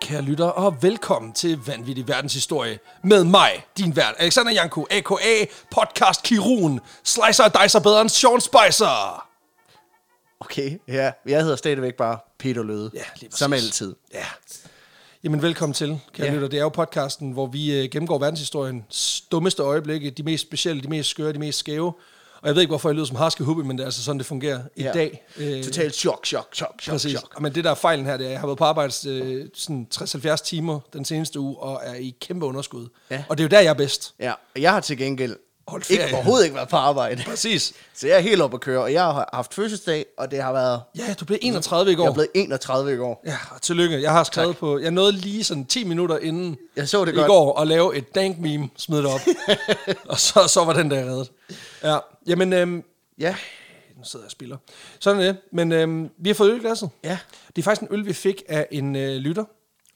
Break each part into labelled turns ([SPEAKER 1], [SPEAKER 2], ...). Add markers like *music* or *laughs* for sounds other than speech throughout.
[SPEAKER 1] kære lytter, og velkommen til Vanvittig Verdenshistorie med mig, din vært, Alexander Janko, a.k.a. podcast Kirun, slicer og dicer bedre end Sean Spicer.
[SPEAKER 2] Okay, ja. Jeg hedder stadigvæk bare Peter Løde.
[SPEAKER 1] Ja, lige præcis.
[SPEAKER 2] Som altid.
[SPEAKER 1] Ja. Jamen velkommen til, kære
[SPEAKER 2] Ja.
[SPEAKER 1] lytter. Det er jo podcasten, hvor vi øh, gennemgår verdenshistoriens dummeste øjeblikke, de mest specielle, de mest skøre, de mest skæve. Og jeg ved ikke, hvorfor jeg lyder som Harske Hubbe, men det er altså sådan, det fungerer i
[SPEAKER 2] Ja.
[SPEAKER 1] dag.
[SPEAKER 2] Øh, Totalt chok, chok, chok, chok,
[SPEAKER 1] Præcis.
[SPEAKER 2] chok.
[SPEAKER 1] Men det der er fejlen her, det er, at jeg har været på arbejde øh, sådan 60-70 timer den seneste uge, og er i kæmpe underskud.
[SPEAKER 2] Ja.
[SPEAKER 1] Og det er jo der, jeg er bedst.
[SPEAKER 2] Ja, og jeg har til gengæld
[SPEAKER 1] Holdt ferie.
[SPEAKER 2] ikke, overhovedet ikke været på
[SPEAKER 1] *laughs*
[SPEAKER 2] arbejde.
[SPEAKER 1] Præcis.
[SPEAKER 2] Så jeg er helt oppe at køre, og jeg har haft fødselsdag, og det har været...
[SPEAKER 1] Ja, du blev 31 i går.
[SPEAKER 2] Jeg er blevet 31 i går.
[SPEAKER 1] Ja, og tillykke. Jeg har skrevet tak. på... Jeg nåede lige sådan 10 minutter inden
[SPEAKER 2] Jeg så det
[SPEAKER 1] i
[SPEAKER 2] godt.
[SPEAKER 1] går at lave et dank meme, smid
[SPEAKER 2] *laughs*
[SPEAKER 1] det op. og så, så var den der reddet. Ja, jamen... Øhm,
[SPEAKER 2] Ja,
[SPEAKER 1] nu sidder jeg og spiller. Sådan er det. Men øhm, vi har fået øl i glasset.
[SPEAKER 2] ja.
[SPEAKER 1] Det er faktisk en øl, vi fik af en øh, lytter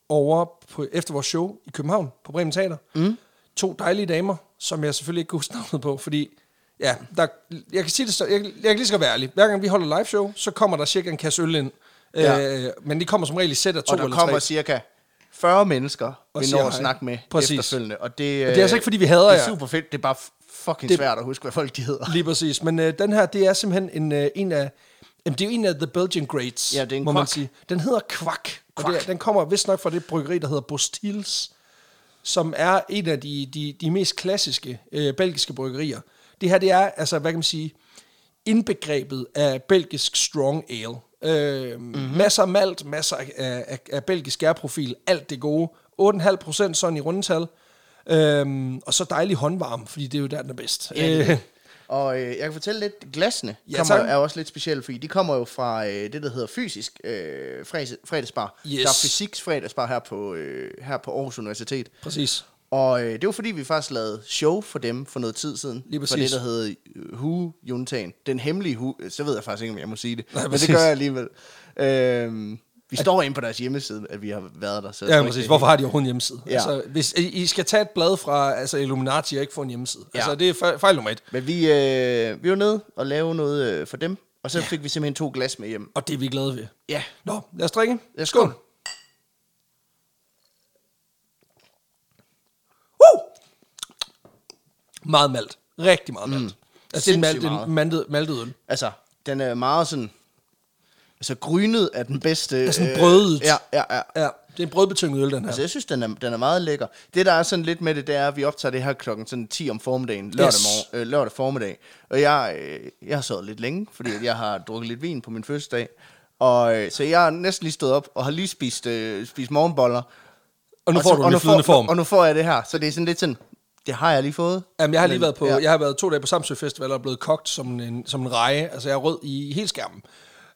[SPEAKER 1] over på, efter vores show i København på Bremen Teater. Mm. To dejlige damer, som jeg selvfølgelig ikke kunne huske navnet på, fordi ja, der, jeg kan sige det, så- jeg, jeg kan lige så godt være ærlig. Hver gang vi holder live show, så kommer der cirka en kasse øl ind. Ja.
[SPEAKER 2] Ja.
[SPEAKER 1] Øh, men det kommer som regel i sæt af to
[SPEAKER 2] Og der
[SPEAKER 1] eller
[SPEAKER 2] kommer
[SPEAKER 1] tre.
[SPEAKER 2] cirka 40 mennesker, vi
[SPEAKER 1] siger
[SPEAKER 2] når at
[SPEAKER 1] hej.
[SPEAKER 2] snakke med
[SPEAKER 1] Præcis.
[SPEAKER 2] efterfølgende. Og det,
[SPEAKER 1] det er altså ikke, fordi vi hader
[SPEAKER 2] Det er
[SPEAKER 1] jer.
[SPEAKER 2] super fedt, det er bare fucking
[SPEAKER 1] Det-
[SPEAKER 2] det... svært at huske, hvad folk de hedder.
[SPEAKER 1] *laughs* Lige præcis. Men øh, den her, det er simpelthen en, øh, en af... Jamen, det er jo en af The Belgian Greats,
[SPEAKER 2] Ja, det er en
[SPEAKER 1] må man
[SPEAKER 2] kvak.
[SPEAKER 1] sige. Den hedder Kvak. Og det,
[SPEAKER 2] Kvak.
[SPEAKER 1] er- den kommer vist nok fra det bryggeri, der hedder Bostils, som er en af de, de, de mest klassiske øh, belgiske bryggerier. Det her, det er, altså, hvad kan man sige, indbegrebet af belgisk strong ale. Øh,
[SPEAKER 2] Mhm.
[SPEAKER 1] mm-hmm. Masser af malt, masser af, af, af belgisk gærprofil, alt det gode. 8,5 procent sådan i rundetal. Øhm, og så dejlig håndvarm, fordi det er jo der, den er bedst.
[SPEAKER 2] Ja, det er
[SPEAKER 1] Øh,
[SPEAKER 2] *laughs* Og øh, jeg kan fortælle lidt, glasene
[SPEAKER 1] Ja,
[SPEAKER 2] ja, kommer,
[SPEAKER 1] tak.
[SPEAKER 2] er også lidt specielle, fordi de kommer jo fra øh, det, der hedder fysisk øh, fredags- fredagsbar.
[SPEAKER 1] Yes.
[SPEAKER 2] Der er fysiks fredagsbar her på, øh, her på Aarhus Universitet.
[SPEAKER 1] præcis.
[SPEAKER 2] Og øh, det var fordi, vi faktisk lavede show for dem for noget tid siden.
[SPEAKER 1] Lige
[SPEAKER 2] For
[SPEAKER 1] præcis.
[SPEAKER 2] det, der hedder øh, Hu Juntagen. Den hemmelige Hu. Så ved jeg faktisk ikke, om jeg må sige det.
[SPEAKER 1] Nej,
[SPEAKER 2] men
[SPEAKER 1] præcis.
[SPEAKER 2] det gør jeg alligevel. Øh, vi står inde på deres hjemmeside, at vi har været der. Så jeg
[SPEAKER 1] Ja,
[SPEAKER 2] tror ikke, det
[SPEAKER 1] præcis.
[SPEAKER 2] er
[SPEAKER 1] Hvorfor har de overhovedet en hjemmeside? Altså, øh, Ja.
[SPEAKER 2] Ja.
[SPEAKER 1] Altså, hvis, I I skal tage et blad fra altså Illuminati og ikke få en hjemmeside. Ja.
[SPEAKER 2] Ja.
[SPEAKER 1] Altså, det er fej- fejl nummer et.
[SPEAKER 2] Men vi, øh, vi var nede og lave noget øh, for dem. Og så fik vi simpelthen to glas med hjem.
[SPEAKER 1] Og det er vi glade ved.
[SPEAKER 2] Ja.
[SPEAKER 1] Nå, lad os drikke.
[SPEAKER 2] Ja, skål.
[SPEAKER 1] Woo! Meget malt. Rigtig meget malt. Mm. Altså, det er en, malt,
[SPEAKER 2] Sindssygt
[SPEAKER 1] en maltet, maltet øl.
[SPEAKER 2] Altså, den er meget sådan... Altså, grynet er den bedste... Det
[SPEAKER 1] er sådan brødet.
[SPEAKER 2] Ja, ja, ja.
[SPEAKER 1] Ja, det er en brødbetynget øl, den her.
[SPEAKER 2] Altså, jeg synes, den er, den er meget lækker. Det, der er sådan lidt med det, det er, at vi optager det her klokken sådan 10 om formiddagen, lørdag,
[SPEAKER 1] Yes.
[SPEAKER 2] morgen, øh, lørdag formiddag. Og jeg, øh, jeg har sovet lidt længe, fordi at jeg har drukket lidt vin på min fødselsdag. Og, øh, så jeg har næsten lige stået op og har lige spist, øh, spist morgenboller.
[SPEAKER 1] Og nu
[SPEAKER 2] Og
[SPEAKER 1] får
[SPEAKER 2] så-
[SPEAKER 1] du
[SPEAKER 2] og
[SPEAKER 1] den i
[SPEAKER 2] nu
[SPEAKER 1] flydende
[SPEAKER 2] får-
[SPEAKER 1] form.
[SPEAKER 2] Og nu får jeg det her, så det er sådan lidt sådan, det har jeg lige fået.
[SPEAKER 1] Jamen, jeg har lige
[SPEAKER 2] Men-
[SPEAKER 1] været på, ja.
[SPEAKER 2] ja.
[SPEAKER 1] jeg har været to dage på Samsø Festival og er blevet kogt som en, som en reje. Altså, jeg er rød i hele skærmen.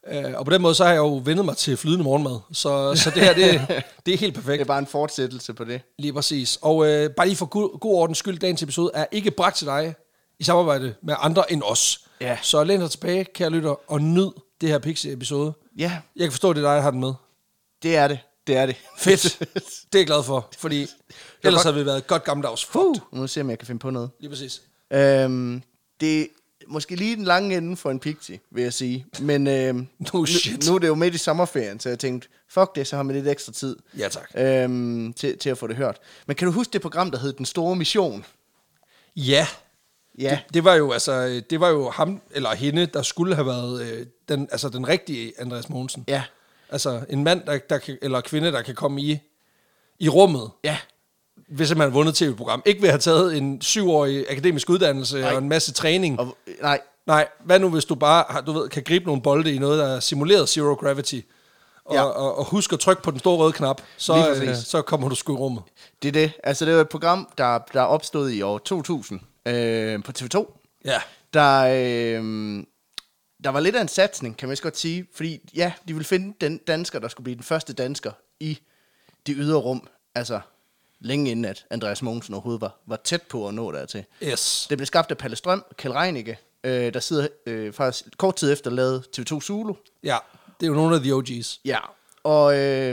[SPEAKER 1] Øh, og på den måde, så har jeg jo vendet mig til flydende morgenmad. Så, så det her, *laughs* det, det er helt
[SPEAKER 2] Det er
[SPEAKER 1] perfekt.
[SPEAKER 2] bare en fortsættelse på det.
[SPEAKER 1] Lige præcis. Og øh, bare lige for god, god ordens skyld, dagens episode er ikke bragt til dig i samarbejde med andre end os.
[SPEAKER 2] Ja.
[SPEAKER 1] Så læn dig tilbage, kære lytter, og nyd det her Pixie-episode.
[SPEAKER 2] Ja,
[SPEAKER 1] Jeg kan forstå, det er dig, der har den med.
[SPEAKER 2] det er det. Det er det.
[SPEAKER 1] *laughs* Fedt. Det er jeg glad for, fordi ellers havde vi været godt gammeldags. Fuh.
[SPEAKER 2] *laughs* Nu se, om jeg kan finde på noget.
[SPEAKER 1] Lige præcis.
[SPEAKER 2] Øhm, det er måske lige den lange ende for en pixie, vil jeg sige. Men øhm,
[SPEAKER 1] *laughs* No shit.
[SPEAKER 2] Nu, nu er det jo midt i sommerferien, så jeg tænkte, fuck det, så har man lidt ekstra tid
[SPEAKER 1] Ja, tak.
[SPEAKER 2] øhm, til, til at få det hørt. Men kan du huske det program, der hed Den Store Mission?
[SPEAKER 1] Ja,
[SPEAKER 2] Ja,
[SPEAKER 1] Det, det var jo altså øh, det var jo ham eller hende der skulle have været øh, den altså den rigtige Andreas Mogensen.
[SPEAKER 2] ja,
[SPEAKER 1] Altså en mand der, der kan, eller kvinde der kan komme i i rummet,
[SPEAKER 2] ja.
[SPEAKER 1] hvis man har vundet tv-program. Ikke ved at have taget en syvårig akademisk uddannelse Nej.
[SPEAKER 2] Nej.
[SPEAKER 1] og en masse træning.
[SPEAKER 2] Og, nej,
[SPEAKER 1] Nej, hvad nu hvis du bare har, du ved, kan gribe nogle bolde i noget der er simuleret zero gravity. Og,
[SPEAKER 2] Ja.
[SPEAKER 1] ja. og, og husk at trykke på den store røde knap,
[SPEAKER 2] Lige
[SPEAKER 1] så,
[SPEAKER 2] præcis.
[SPEAKER 1] øh, så kommer du sgu i rummet.
[SPEAKER 2] det er det. Altså, det var et program, der, der opstod i år 2000 øh, på TV2.
[SPEAKER 1] Ja.
[SPEAKER 2] der, øh, der var lidt af en satsning, kan man også godt sige. Fordi ja, de ville finde den dansker, der skulle blive den første dansker i det ydre rum. Altså længe inden, at Andreas Mogensen overhovedet var, var tæt på at nå dertil.
[SPEAKER 1] Yes.
[SPEAKER 2] Det blev skabt af Palle Strøm og Kjell Reinicke, øh, der sidder øh, faktisk kort tid efter lavet TV2 Zulu.
[SPEAKER 1] Ja. Det er jo nogle af the OG's.
[SPEAKER 2] Ja, og øh,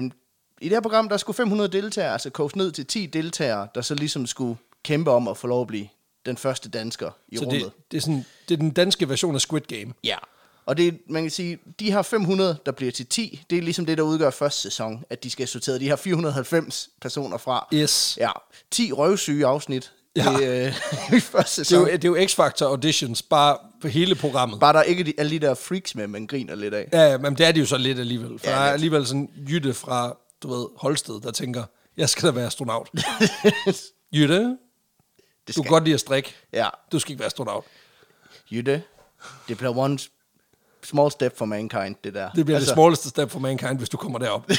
[SPEAKER 2] i det her program, der skulle 500 deltagere, altså koges ned til 10 deltagere, der så ligesom skulle kæmpe om at få lov at blive den første dansker i
[SPEAKER 1] Så
[SPEAKER 2] rummet.
[SPEAKER 1] det, det, er sådan, det er den danske version af Squid Game.
[SPEAKER 2] Ja. Og det, man kan sige, de har 500, der bliver til 10. Det er ligesom det, der udgør første sæson, at de skal sortere. De har 490 personer fra.
[SPEAKER 1] Yes.
[SPEAKER 2] Ja. 10 røvsyge afsnit
[SPEAKER 1] Ja.
[SPEAKER 2] i, øh, *laughs* i første
[SPEAKER 1] Det er
[SPEAKER 2] sæson.
[SPEAKER 1] jo, det er jo X-Factor Auditions, bare på hele programmet.
[SPEAKER 2] Bare der er ikke de, alle de der freaks med, man griner lidt
[SPEAKER 1] *laughs*
[SPEAKER 2] af.
[SPEAKER 1] Ja, ja, men det er det jo så lidt alligevel. For
[SPEAKER 2] Ja,
[SPEAKER 1] ja, der er
[SPEAKER 2] lidt.
[SPEAKER 1] alligevel sådan Jytte fra, du ved, Holsted, der tænker, jeg skal da være
[SPEAKER 2] *laughs*
[SPEAKER 1] astronaut. Jytte,
[SPEAKER 2] Det
[SPEAKER 1] du
[SPEAKER 2] skal,
[SPEAKER 1] kan godt lide at strikke.
[SPEAKER 2] Ja.
[SPEAKER 1] Du skal ikke være astronaut.
[SPEAKER 2] Jytte, det bliver one small step for mankind, det der.
[SPEAKER 1] Det bliver altså, det smalleste step for mankind, hvis du kommer
[SPEAKER 2] *laughs*
[SPEAKER 1] derop.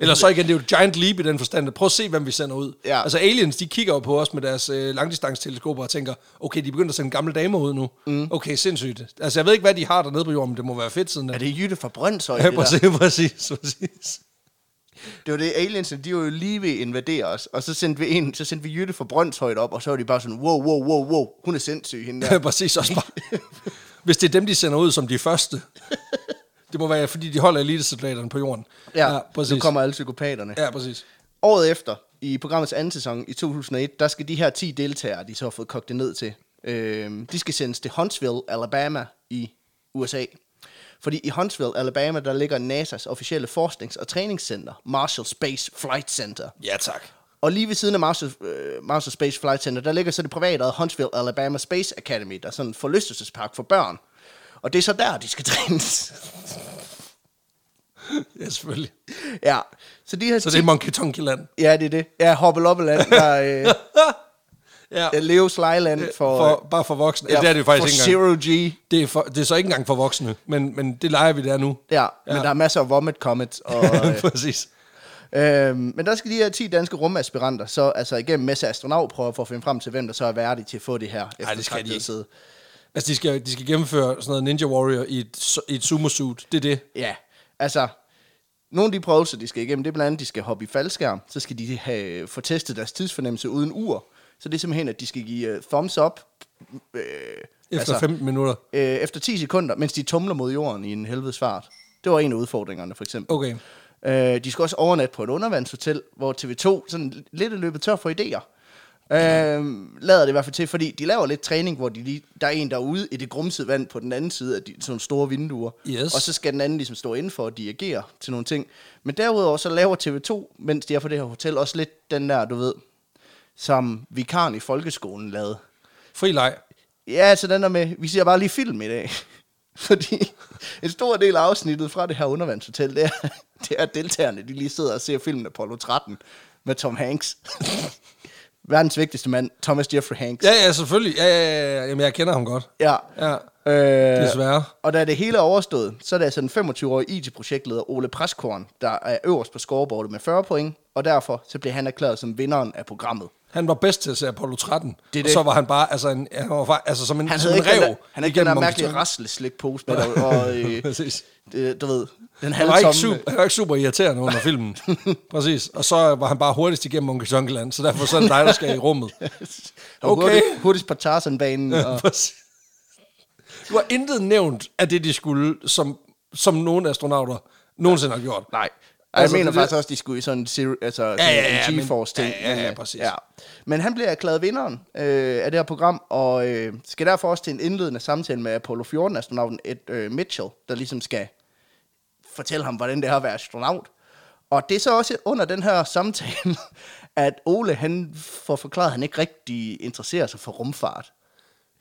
[SPEAKER 1] Eller så igen, det er jo et giant leap i den forstand. at Prøv at se, hvem vi sender ud.
[SPEAKER 2] Ja.
[SPEAKER 1] Altså aliens, de kigger jo på os med deres øh, langdistanceteleskoper og tænker, okay, de er begyndt at sende gamle damer ud nu. Mm. Okay, sindssygt. Altså jeg ved ikke, hvad de har dernede på jorden, men det må være fedt siden da.
[SPEAKER 2] Er det Jytte fra Brøndshøj,
[SPEAKER 1] Ja,
[SPEAKER 2] det
[SPEAKER 1] præcis,
[SPEAKER 2] der?
[SPEAKER 1] præcis, præcis.
[SPEAKER 2] Det var det, aliensene, de var jo lige ved at invadere os, og så sendte vi en, så sendte vi Jytte fra Brøndshøjt op, og så var de bare sådan, wow, wow, wow, wow, hun er sindssyg, hende
[SPEAKER 1] Ja.
[SPEAKER 2] der.
[SPEAKER 1] *laughs* præcis også bare. Hvis det er dem, de sender ud som de første. Det må være, fordi de holder elitesoldaterne på jorden.
[SPEAKER 2] Ja,
[SPEAKER 1] præcis.
[SPEAKER 2] nu kommer alle psykopaterne.
[SPEAKER 1] Ja, præcis.
[SPEAKER 2] Året efter, i programmets anden sæson i 2001, der skal de her 10 deltagere, de så har fået kogt det ned til, øh, de skal sendes til Huntsville, Alabama i USA. Fordi i Huntsville, Alabama, der ligger NASA's officielle forsknings- og træningscenter, Marshall Space Flight Center.
[SPEAKER 1] Ja, tak.
[SPEAKER 2] Og lige ved siden af Marshall, øh, Marshall Space Flight Center, der ligger så det private Huntsville Alabama Space Academy, der er sådan en forlystelsespark for børn. Og det er så der, de skal trænes. *laughs*
[SPEAKER 1] Ja, selvfølgelig.
[SPEAKER 2] ja, så de her...
[SPEAKER 1] Så det er Monkey Tonky Land.
[SPEAKER 2] Ja, det er det. Ja, Hoppeloppeland, der er øh,
[SPEAKER 1] *laughs* Ja,
[SPEAKER 2] er Leo Slyland for...
[SPEAKER 1] Øh,
[SPEAKER 2] øh,
[SPEAKER 1] for, bare for voksne. Ja, det er det jo faktisk ikke engang.
[SPEAKER 2] for Zero G.
[SPEAKER 1] Det er, for, det er så ikke engang for voksne, men, men det leger vi der nu.
[SPEAKER 2] Ja, ja, men der er masser af vomit comets.
[SPEAKER 1] *laughs*
[SPEAKER 2] Og, øh,
[SPEAKER 1] præcis.
[SPEAKER 2] øh, men der skal de her 10 danske rumaspiranter så altså igennem masse astronautprøver for at finde frem til, hvem der så er værdig til at få det her
[SPEAKER 1] skal de
[SPEAKER 2] eftertragtede
[SPEAKER 1] ikke.
[SPEAKER 2] sæde.
[SPEAKER 1] Altså, de skal, de skal gennemføre sådan noget Ninja Warrior i et, su- i et sumo-suit. Det er det.
[SPEAKER 2] Ja, altså, nogle af de prøvelser, de skal igennem, det er blandt andet, de skal hoppe i faldskærm, så skal de have, få testet deres tidsfornemmelse uden ur. Så det er simpelthen, at de skal give uh, thumbs up øh,
[SPEAKER 1] Efter
[SPEAKER 2] altså,
[SPEAKER 1] 15 minutter.
[SPEAKER 2] øh, efter 10 sekunder, mens de tumler mod jorden i en helvedes fart. Det var en af udfordringerne, for eksempel.
[SPEAKER 1] Okay.
[SPEAKER 2] Øh, de skal også overnatte på et undervandshotel, hvor TV2 sådan lidt er løbet tør for idéer. Øh, lader det i hvert fald til, fordi de laver lidt træning, hvor de lige, der er en derude i det grumsede vand på den anden side af de sådan nogle store vinduer.
[SPEAKER 1] Yes.
[SPEAKER 2] Og så skal den anden ligesom stå indenfor og dirigere til nogle ting. Men derudover så laver TV2, mens de er på det her hotel, også lidt den der, du ved, som vikaren i folkeskolen lavede.
[SPEAKER 1] Fri leg.
[SPEAKER 2] Ja, altså den der med, vi ser bare lige film i dag. *laughs* Fordi en stor del af afsnittet fra det her undervandshotel, det er, *laughs* det er at deltagerne, de lige sidder og ser filmen Apollo 13 med Tom Hanks. *laughs* Verdens vigtigste mand, Thomas Jeffrey Hanks.
[SPEAKER 1] Ja, ja, selvfølgelig. Ja, ja, ja, ja. Jamen, jeg kender ham godt.
[SPEAKER 2] ja.
[SPEAKER 1] Ja,
[SPEAKER 2] Øh,
[SPEAKER 1] desværre.
[SPEAKER 2] og da det hele er overstået, så er det altså den 25-årige IT-projektleder Ole Preskorn, der er øverst på scoreboardet med 40 point, og derfor så bliver han erklæret som vinderen af programmet.
[SPEAKER 1] Han var bedst til at se Apollo 13. Det
[SPEAKER 2] Det er
[SPEAKER 1] det. Og
[SPEAKER 2] det.
[SPEAKER 1] så var han bare, altså, en, han var bare, altså som en,
[SPEAKER 2] Han
[SPEAKER 1] som
[SPEAKER 2] havde
[SPEAKER 1] en
[SPEAKER 2] ikke den der,
[SPEAKER 1] rev.
[SPEAKER 2] han havde ikke den der
[SPEAKER 1] igennem
[SPEAKER 2] mærkelige
[SPEAKER 1] omkring.
[SPEAKER 2] rasle slikpose med, og, og *laughs* øh,
[SPEAKER 1] Præcis.
[SPEAKER 2] øh, du ved, den
[SPEAKER 1] Han var, ikke
[SPEAKER 2] halvtomme...
[SPEAKER 1] super, han var ikke super irriterende under filmen. Præcis. Og så var han bare hurtigst igennem Onkel Junkeland, så derfor så er det dig, der skal i rummet.
[SPEAKER 2] *laughs* Okay.
[SPEAKER 1] Okay.
[SPEAKER 2] Hurtigt, hurtigst på Tarzan-banen.
[SPEAKER 1] *laughs*
[SPEAKER 2] Og,
[SPEAKER 1] Præcis. Du har intet nævnt af det, de skulle, som, som nogen astronauter nogensinde har gjort.
[SPEAKER 2] nej. Og jeg
[SPEAKER 1] Altså,
[SPEAKER 2] altså, mener
[SPEAKER 1] det-
[SPEAKER 2] faktisk også, de skulle i sådan en, seri- altså, ja, sådan
[SPEAKER 1] ja, ja,
[SPEAKER 2] en
[SPEAKER 1] men-
[SPEAKER 2] GeForce-ting.
[SPEAKER 1] ja, ja, ja,
[SPEAKER 2] men, øh,
[SPEAKER 1] præcis.
[SPEAKER 2] Men han bliver erklæret vinderen øh, af det her program, og øh, skal derfor også til en indledende samtale med Apollo 14-astronauten Ed øh, Mitchell, der ligesom skal fortælle ham, hvordan det er at være astronaut. Og det er så også under den her samtale, *laughs* at Ole han får forklaret, at han ikke rigtig interesserer sig for rumfart.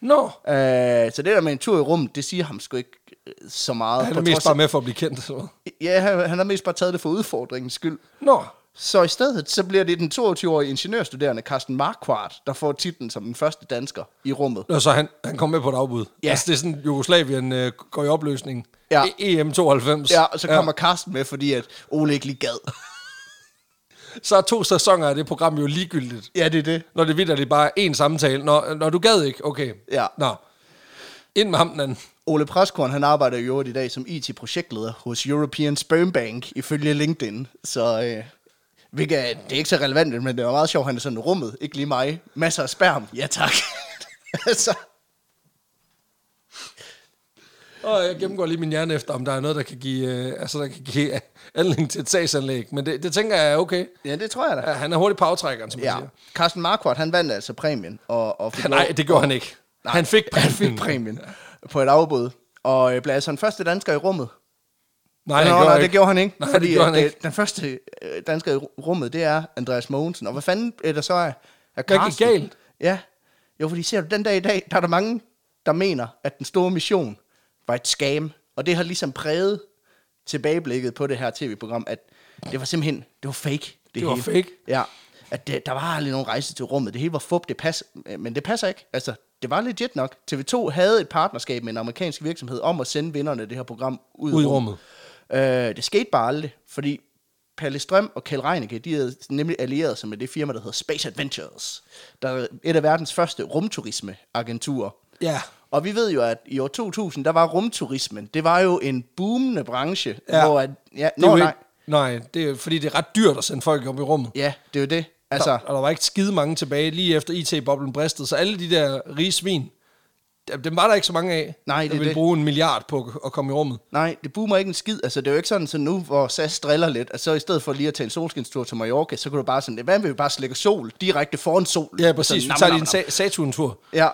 [SPEAKER 1] Nå, no.
[SPEAKER 2] Øh, så det der med en tur i rummet, det siger ham sgu ikke øh, så meget.
[SPEAKER 1] han
[SPEAKER 2] på
[SPEAKER 1] er mest
[SPEAKER 2] trods
[SPEAKER 1] bare med for at blive kendt. Eller hvad?
[SPEAKER 2] af- Ja, han, han har mest bare taget det for udfordringens skyld.
[SPEAKER 1] Nå,
[SPEAKER 2] Så i stedet, så bliver det den 22-årige ingeniørstuderende Carsten Marquardt, der får titlen som den første dansker i rummet.
[SPEAKER 1] Nå, så han, han kom med på et afbud.
[SPEAKER 2] Ja.
[SPEAKER 1] Altså, det er sådan, Jugoslavien øh, går i opløsning.
[SPEAKER 2] Ja.
[SPEAKER 1] E- EM92.
[SPEAKER 2] Ja, og så kommer Carsten med, fordi at Ole ikke lige gad.
[SPEAKER 1] så er to sæsoner af det program jo ligegyldigt.
[SPEAKER 2] Ja, det er det.
[SPEAKER 1] Når det vidt, det bare er én samtale. Når, når du gad ikke, okay.
[SPEAKER 2] Ja.
[SPEAKER 1] Nå. Ind med ham den anden.
[SPEAKER 2] Ole Preskorn, han arbejder i øvrigt i dag som IT-projektleder hos European Sperm Bank, ifølge LinkedIn. Så øh, hvilket, er- det er ikke så relevant, men det var meget sjovt, han er sådan rummet, ikke lige mig. Masser af sperm. Ja, tak. *laughs* altså,
[SPEAKER 1] Og jeg gennemgår lige min hjerne efter, om der er noget, der kan give, øh, altså, der kan give øh, anledning til et sagsanlæg. Men det, det tænker jeg er okay.
[SPEAKER 2] ja, det tror jeg da.
[SPEAKER 1] Ja, han er hurtigt på aftrækkeren, som ja.
[SPEAKER 2] Ja.
[SPEAKER 1] man siger.
[SPEAKER 2] Carsten Marquardt, han vandt altså præmien. Og, og fik
[SPEAKER 1] Nej,
[SPEAKER 2] lov-
[SPEAKER 1] det gjorde han ikke.
[SPEAKER 2] Nej,
[SPEAKER 1] han fik præmien.
[SPEAKER 2] Han fik præmien på et afbud. Og øh, blev altså den første dansker i rummet.
[SPEAKER 1] Nej,
[SPEAKER 2] Nå,
[SPEAKER 1] han
[SPEAKER 2] nej,
[SPEAKER 1] ikke.
[SPEAKER 2] det gjorde han ikke.
[SPEAKER 1] Nej, det
[SPEAKER 2] fordi,
[SPEAKER 1] gjorde han
[SPEAKER 2] øh,
[SPEAKER 1] ikke.
[SPEAKER 2] Den første øh, dansker i ru- rummet, det er Andreas Mogensen. Og hvad fanden er der så af, af
[SPEAKER 1] Hvad gik
[SPEAKER 2] Carsten?
[SPEAKER 1] galt?
[SPEAKER 2] Ja. Jo, fordi ser du, den dag i dag, der er der mange, der mener, at den store mission var et scam. Og det har ligesom præget tilbageblikket på det her tv-program, at det var simpelthen, det var fake. Det,
[SPEAKER 1] Det var
[SPEAKER 2] hele.
[SPEAKER 1] fake.
[SPEAKER 2] Ja. At det, der var aldrig nogen rejse til rummet. Det hele var fup, det pas, men det passer ikke. Altså, det var legit nok. TV2 havde et partnerskab med en amerikansk virksomhed om at sende vinderne af det her program ud,
[SPEAKER 1] Ud i
[SPEAKER 2] Øh, det skete bare aldrig, fordi Palle Strøm og Kjell Reinicke, de havde nemlig allieret sig med det firma, der hedder Space Adventures, der er et af verdens første rumturismeagenturer.
[SPEAKER 1] Ja.
[SPEAKER 2] Og vi ved jo, at i år 2000, der var rumturismen, det var jo en boomende branche,
[SPEAKER 1] Ja.
[SPEAKER 2] hvor at, ja,
[SPEAKER 1] Det er
[SPEAKER 2] nå,
[SPEAKER 1] jo
[SPEAKER 2] nej,
[SPEAKER 1] ikke- nej, det er, fordi det er ret dyrt at sende folk op i rummet.
[SPEAKER 2] ja, det er jo det.
[SPEAKER 1] Altså.
[SPEAKER 2] Altså,
[SPEAKER 1] Der, og der var ikke skide mange tilbage lige efter IT-boblen bristede, så alle de der rige svin, dem dem var der ikke så mange af,
[SPEAKER 2] Nej, det
[SPEAKER 1] der
[SPEAKER 2] er
[SPEAKER 1] ville
[SPEAKER 2] det.
[SPEAKER 1] bruge en milliard på at- at komme i rummet.
[SPEAKER 2] Nej, det boomer ikke en skid. Altså, det er jo ikke sådan, så nu, hvor SAS driller lidt, at så i stedet for lige at tage en solskinstur til Mallorca, så kunne du bare sådan, hvad med vi bare slikker sol direkte foran solen?
[SPEAKER 1] Ja, præcis. Vi
[SPEAKER 2] Sådan,
[SPEAKER 1] tager
[SPEAKER 2] Altså, nam,
[SPEAKER 1] lige en
[SPEAKER 2] nam,
[SPEAKER 1] Sa- Saturn-tur.
[SPEAKER 2] nam. Ja.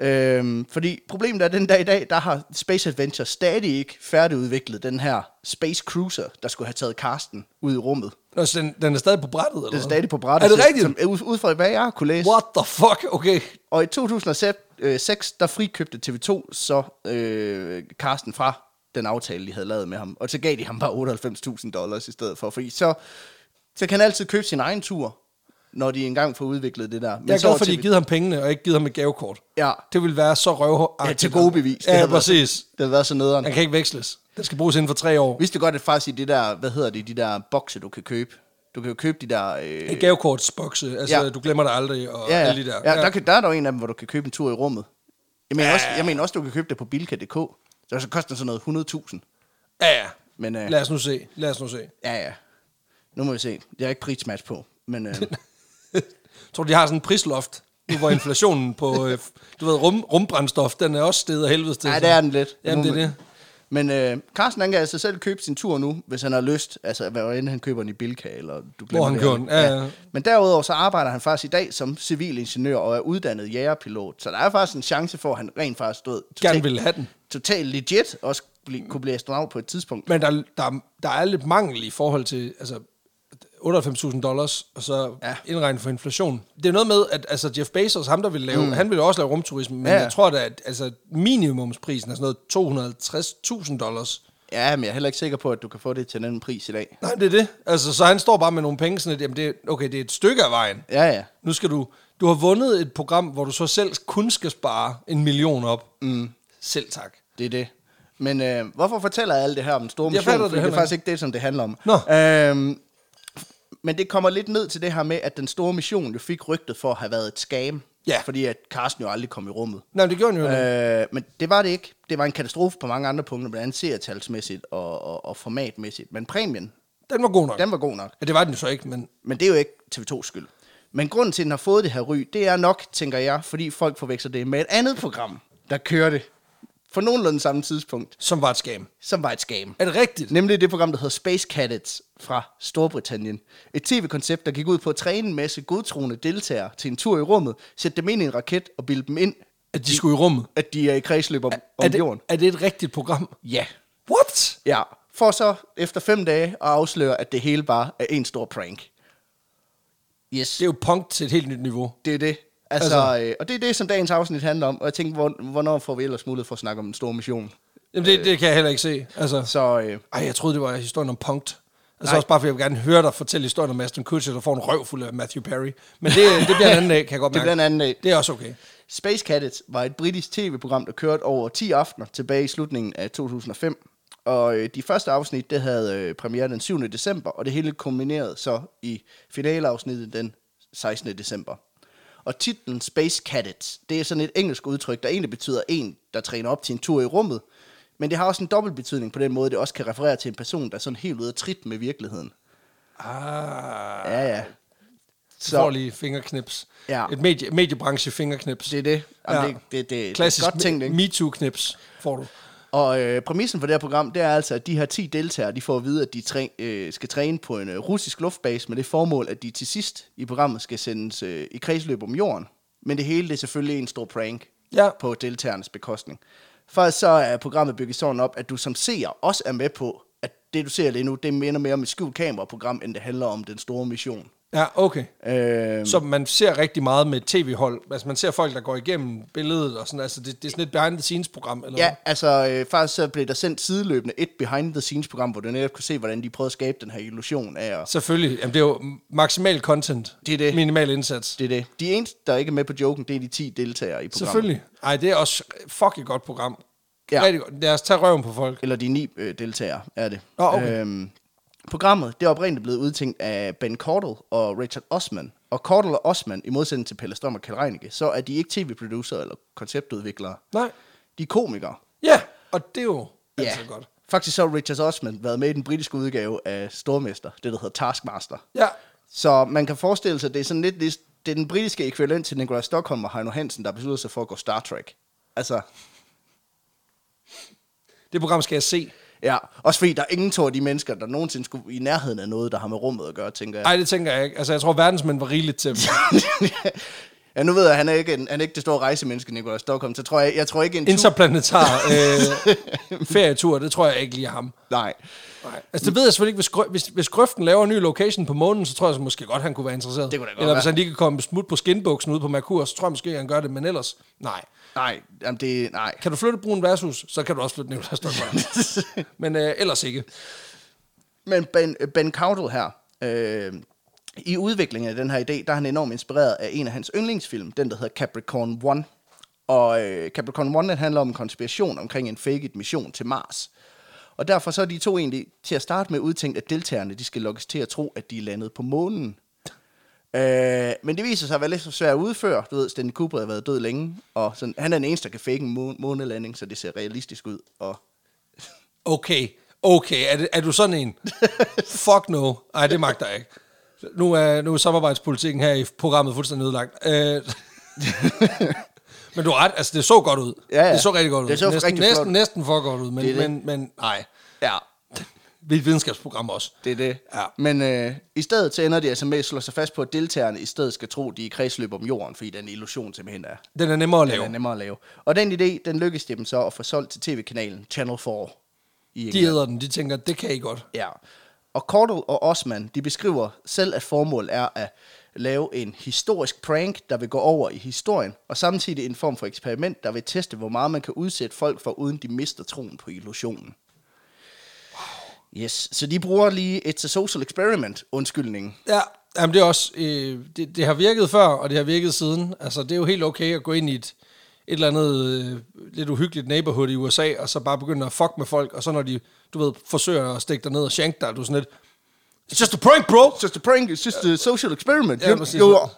[SPEAKER 2] Øhm, fordi problemet er, at den dag i dag, der har Space Adventure stadig ikke færdigudviklet den her Space Cruiser, der skulle have taget Karsten ud i rummet.
[SPEAKER 1] Nå, så den, den er stadig på brættet, eller
[SPEAKER 2] Den er
[SPEAKER 1] hvad?
[SPEAKER 2] stadig på brættet.
[SPEAKER 1] Er det
[SPEAKER 2] så-
[SPEAKER 1] rigtigt?
[SPEAKER 2] Som, ud- ud fra hvad jeg kunne læse.
[SPEAKER 1] What the fuck? Okay.
[SPEAKER 2] Og i 2006, der frikøbte TV2 så øh, Carsten fra den aftale, de havde lavet med ham. Og så gav de ham bare 98.000 dollars i stedet for. Fordi så, så kan han altid købe sin egen tur, når de engang får udviklet det der. Men
[SPEAKER 1] Jeg er
[SPEAKER 2] så
[SPEAKER 1] glad
[SPEAKER 2] var
[SPEAKER 1] for, at de
[SPEAKER 2] TV
[SPEAKER 1] har givet ham pengene, og ikke givet ham et gavekort.
[SPEAKER 2] Ja.
[SPEAKER 1] Det ville være så røvhårdt.
[SPEAKER 2] Ja, til gode bevis. Det
[SPEAKER 1] Ja,
[SPEAKER 2] havde været-
[SPEAKER 1] præcis.
[SPEAKER 2] Det havde været så nederen.
[SPEAKER 1] Han kan ikke veksles. Den skal bruges inden for tre år.
[SPEAKER 2] Vidste du godt, at faktisk i det der, hvad hedder det, de der bokse, du kan købe. Du kan jo købe de der... Øh,
[SPEAKER 1] Et gavekortsbokse. Altså,
[SPEAKER 2] Ja.
[SPEAKER 1] du glemmer det aldrig, og
[SPEAKER 2] ja, ja.
[SPEAKER 1] alle de der.
[SPEAKER 2] ja, der, kan, der er der jo en af dem, hvor du kan købe en tur i rummet. Jeg mener, også, jeg mener også, du kan købe det på bilka.dk. Så så koster den sådan noget 100.000.
[SPEAKER 1] ja, ja.
[SPEAKER 2] Men, øh,
[SPEAKER 1] Lad os nu se. Lad os nu se.
[SPEAKER 2] Ja, ja. Nu må vi se. Jeg har ikke prismatch på,
[SPEAKER 1] *laughs*
[SPEAKER 2] men øh,
[SPEAKER 1] Tror du, de har sådan en prisloft? Nu hvor inflationen på, øh, du ved, rum, rumbrændstof, den er også steget af helvede til.
[SPEAKER 2] nej, det er den lidt.
[SPEAKER 1] Jamen, det er det.
[SPEAKER 2] Men øh, Carsten, han kan altså selv købe sin tur nu, hvis han har lyst. Altså, hvad end han køber den i Bilka, eller du glemmer
[SPEAKER 1] han
[SPEAKER 2] det.
[SPEAKER 1] køber den, ja, ja.
[SPEAKER 2] Men derudover så arbejder han faktisk i dag som civilingeniør og er uddannet jægerpilot. Så der er faktisk en chance for, at han rent faktisk stod
[SPEAKER 1] Gerne ville have den.
[SPEAKER 2] totalt legit, også blive, kunne blive astronaut på et tidspunkt.
[SPEAKER 1] Men der, der, der er lidt mangel i forhold til altså, 98.000 dollars, og så ja.
[SPEAKER 2] Ja.
[SPEAKER 1] indregnet for inflation. Det er noget med, at altså, Jeff Bezos, ham der ville lave, mm. han ville jo også lave rumturisme, men ja.
[SPEAKER 2] Ja.
[SPEAKER 1] jeg tror da, at altså, minimumsprisen er sådan noget 250.000 dollars.
[SPEAKER 2] Ja, men jeg er heller ikke sikker på, at du kan få det til den pris i dag.
[SPEAKER 1] Nej, det er det. Altså, så han står bare med nogle penge, sådan lidt, jamen det, er- okay, det er et stykke af vejen.
[SPEAKER 2] Ja, ja.
[SPEAKER 1] Nu skal du, du har vundet et program, hvor du så selv kun skal spare en million op. Mm. Selv tak.
[SPEAKER 2] Det er det. Men øh, hvorfor fortæller jeg alt det her om den store mission?
[SPEAKER 1] fatter det
[SPEAKER 2] Fordi det er
[SPEAKER 1] heller
[SPEAKER 2] faktisk ikke det, som det handler om.
[SPEAKER 1] Nå.
[SPEAKER 2] Øhm, men det kommer lidt ned til det her med, at den store mission jo fik rygtet for at have været et scam.
[SPEAKER 1] Ja.
[SPEAKER 2] Fordi at Carsten jo aldrig kom i rummet.
[SPEAKER 1] Nej, men det gjorde han jo. Øh.
[SPEAKER 2] Øh, men det var det ikke. Det var en katastrofe på mange andre punkter, blandt andet serietalsmæssigt og, og, og formatmæssigt. Men præmien,
[SPEAKER 1] Den var god nok. Den...
[SPEAKER 2] den var god nok.
[SPEAKER 1] Ja, det var den jo så ikke, men
[SPEAKER 2] Men det er jo ikke TV2's skyld. Men grunden til, at den har fået det her ry, det er nok, tænker jeg, fordi folk forveksler det med et andet program, der kørte for nogenlunde samme tidspunkt,
[SPEAKER 1] som var et skam.
[SPEAKER 2] som var et scam.
[SPEAKER 1] Er det rigtigt?
[SPEAKER 2] Nemlig det program, der hedder Space Cadets fra Storbritannien. Et tv-koncept, der gik ud på at træne en masse godtroende deltagere til en tur i rummet, sætte dem ind i en raket og bilde dem ind,
[SPEAKER 1] At de skulle i rummet?
[SPEAKER 2] at de er i kredsløb om,
[SPEAKER 1] er
[SPEAKER 2] om
[SPEAKER 1] det,
[SPEAKER 2] jorden.
[SPEAKER 1] Er det et rigtigt program?
[SPEAKER 2] Ja.
[SPEAKER 1] What?
[SPEAKER 2] Ja. For så efter fem dage at afsløre, at det hele bare er en stor prank. Yes.
[SPEAKER 1] Det er jo punk til et helt nyt niveau.
[SPEAKER 2] Det er det. Altså, altså. Øh, og det er det, som dagens afsnit handler om. Og jeg tænkte, hvor, hvornår får vi ellers mulighed for at snakke om en stor mission?
[SPEAKER 1] Jamen, det, det kan jeg heller ikke se. Altså,
[SPEAKER 2] Så øh,
[SPEAKER 1] ej, jeg troede, det var historien om punkt. Altså Nej.
[SPEAKER 2] Nej.
[SPEAKER 1] også bare, fordi jeg vil gerne høre dig fortælle historien om Aston Kutcher, der får en røv fuld af Matthew Perry. Men det, det bliver en anden dag, kan jeg godt
[SPEAKER 2] det
[SPEAKER 1] mærke.
[SPEAKER 2] bliver en anden dag.
[SPEAKER 1] Det er også okay.
[SPEAKER 2] Space Cadets var et britisk tv-program, der kørte over 10 aftener tilbage i slutningen af 2005. Og øh, de første afsnit, det havde øh, premiere den 7. december, og det hele kulminerede så i finaleafsnittet den 16. december. Og titlen Space Cadets, det er sådan et engelsk udtryk, der egentlig betyder en, der træner op til en tur i rummet. Men det har også en dobbelt betydning på den måde, det også kan referere til en person, der er sådan helt ude af trit med virkeligheden.
[SPEAKER 1] Ah,
[SPEAKER 2] Ja, ja.
[SPEAKER 1] så. får lige fingerknips.
[SPEAKER 2] Ja.
[SPEAKER 1] Et medie, mediebranche fingerknips.
[SPEAKER 2] Det er det.
[SPEAKER 1] Ja.
[SPEAKER 2] Jamen, ja. det, det, det,
[SPEAKER 1] Klassisk
[SPEAKER 2] det er godt tænkt, ikke?
[SPEAKER 1] MeToo-knips får du.
[SPEAKER 2] Og øh, præmissen for det her program, det er altså, at de her 10 deltagere, de får at vide, at de træ, øh, skal træne på en øh, russisk luftbase med det formål, at de til sidst i programmet skal sendes øh, i kredsløb om jorden. Men det hele det er selvfølgelig en stor prank
[SPEAKER 1] Ja.
[SPEAKER 2] på deltagernes bekostning. Faktisk så er programmet bygget sådan op, at du som seer også er med på, at det du ser lige nu, det minder mere om et skjult kameraprogram, end det handler om den store mission.
[SPEAKER 1] Ja, okay.
[SPEAKER 2] Øh,
[SPEAKER 1] Som man ser rigtig meget med et tv-hold. Altså, man ser folk, der går igennem billedet og sådan. Altså, det, det er sådan et behind-the-scenes-program, eller
[SPEAKER 2] ja,
[SPEAKER 1] hvad?
[SPEAKER 2] altså øh, faktisk så blev der sendt sideløbende et behind-the-scenes-program, hvor du netop kunne se, hvordan de prøvede at skabe den her illusion af at
[SPEAKER 1] Selvfølgelig. Jamen, det er jo maksimal content.
[SPEAKER 2] Det er det.
[SPEAKER 1] Minimal indsats. Det
[SPEAKER 2] Det er det. De eneste, der ikke er med på joken, det er de 10 deltagere i programmet.
[SPEAKER 1] Selvfølgelig. Ej, det er også fucking godt program.
[SPEAKER 2] Ja.
[SPEAKER 1] Ja. Rigtig godt. Lad os tage røven på folk.
[SPEAKER 2] Eller de 9 øh, deltagere er det.
[SPEAKER 1] Nå, okay.
[SPEAKER 2] Øhm, programmet, det er oprindeligt blevet udtænkt af Ben Cordell og Richard Osman. Og Cordell og Osman, i modsætning til Pelle Strøm og Kjell Reinicke, så er de ikke tv-producer eller konceptudviklere.
[SPEAKER 1] Nej.
[SPEAKER 2] De er komikere.
[SPEAKER 1] Ja, og det er jo altid godt.
[SPEAKER 2] Faktisk så har Richard Osman været med i den britiske udgave af Stormester, det der hedder Taskmaster.
[SPEAKER 1] Ja.
[SPEAKER 2] Så man kan forestille sig, det er sådan lidt lig- det er den britiske ekvivalent til Nikolaj Stockholm og Heino Hansen, der beslutter sig for at gå Star Trek. Altså,
[SPEAKER 1] Det program skal jeg se.
[SPEAKER 2] Ja, også fordi der er ingen to af de mennesker, der nogensinde skulle i nærheden af noget, der har med rummet at gøre, tænker jeg.
[SPEAKER 1] Nej, det tænker jeg ikke. Altså, jeg tror, verdensmænd var rigeligt til dem.
[SPEAKER 2] *laughs* ja, nu ved jeg, at han er ikke, en, han er ikke det store rejsemenneske, Nikolaj Stockholm, så tror jeg, jeg tror ikke en tur...
[SPEAKER 1] Interplanetar
[SPEAKER 2] *laughs*
[SPEAKER 1] øh, ferietur, det tror jeg ikke lige er ham.
[SPEAKER 2] Nej.
[SPEAKER 1] Nej. Altså, det ved jeg selvfølgelig ikke. Hvis, Grø- hvis, hvis Grøften laver en ny location på månen, så tror jeg så måske godt, han kunne være interesseret.
[SPEAKER 2] Det kunne da godt
[SPEAKER 1] Eller hvis
[SPEAKER 2] være.
[SPEAKER 1] han lige kan komme smut på skinbuksen ude på Merkur, så tror jeg måske, han gør det. Men ellers, nej.
[SPEAKER 2] Nej, jamen det... Nej.
[SPEAKER 1] Kan du flytte Brun Versus, så kan du også flytte Nicolás Stockholm.
[SPEAKER 2] *laughs*
[SPEAKER 1] Men øh, ellers ikke.
[SPEAKER 2] Men Ben, ben Cowdell her, øh, i udviklingen af den her idé, der er han enormt inspireret af en af hans yndlingsfilm, den der hedder Capricorn One. Og øh, Capricorn One den handler om en konspiration omkring en faked mission til Mars. Og derfor så er de to egentlig til at starte med udtænkt, at deltagerne de skal lokkes til at tro, at de er landet på månen. Øh, men det viser sig at være lidt for svært at udføre. Du ved, Stanley Kubrick har været død længe, og sådan, han er den eneste, der kan fake en måne- månelanding, så det ser realistisk ud. Og
[SPEAKER 1] Okay, okay. Er, det, er du sådan
[SPEAKER 2] *laughs*
[SPEAKER 1] en? Fuck no. Nej, det magter jeg ikke. Nu er, nu er samarbejdspolitikken her i programmet fuldstændig ødelagt. Øh, *laughs* men du har ret, altså det så godt ud.
[SPEAKER 2] Ja, ja.
[SPEAKER 1] Det så rigtig godt ud.
[SPEAKER 2] Det så
[SPEAKER 1] næsten,
[SPEAKER 2] rigtig flot
[SPEAKER 1] næsten,
[SPEAKER 2] ud.
[SPEAKER 1] næsten for godt ud, men,
[SPEAKER 2] Det er det.
[SPEAKER 1] men, men nej.
[SPEAKER 2] ja,
[SPEAKER 1] Vi er et videnskabsprogram også.
[SPEAKER 2] Det er det.
[SPEAKER 1] Ja.
[SPEAKER 2] Men øh, i stedet så ender de altså med at slå sig fast på, at deltagerne i stedet skal tro, de er i kredsløb om jorden, fordi den illusion simpelthen er,
[SPEAKER 1] Den er nemmere at
[SPEAKER 2] den
[SPEAKER 1] lave.
[SPEAKER 2] er nemmere at lave. Og den idé, den lykkes det dem så at få solgt til tv-kanalen Channel 4 i
[SPEAKER 1] De æder den, de tænker, det kan I godt.
[SPEAKER 2] Ja. Og Cordell og Osman, de beskriver selv, at formålet er at lave en historisk prank, der vil gå over i historien, og samtidig en form for eksperiment, der vil teste, hvor meget man kan udsætte folk for, uden de mister troen på illusionen. Yes, så de bruger lige et social experiment undskyldning.
[SPEAKER 1] Ja, jamen det er også, øh, det, det har virket før, og det har virket siden. Altså det er jo helt okay at gå ind i et, et eller andet øh, lidt uhyggeligt neighborhood i USA, og så bare begynde at fuck med folk, og så når de, du ved, forsøger at stikke dig ned og shank dig, er du sådan lidt, It's just a prank, bro!
[SPEAKER 2] It's just a prank, it's just a social experiment.
[SPEAKER 1] Ja,
[SPEAKER 2] You're,
[SPEAKER 1] præcis.
[SPEAKER 2] you're,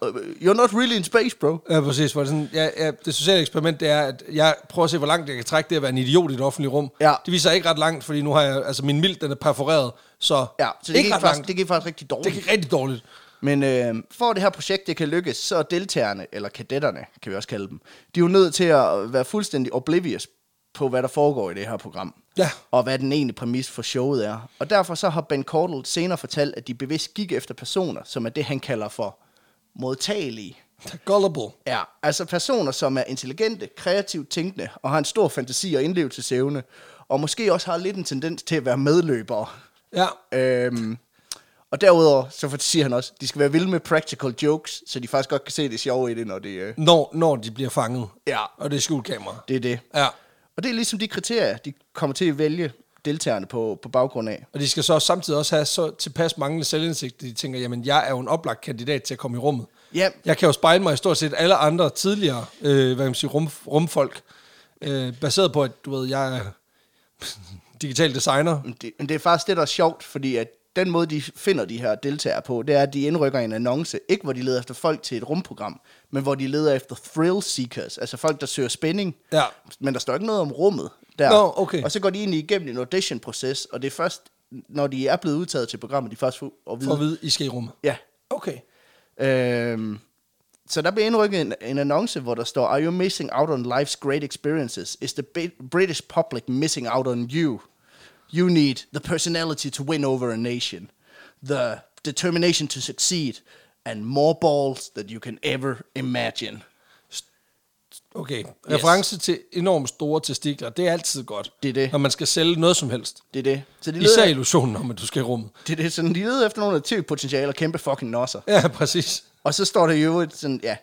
[SPEAKER 2] you're not really in space, bro.
[SPEAKER 1] Ja, præcis. Hvor det, sådan, ja, ja, det sociale eksperiment, det er, at jeg prøver at se, hvor langt jeg kan trække det at være en idiot i det offentlige rum.
[SPEAKER 2] Ja.
[SPEAKER 1] Det viser ikke ret langt, fordi nu har jeg, altså min mild, den er perforeret, så,
[SPEAKER 2] Ja, så det,
[SPEAKER 1] ikke
[SPEAKER 2] gik
[SPEAKER 1] ret
[SPEAKER 2] faktisk,
[SPEAKER 1] langt.
[SPEAKER 2] det gik faktisk rigtig dårligt.
[SPEAKER 1] det gik rigtig dårligt.
[SPEAKER 2] Men øh, for at det her projekt det kan lykkes, så er deltagerne, eller kadetterne, kan vi også kalde dem, de er jo nødt til at være fuldstændig oblivious på, hvad der foregår i det her program.
[SPEAKER 1] Ja.
[SPEAKER 2] Og hvad den egentlige præmis for showet er. Og derfor så har Ben Cordell senere fortalt, at de bevidst gik efter personer, som er det, han kalder for modtagelige.
[SPEAKER 1] Gullible.
[SPEAKER 2] Ja, altså personer, som er intelligente, kreativt tænkende, og har en stor fantasi og indlevelsesevne, og måske også har lidt en tendens til at være medløbere.
[SPEAKER 1] Ja,
[SPEAKER 2] Øhm, og derudover, så for- siger han også, de skal være vilde med practical jokes, så de faktisk godt kan se det sjove i det, når det, øh,
[SPEAKER 1] når, når de bliver fanget.
[SPEAKER 2] Ja.
[SPEAKER 1] Og det er skjult kamera.
[SPEAKER 2] det er det.
[SPEAKER 1] Ja.
[SPEAKER 2] Og det er ligesom de kriterier, de kommer til at vælge deltagerne på, på baggrund af.
[SPEAKER 1] Og de skal så samtidig også have så tilpas manglende selvindsigt, at de tænker, jamen jeg er jo en oplagt kandidat til at komme i rummet.
[SPEAKER 2] Ja.
[SPEAKER 1] Jeg kan jo spejle mig i stort set alle andre tidligere øh, hvad kan man sige, rum, rumfolk, øh, baseret på, at du ved, jeg er *laughs* digital designer.
[SPEAKER 2] Men det, men det er faktisk det, der er sjovt, fordi at den måde, de finder de her deltagere på, det er, at de indrykker en annonce, ikke hvor de leder efter folk til et rumprogram, men hvor de leder efter thrill seekers, altså folk, der søger spænding.
[SPEAKER 1] Ja.
[SPEAKER 2] Men der står ikke noget om rummet der.
[SPEAKER 1] Nå, okay.
[SPEAKER 2] Og så går de egentlig igennem en audition-proces, og det er først, når de er blevet udtaget til programmet, de først får at vide.
[SPEAKER 1] For at vide, I skal i rummet.
[SPEAKER 2] Ja.
[SPEAKER 1] Okay.
[SPEAKER 2] Øhm, så der blev indrykket en, en annonce, hvor der står, Are you missing out on life's great experiences? Is the Bi- British public missing out on you? You need the personality to win over a nation, the determination to succeed, and more balls than you can ever imagine.
[SPEAKER 1] Okay, reference yes. til enormt store testikler, det er altid godt.
[SPEAKER 2] Det er det.
[SPEAKER 1] Når man skal sælge noget som helst.
[SPEAKER 2] Det er det. Så de
[SPEAKER 1] Især
[SPEAKER 2] leder,
[SPEAKER 1] illusionen om, at du skal i rummet. *laughs*
[SPEAKER 2] det er det, sådan, de leder efter nogle af tv-potentialer og kæmpe fucking nosser.
[SPEAKER 1] Ja, præcis.
[SPEAKER 2] Og så står der i øvrigt sådan, ja.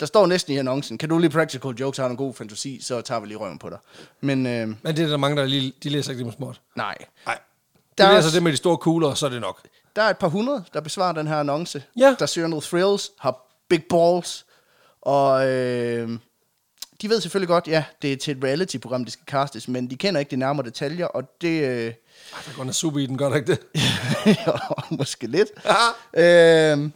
[SPEAKER 2] Der står næsten i annoncen, kan du lige practical jokes, har du en god fantasi, så tager vi lige røven på dig. Men øh,
[SPEAKER 1] Men det er der mange, der lige, de læser ikke det med småt.
[SPEAKER 2] nej,
[SPEAKER 1] Nej. Der
[SPEAKER 2] Der er
[SPEAKER 1] de læser
[SPEAKER 2] også-
[SPEAKER 1] det med de store kugler, og så er det nok.
[SPEAKER 2] der er et par hundrede, der besvarer den her annonce.
[SPEAKER 1] Ja.
[SPEAKER 2] Der søger noget thrills, har big balls, og øh, de ved selvfølgelig godt, ja, det er til et reality-program, det skal castes, men de kender ikke de nærmere detaljer, og det... Øh, *laughs*
[SPEAKER 1] Ej, der går noget suppe i den, gør der ikke det?
[SPEAKER 2] jo, måske lidt. øhm,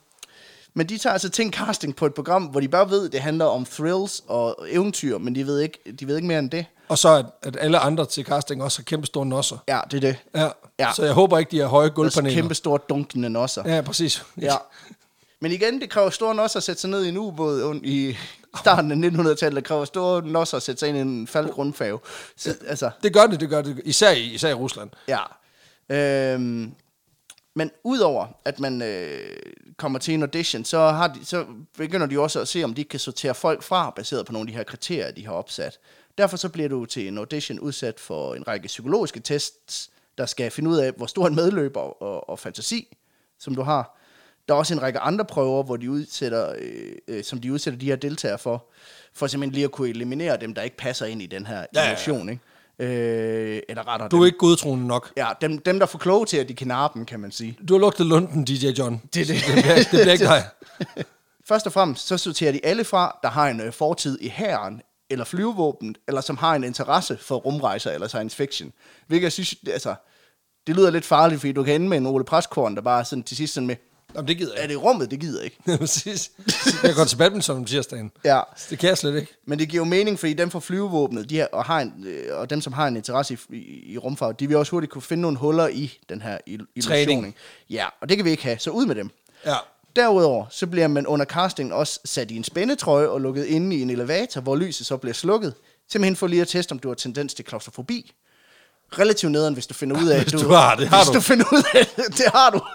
[SPEAKER 2] men de tager altså til en casting på et program, hvor de bare ved, det handler om thrills og eventyr, men de ved ikke, de ved ikke mere end det.
[SPEAKER 1] Og så at, at alle andre til casting også har kæmpe store nosser.
[SPEAKER 2] Ja, det er det.
[SPEAKER 1] Ja.
[SPEAKER 2] Ja.
[SPEAKER 1] ja. Så jeg håber ikke, de har høje
[SPEAKER 2] Der er sådan
[SPEAKER 1] gulvpaneler.
[SPEAKER 2] kæmpe store dunkende nosser.
[SPEAKER 1] Ja, præcis.
[SPEAKER 2] *laughs* Ja. Men igen, det kræver store nosser at sætte sig ned i en ubåd und- i starten af 1900-tallet. Det kræver store nosser at sætte sig ind i en faldt rundfave. Så, altså,
[SPEAKER 1] Det gør det, det gør det. Især i, især i Rusland.
[SPEAKER 2] Ja. Øhm, men udover at man øh, kommer til en audition, så, har de, så begynder de også at se, om de kan sortere folk fra, baseret på nogle af de her kriterier, de har opsat. Derfor så bliver du til en audition udsat for en række psykologiske tests, der skal finde ud af, hvor stor en medløber og, og fantasi, som du har. Der er også en række andre prøver, hvor de udsætter, øh, øh, som de udsætter de her deltagere for, for simpelthen lige at kunne eliminere dem, der ikke passer ind i den her
[SPEAKER 1] ja, ja.
[SPEAKER 2] emotion. Ikke? Øh, eller retter
[SPEAKER 1] Du er ikke godtroende nok.
[SPEAKER 2] Ja, dem, dem der får kloge til, at de kan narre dem, kan man sige.
[SPEAKER 1] Du har lugtet lunden, DJ John.
[SPEAKER 2] Det er *laughs* det.
[SPEAKER 1] Det bliver, det bliver ikke dig.
[SPEAKER 2] Først og fremmest, så sorterer de alle fra, der har en øh, fortid i hæren eller flyvevåbnet, eller som har en interesse for rumrejser eller science fiction. Hvilket jeg synes, det- altså, det lyder lidt farligt, fordi du kan ende med en Ole Præskorn, der bare sådan til sidst sådan med,
[SPEAKER 1] Jamen, det gider jeg
[SPEAKER 2] er
[SPEAKER 1] ikke.
[SPEAKER 2] det rummet, det gider jeg ikke.
[SPEAKER 1] Præcis. Jeg går til badminton om tirsdagen.
[SPEAKER 2] Ja.
[SPEAKER 1] Det kan jeg slet ikke.
[SPEAKER 2] Men det giver jo mening, fordi dem fra flyvevåbnet, de her, og, har en, øh, og dem, som har en interesse i, i, i rumfart, de vil også hurtigt kunne finde nogle huller i den her il- illusion.
[SPEAKER 1] Træning.
[SPEAKER 2] ikke? Ja, og det kan vi ikke have, så ud med dem.
[SPEAKER 1] Ja.
[SPEAKER 2] Derudover så bliver man under castingen også sat i en spændetrøje og lukket inde i en elevator, hvor lyset så bliver slukket. Simpelthen for lige at teste, om du har tendens til klaustrofobi. Relativt nederen, hvis du finder ud af,
[SPEAKER 1] Hvis du har det, har
[SPEAKER 2] hvis
[SPEAKER 1] du.
[SPEAKER 2] du finder ud af det, det har du. *laughs*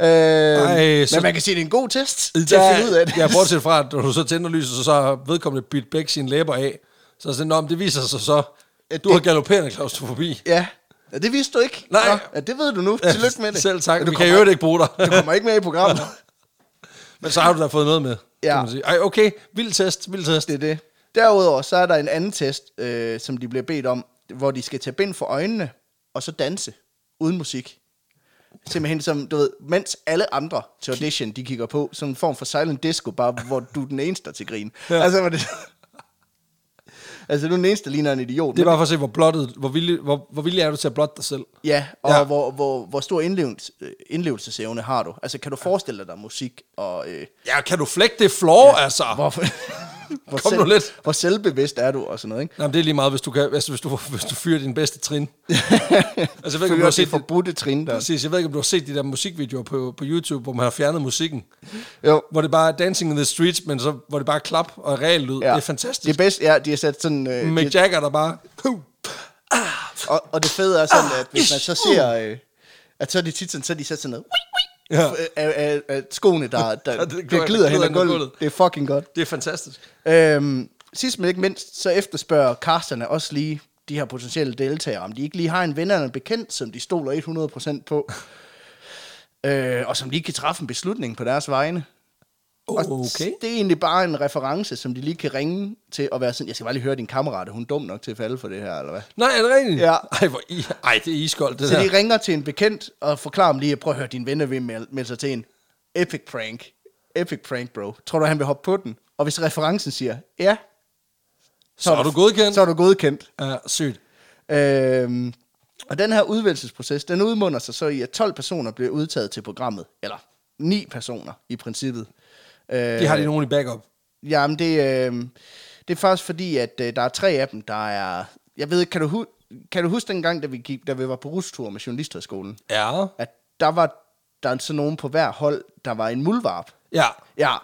[SPEAKER 2] øh,
[SPEAKER 1] Ej,
[SPEAKER 2] Ej,
[SPEAKER 1] så-
[SPEAKER 2] men man kan sige, det er en god test til at finde ud af det.
[SPEAKER 1] Ja, bortset fra, at når du så tænder lyset, så, så har vedkommende bidt begge sine læber af. Så er sådan, "Nå, men det viser sig så,
[SPEAKER 2] At
[SPEAKER 1] du
[SPEAKER 2] det-
[SPEAKER 1] har galopperende klaustrofobi.
[SPEAKER 2] *laughs* ja. ja, det vidste du ikke.
[SPEAKER 1] Nej.
[SPEAKER 2] Nå, ja, det ved du nu. Tillykke med det.
[SPEAKER 1] Selv tak.
[SPEAKER 2] Men
[SPEAKER 1] Du
[SPEAKER 2] Du
[SPEAKER 1] vi kan jo
[SPEAKER 2] kommer,
[SPEAKER 1] øvrigt ikke bruge dig.
[SPEAKER 2] du kommer ikke med i
[SPEAKER 1] *laughs*
[SPEAKER 2] programmet.
[SPEAKER 1] Men så har du da fået noget med,
[SPEAKER 2] Ja.
[SPEAKER 1] kan man sige. Ej, okay. Vild test, vild test.
[SPEAKER 2] Det er det. Derudover så er der en anden test, øh, som de bliver bedt om, hvor de skal tage bind for øjnene, og så danse, uden musik. Simpelthen som, du ved, mens alle andre til audition, de kigger på, som en form for silent disco, bare hvor du er den eneste, der er til grin. Ja.
[SPEAKER 1] Ja.
[SPEAKER 2] Altså, hvor det... *laughs* altså, du er den eneste, der ligner en idiot.
[SPEAKER 1] Det er
[SPEAKER 2] men-
[SPEAKER 1] bare for at se, hvor, blottet, hvor, villig, hvor, hvor villig er du til at blotte dig selv.
[SPEAKER 2] Ja, og ja.
[SPEAKER 1] Ja.
[SPEAKER 2] Hvor, hvor, hvor stor indlevelse, øh, indlevelsesevne har du? Altså, kan du forestille dig, der er musik, og øh,
[SPEAKER 1] Ja, kan du flække det floor, ja. altså? *laughs*
[SPEAKER 2] hvor, hvor,
[SPEAKER 1] Kom nu lidt.
[SPEAKER 2] hvor selvbevidst er du, og sådan noget, ikke?
[SPEAKER 1] Nej, men det er lige meget, hvis du, kan, altså, hvis du, hvis du fyrer din bedste trin. *laughs* altså, jeg ved ikke, om du
[SPEAKER 2] Føler
[SPEAKER 1] har
[SPEAKER 2] det
[SPEAKER 1] set, det,
[SPEAKER 2] forbudte trin, der...
[SPEAKER 1] præcis, jeg ved ikke, om du har set de der musikvideoer på, på YouTube, hvor man har fjernet musikken.
[SPEAKER 2] Jo.
[SPEAKER 1] Hvor det bare er Dancing in the Streets, men så, hvor det bare er klap og real lyd. Ja. Det er fantastisk.
[SPEAKER 2] Det er bedst, ja, de har sat sådan... Øh,
[SPEAKER 1] Mick
[SPEAKER 2] de,
[SPEAKER 1] Jagger, der bare... Huh.
[SPEAKER 2] og, og det fede er
[SPEAKER 1] Ah,
[SPEAKER 2] sådan, at hvis man så
[SPEAKER 1] ish,
[SPEAKER 2] ser... Øh, at så er de tit sådan, så er de sat sådan noget...
[SPEAKER 1] Uh! Ja.
[SPEAKER 2] Øh, Af, af, af skoene,
[SPEAKER 1] *laughs*
[SPEAKER 2] der, der, der,
[SPEAKER 1] det
[SPEAKER 2] der
[SPEAKER 1] glider
[SPEAKER 2] glider hen
[SPEAKER 1] hen
[SPEAKER 2] ad
[SPEAKER 1] ad
[SPEAKER 2] gulvet.
[SPEAKER 1] gulvet.
[SPEAKER 2] Det er fucking godt.
[SPEAKER 1] Det er fantastisk.
[SPEAKER 2] Øhm, sidst men ikke mindst, så efterspørger casterne også lige de her potentielle deltagere, om de ikke lige har en ven eller en bekendt, som de stoler 100% på, *laughs* øh, og som lige kan træffe en beslutning på deres vegne. Og
[SPEAKER 1] Okay.
[SPEAKER 2] det er egentlig bare en reference, som de lige kan ringe til og være sådan, jeg skal bare lige høre din kammerat, er hun dum nok til at falde for det her, eller hvad?
[SPEAKER 1] Nej, er det rigtigt?
[SPEAKER 2] Ja.
[SPEAKER 1] Ej, hvor I, ej det er iskoldt, det
[SPEAKER 2] Så
[SPEAKER 1] der.
[SPEAKER 2] de ringer til en bekendt og forklarer dem lige, prøv at høre, din ven er ved at mel- melde sig til en epic prank. Epic prank, bro. Tror du, han vil hoppe på den? Og hvis referencen siger, ja,
[SPEAKER 1] Så er du godkendt?
[SPEAKER 2] så er du godkendt.
[SPEAKER 1] Ja, sygt.
[SPEAKER 2] Øhm, og den her udvælgelsesproces, den udmunder sig så i, at 12 personer bliver udtaget til programmet. Eller 9 personer, i princippet. Øh,
[SPEAKER 1] Det har de nogen i backup.
[SPEAKER 2] Jamen, det, øh, det er faktisk fordi, at øh, der er tre af dem, der er... Jeg ved ikke, kan du, hu- kan du huske dengang, da vi, gik, da vi var på rustur med journalisterskolen?
[SPEAKER 1] Ja.
[SPEAKER 2] at der var der er sådan nogen på hver hold, der var en muldvarp.
[SPEAKER 1] Ja.
[SPEAKER 2] Ja,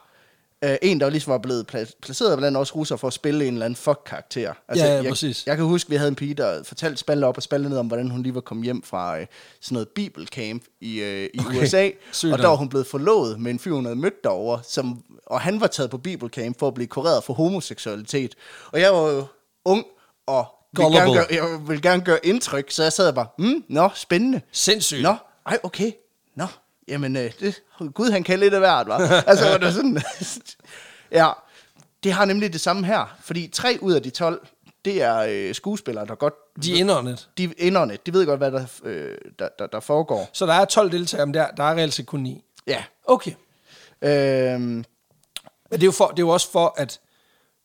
[SPEAKER 2] Øh, en, der jo ligesom var blevet pla- placeret blandt os russere for at spille en eller anden fuck-karakter. Altså,
[SPEAKER 1] Ja, ja,
[SPEAKER 2] jeg,
[SPEAKER 1] præcis.
[SPEAKER 2] Jeg kan huske, vi havde en pige, der fortalte spalte op og spalte ned om, hvordan hun lige var kommet hjem fra øh, sådan noget bibelcamp i, øh, i
[SPEAKER 1] Okay,
[SPEAKER 2] USA.
[SPEAKER 1] sygt
[SPEAKER 2] og der
[SPEAKER 1] nok.
[SPEAKER 2] var hun blevet forlovet med en fyr, hun havde mødt derovre, som, og han var taget på bibelcamp for at blive kureret for homoseksualitet. Og jeg var jo ung og ville gerne,
[SPEAKER 1] Gullible.
[SPEAKER 2] gøre, jeg ville gerne gøre indtryk, så jeg sad og bare, mm, nå, spændende.
[SPEAKER 1] Sindssygt.
[SPEAKER 2] Nå, ej, okay. Nå, jamen, øh, det, Gud, han kan lidt af hvert, var. altså, var det sådan... *laughs* ja, det har nemlig det samme her, fordi tre ud af de 12, det er øh, skuespillere, der godt...
[SPEAKER 1] De er indåndet.
[SPEAKER 2] de inderne, de ved godt, hvad der, øh, der, der, der foregår.
[SPEAKER 1] Så der er 12 deltagere, men der, der er reelt set kun 9.
[SPEAKER 2] Ja.
[SPEAKER 1] Okay.
[SPEAKER 2] Øhm,
[SPEAKER 1] Men det er, jo for, det er jo også for, at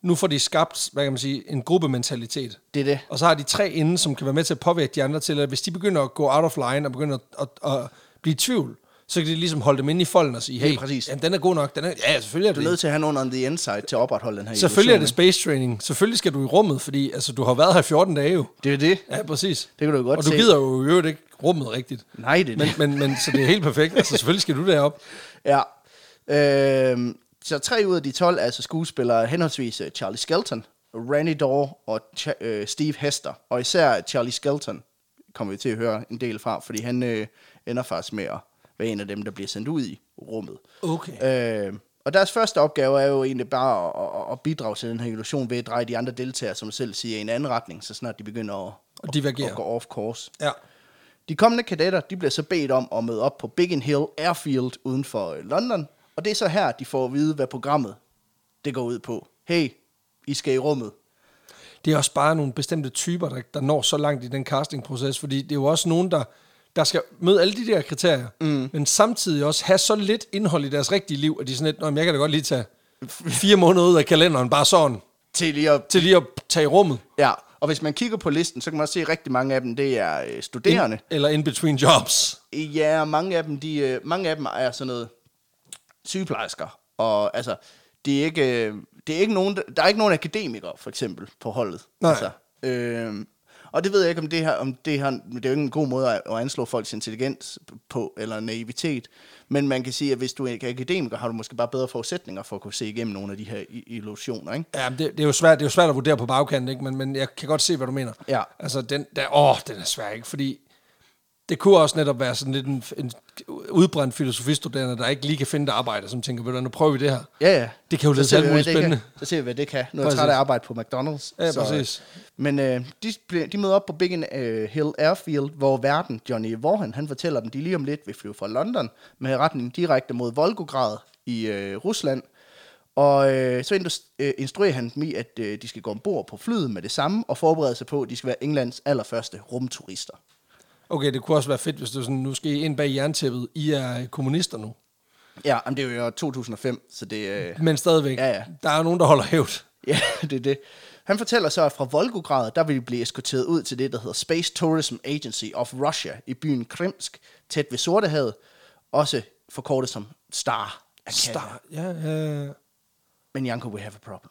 [SPEAKER 1] nu får de skabt, hvad kan man sige, en gruppementalitet.
[SPEAKER 2] det er det.
[SPEAKER 1] Og så har de tre inden, som kan være med til at påvirke de andre til, at hvis de begynder at gå out of line og begynder at, at, at blive i tvivl, så kan de ligesom holde dem inde i folden og sige,
[SPEAKER 2] Helt
[SPEAKER 1] hey,
[SPEAKER 2] præcis.
[SPEAKER 1] Jamen, den er god nok. Den er, ja, selvfølgelig er
[SPEAKER 2] Du er
[SPEAKER 1] det.
[SPEAKER 2] nødt til at have nogen on the inside til at opretholde den her
[SPEAKER 1] Selvfølgelig er det
[SPEAKER 2] illusion,
[SPEAKER 1] space training. Selvfølgelig skal du i rummet, fordi altså, du har været her i 14 dage jo.
[SPEAKER 2] ikke? Det er det.
[SPEAKER 1] Ja, præcis.
[SPEAKER 2] Det kan du jo godt
[SPEAKER 1] Og du
[SPEAKER 2] se.
[SPEAKER 1] gider jo i øvrigt ikke rummet rigtigt.
[SPEAKER 2] Nej, det er
[SPEAKER 1] Men,
[SPEAKER 2] det.
[SPEAKER 1] men, men, så det er helt
[SPEAKER 2] *laughs*
[SPEAKER 1] perfekt. Altså, selvfølgelig skal du derop.
[SPEAKER 2] Ja. Øhm, så tre ud af de 12 er altså skuespillere, henholdsvis øh, Charlie Skelton, Randy Dorr og Ch- øh, Steve Hester. Og især Charlie Skelton kommer vi til at høre en del fra, fordi han øh, ender faktisk med at være en af dem, der bliver sendt ud i rummet.
[SPEAKER 1] Okay.
[SPEAKER 2] Øh, og deres første opgave er jo egentlig bare at, at, at bidrage til den her illusion ved at dreje de andre deltagere, som selv siger, i en anden retning, så snart de begynder at,
[SPEAKER 1] Og divergere.
[SPEAKER 2] at, at gå off course.
[SPEAKER 1] Ja.
[SPEAKER 2] De kommende kadetter de bliver så bedt om at møde op på Biggin Hill Airfield uden for øh, London, og det er så her, de får at vide, hvad programmet det går ud på. Hey, I skal i rummet.
[SPEAKER 1] Det er også bare nogle bestemte typer, der, der når så langt i den castingproces, fordi det er jo også nogen, der, der skal møde alle de der kriterier, mm. men samtidig også have så lidt indhold i deres rigtige liv, at de er sådan lidt, "Nå, men jeg kan da godt lige
[SPEAKER 2] *laughs*
[SPEAKER 1] tage fire måneder ud af kalenderen, bare sådan,
[SPEAKER 2] Til lige at...
[SPEAKER 1] til lige at tage i rummet.
[SPEAKER 2] Ja, og hvis man kigger på listen, så kan man også se, at rigtig mange af dem, det er øh, studerende.
[SPEAKER 1] Eller in between jobs.
[SPEAKER 2] Ja, og mange af dem, de, øh, mange af dem er sådan noget sygeplejersker. Og altså, det er ikke, øh, det er ikke nogen, der er ikke nogen akademikere, for eksempel, på holdet.
[SPEAKER 1] Nej.
[SPEAKER 2] Altså, øh, og det ved jeg ikke, om det her, om det her, det er jo ikke en god måde at at anslå folks intelligens på, eller naivitet, men man kan sige, at hvis du ikke er akademiker, har du måske bare bedre forudsætninger for at kunne se igennem nogle af de her i- illusioner, ikke?
[SPEAKER 1] Ja, men det, det, er jo svært, det er jo svært at vurdere på bagkanten, ikke? Men, men jeg kan godt se, hvad du mener.
[SPEAKER 2] Ja.
[SPEAKER 1] Altså, den, der, åh, den er svær, ikke? Fordi det kunne også netop være sådan lidt en, en udbrændt filosofistuderende, der ikke lige kan finde et arbejde, som tænker, ved du, hvad, nu prøver vi det her.
[SPEAKER 2] Ja, ja.
[SPEAKER 1] Det kan jo
[SPEAKER 2] Så
[SPEAKER 1] lede
[SPEAKER 2] ser
[SPEAKER 1] til
[SPEAKER 2] vi,
[SPEAKER 1] alt muligt
[SPEAKER 2] hvad det
[SPEAKER 1] spændende.
[SPEAKER 2] Kan. Så ser vi, hvad det kan. Nu er jeg
[SPEAKER 1] Præcis.
[SPEAKER 2] træt af at arbejde på McDonald's.
[SPEAKER 1] Ja,
[SPEAKER 2] så, øh,
[SPEAKER 1] præcis.
[SPEAKER 2] Men øh, de, bliver- de møder op på Biggin øh, Hill Airfield, hvor verden, Johnny Vorhan, han fortæller dem, de lige om lidt vil flyve fra London med retning direkte mod Volgograd i øh, Rusland. Og øh, så indus- øh, instruerer han dem i, at øh, de skal gå ombord på flyet med det samme og forberede sig på, at de skal være Englands allerførste rumturister.
[SPEAKER 1] Okay, det kunne også være fedt, hvis du sådan, nu skal I ind bag jerntæppet. I er kommunister nu.
[SPEAKER 2] Ja, men det er jo 2005, så det... Øh,
[SPEAKER 1] Men stadigvæk,
[SPEAKER 2] Ja, ja.
[SPEAKER 1] der er nogen, der holder hævd.
[SPEAKER 2] *laughs* Ja, det er det. Han fortæller så, at fra Volgograd, der vil de blive eskorteret ud til det, der hedder Space Tourism Agency of Russia i byen Krimsk, tæt ved Sortehavet, også forkortet som STAR.
[SPEAKER 1] Star. Ja, uh,
[SPEAKER 2] Men Janko, we have a problem.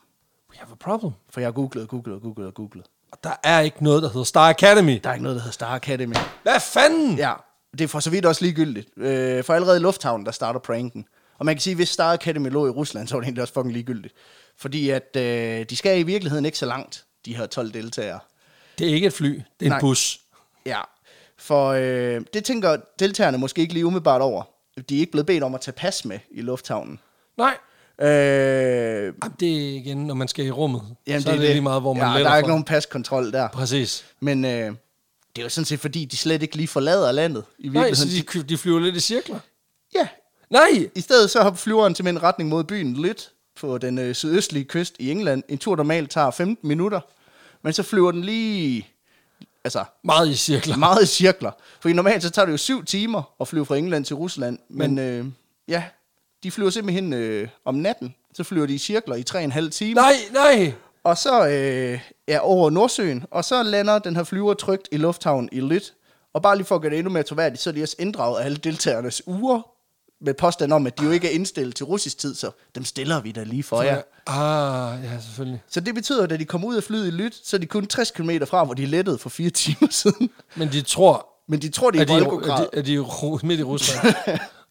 [SPEAKER 1] we have a problem.
[SPEAKER 2] For jeg har googlet, googlet, googlet, googlet.
[SPEAKER 1] Og der er ikke noget, der hedder Star Academy.
[SPEAKER 2] Der er ikke noget, der hedder STAR Academy.
[SPEAKER 1] Hvad fanden?
[SPEAKER 2] Ja, det er for så vidt også ligegyldigt. Øh, for allerede i lufthavnen, der starter pranken. Og man kan sige, at hvis Star Academy lå i Rusland, så var det egentlig også fucking ligegyldigt. Fordi at øh, de skal i virkeligheden ikke så langt, de her 12 deltagere.
[SPEAKER 1] Det er ikke et fly, det er
[SPEAKER 2] Nej.
[SPEAKER 1] en bus.
[SPEAKER 2] Ja, for øh, det tænker deltagerne måske ikke lige umiddelbart over. De er ikke blevet bedt om at tage pas med i lufthavnen.
[SPEAKER 1] Nej,
[SPEAKER 2] Øh,
[SPEAKER 1] Jamen, det er igen, når man skal i rummet. Jamen, så det er det, lige meget, hvor man
[SPEAKER 2] ja,
[SPEAKER 1] letter
[SPEAKER 2] der er
[SPEAKER 1] fra.
[SPEAKER 2] ikke nogen paskontrol der.
[SPEAKER 1] Præcis.
[SPEAKER 2] Men øh, det er jo sådan set, fordi de slet ikke lige forlader landet. I
[SPEAKER 1] Nej, så
[SPEAKER 2] virkeligheden.
[SPEAKER 1] de, kø- de flyver lidt i cirkler.
[SPEAKER 2] Ja,
[SPEAKER 1] Nej!
[SPEAKER 2] i stedet så hopper flyveren til en retning mod byen lidt på den øh, sydøstlige kyst i England. En tur normalt tager 15 minutter, men så flyver den lige... Altså,
[SPEAKER 1] Meget i cirkler.
[SPEAKER 2] *laughs* meget i cirkler. For normalt så tager det jo syv timer at flyve fra England til Rusland, men, men øh, ja, de flyver simpelthen øh, om natten, så flyver de i cirkler i tre og en halv time,
[SPEAKER 1] Nej, nej!
[SPEAKER 2] og så øh, ja, over Nordsøen, og så lander den her flyver trygt i lufthavnen i lidt. Og bare lige for at gøre det endnu mere troværdigt, så er de også inddraget alle deltagernes uger, med påstand om, at de jo ikke er indstillet til russisk tid, så dem stiller vi da lige for jer.
[SPEAKER 1] Ah, ja, selvfølgelig.
[SPEAKER 2] Så det betyder, at da de kom ud af flyet i Lyt, så er de kun 60 km fra, hvor de lettede for fire *laughs* timer siden.
[SPEAKER 1] Men de tror,
[SPEAKER 2] Men de tror, det er,
[SPEAKER 1] at de,
[SPEAKER 2] i Volgograd. *laughs*
[SPEAKER 1] er, de, er de ro- midt i Rusland.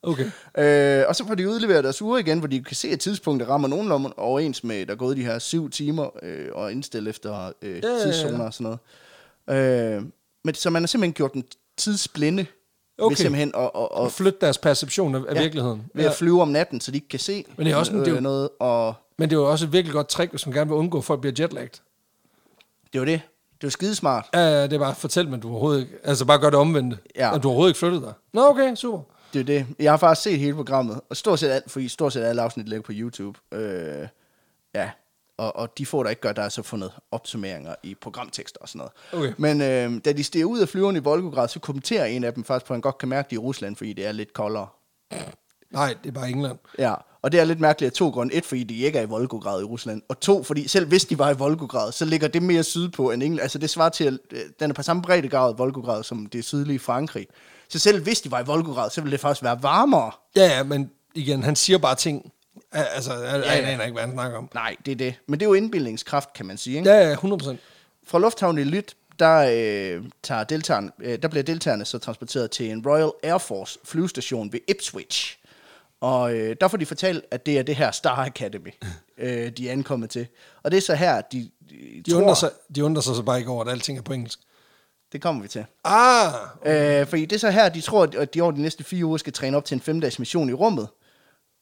[SPEAKER 1] Okay.
[SPEAKER 2] Øh, og så får de udleveret deres uger igen, hvor de kan se, at tidspunktet rammer nogenlunde overens med, der er gået de her syv timer øh, og indstille efter øh,
[SPEAKER 1] ja, ja.
[SPEAKER 2] tidszoner og sådan noget. Øh, men så man har simpelthen gjort den tidsblinde
[SPEAKER 1] Okay.
[SPEAKER 2] ved simpelthen at, at,
[SPEAKER 1] Og
[SPEAKER 2] at,
[SPEAKER 1] flytte deres perception af, af ja. virkeligheden.
[SPEAKER 2] ved at flyve om natten, så de ikke kan se øh,
[SPEAKER 1] Men det er også en- det er jo-
[SPEAKER 2] noget. Og
[SPEAKER 1] Men det er jo også et virkelig godt trick, hvis man gerne vil undgå, at folk bliver jetlagt.
[SPEAKER 2] det var det. Det var skidesmart.
[SPEAKER 1] Ja, ja, det er bare, fortæl dem, at du overhovedet ikke, altså bare gør det omvendte.
[SPEAKER 2] Ja.
[SPEAKER 1] At du overhovedet ikke flyttede dig. Nå, okay, super.
[SPEAKER 2] Det er det. Jeg har faktisk set hele programmet, og stort set alt, fordi stort set alle afsnit ligger på YouTube. Øh, ja, og, og de får der ikke gør, der er så fundet opsummeringer i programtekster og sådan noget.
[SPEAKER 1] Okay.
[SPEAKER 2] Men øh, da de stiger ud af flyveren i Volgograd, så kommenterer en af dem faktisk på, at han godt kan mærke det i Rusland, fordi det er lidt koldere.
[SPEAKER 1] Nej, det er bare England.
[SPEAKER 2] Ja, og det er lidt mærkeligt af to grunde. Et, fordi de ikke er i Volgograd i Rusland. Og to, fordi selv hvis de var i Volgograd, så ligger det mere sydpå end England. Altså det svarer til, at øh, den er på samme breddegrad Volgograd som det sydlige Frankrig. Så selv hvis de var i Volgograd, så ville det faktisk være varmere.
[SPEAKER 1] Ja, ja, men igen, han siger bare ting. Ja, Altså, jeg, ja,
[SPEAKER 2] ja.
[SPEAKER 1] jeg aner ikke, hvad han snakker om.
[SPEAKER 2] Nej, det er det. Men det er jo indbildningskraft, kan man sige. Ikke? Ja.
[SPEAKER 1] Ja, ja, 100%.
[SPEAKER 2] Fra lufthavnen i Lyt, der, øh, tager deltagerne, øh, der bliver deltagerne så transporteret til en Royal Air Force flyvestation ved Ipswich. Og øh, der får de fortalt, at det er det her Star
[SPEAKER 1] *laughs*
[SPEAKER 2] Academy, øh, de er ankommet til. Og det er så her, at de, de,
[SPEAKER 1] De
[SPEAKER 2] tror,
[SPEAKER 1] undrer, sig, de undrer sig så bare ikke over, at alting er på engelsk.
[SPEAKER 2] det kommer vi til.
[SPEAKER 1] Ah,
[SPEAKER 2] Øh, fordi det er så her, de tror, at de over de næste fire uger skal træne op til en femdages mission i rummet.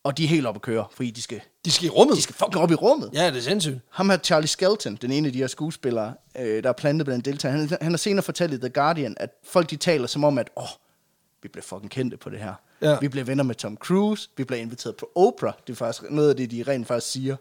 [SPEAKER 2] Og de er helt oppe at køre, fordi de skal,
[SPEAKER 1] de skal i rummet.
[SPEAKER 2] de skal fucking op i rummet.
[SPEAKER 1] Ja, det er sindssygt.
[SPEAKER 2] Ham her, Charlie Skelton, den ene af de her skuespillere, øh, der er plantet blandt deltagerne, han, han har senere fortalt i The Guardian, at folk de taler som om, at åh, vi blev fucking kendte på det her.
[SPEAKER 1] Ja.
[SPEAKER 2] Vi blev venner med Tom Cruise, vi blev inviteret på Oprah, det er faktisk noget af det, de rent faktisk siger.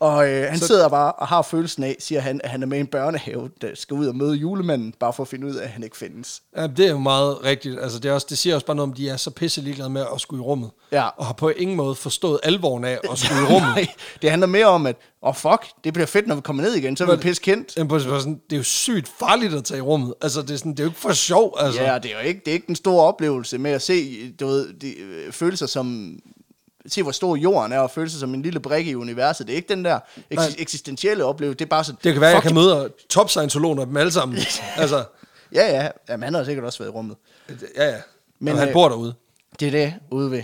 [SPEAKER 2] Og øh, han Så... sidder bare og har følelsen af, siger han, at han er med i en børnehave, der skal ud og møde julemanden, bare for at finde ud af, at han ikke findes.
[SPEAKER 1] Ja, det er jo meget rigtigt. Altså, det, er også, det siger også bare noget om, de er så pisse ligeglade med at skulle i rummet.
[SPEAKER 2] Ja.
[SPEAKER 1] Og har på ingen måde forstået alvoren af at skulle i
[SPEAKER 2] *laughs*
[SPEAKER 1] rummet.
[SPEAKER 2] Nej, det handler mere om, at åh oh, fuck, det bliver fedt, når vi kommer ned igen, så er vi
[SPEAKER 1] Men-
[SPEAKER 2] pisse kendt.
[SPEAKER 1] Jamen, på- på sådan, det er jo sygt farligt at tage i rummet. Altså, det er, sådan, det er jo ikke for sjov, altså.
[SPEAKER 2] Ja, og det er jo ikke, det er ikke den store oplevelse med at se, du ved, de, øh, føle sig som, se hvor stor jorden er, og føle sig som en lille brik i universet. Det er ikke den der
[SPEAKER 1] Nej.
[SPEAKER 2] eks- eksistentielle oplevelse, det er bare sådan,
[SPEAKER 1] Det kan være, jeg
[SPEAKER 2] fuck,
[SPEAKER 1] kan møde top-scientologer dem alle
[SPEAKER 2] *laughs*
[SPEAKER 1] sammen. altså,
[SPEAKER 2] Ja, ja, Jamen, han har sikkert også været i rummet.
[SPEAKER 1] ja, ja. Men
[SPEAKER 2] Men,
[SPEAKER 1] og han
[SPEAKER 2] øh,
[SPEAKER 1] bor derude.
[SPEAKER 2] Det er det, ude ved